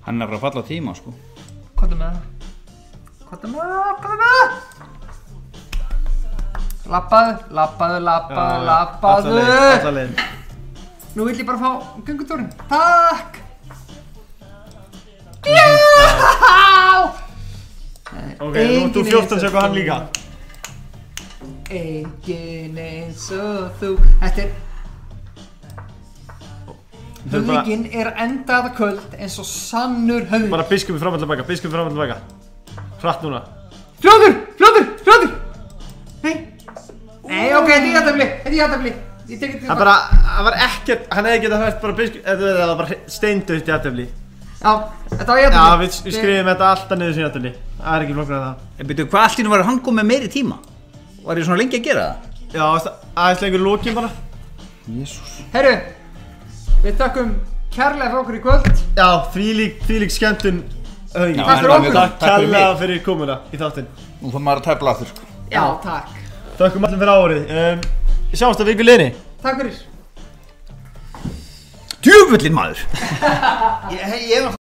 [SPEAKER 3] Hann er að fara að falla á tíma sko
[SPEAKER 2] Hvað er með það? Hvað er með það? Hvað er með það? Lappaðu, lappaðu, lappaðu, lappaðu
[SPEAKER 1] Allalegin
[SPEAKER 2] Nú vill ég bara fá göngutúrin Takk Já
[SPEAKER 1] Ok, nú ert þú 14 sekund hann líka
[SPEAKER 2] Engin eins og þú Þetta er
[SPEAKER 1] Þau bara-
[SPEAKER 2] Höfðingin er endað kvöld eins og sannur höfðing
[SPEAKER 1] Bara biskupið fram og tilbaka, biskupið fram og tilbaka Hratt núna
[SPEAKER 2] Fljóður, fljóður, fljóður Nei Nei, ok, þetta er játafli, þetta er játafli Ég tek
[SPEAKER 1] Það
[SPEAKER 2] þetta
[SPEAKER 1] bara, það var ekkert, hann hefði getað hægt bara biskup, eða þú veist, það var bara steindaut í aðtöfli
[SPEAKER 2] Já, þetta var
[SPEAKER 1] Já,
[SPEAKER 2] játafli
[SPEAKER 1] við við skrifum þetta alltaf niður sem aðtöfli Það er ekki flokkar að það
[SPEAKER 4] En byrju, hvað allt í nú var hann komið með meiri tíma? Var ég svona lengi að gera það?
[SPEAKER 1] Já, veist það- aðeins lengur lokin bara
[SPEAKER 3] Jésús
[SPEAKER 2] Herru, við takkum kærlega fyrir okkur í kvöld
[SPEAKER 1] Já, þvílík, þvílík skemmtun höfðingi.
[SPEAKER 2] Takk fyrir okkur.
[SPEAKER 1] Takk
[SPEAKER 3] Takk fyrir
[SPEAKER 1] kærlega
[SPEAKER 3] mig.
[SPEAKER 1] fyrir komuna í þáttinn
[SPEAKER 3] Nú þarf maður að tæpla aftur sko
[SPEAKER 2] Já, takk
[SPEAKER 1] Takkum allir fyrir árið um, Sjáumst að viku liðni
[SPEAKER 2] Takk fyrir
[SPEAKER 4] Djöfullin maður!
[SPEAKER 3] Ég, ég var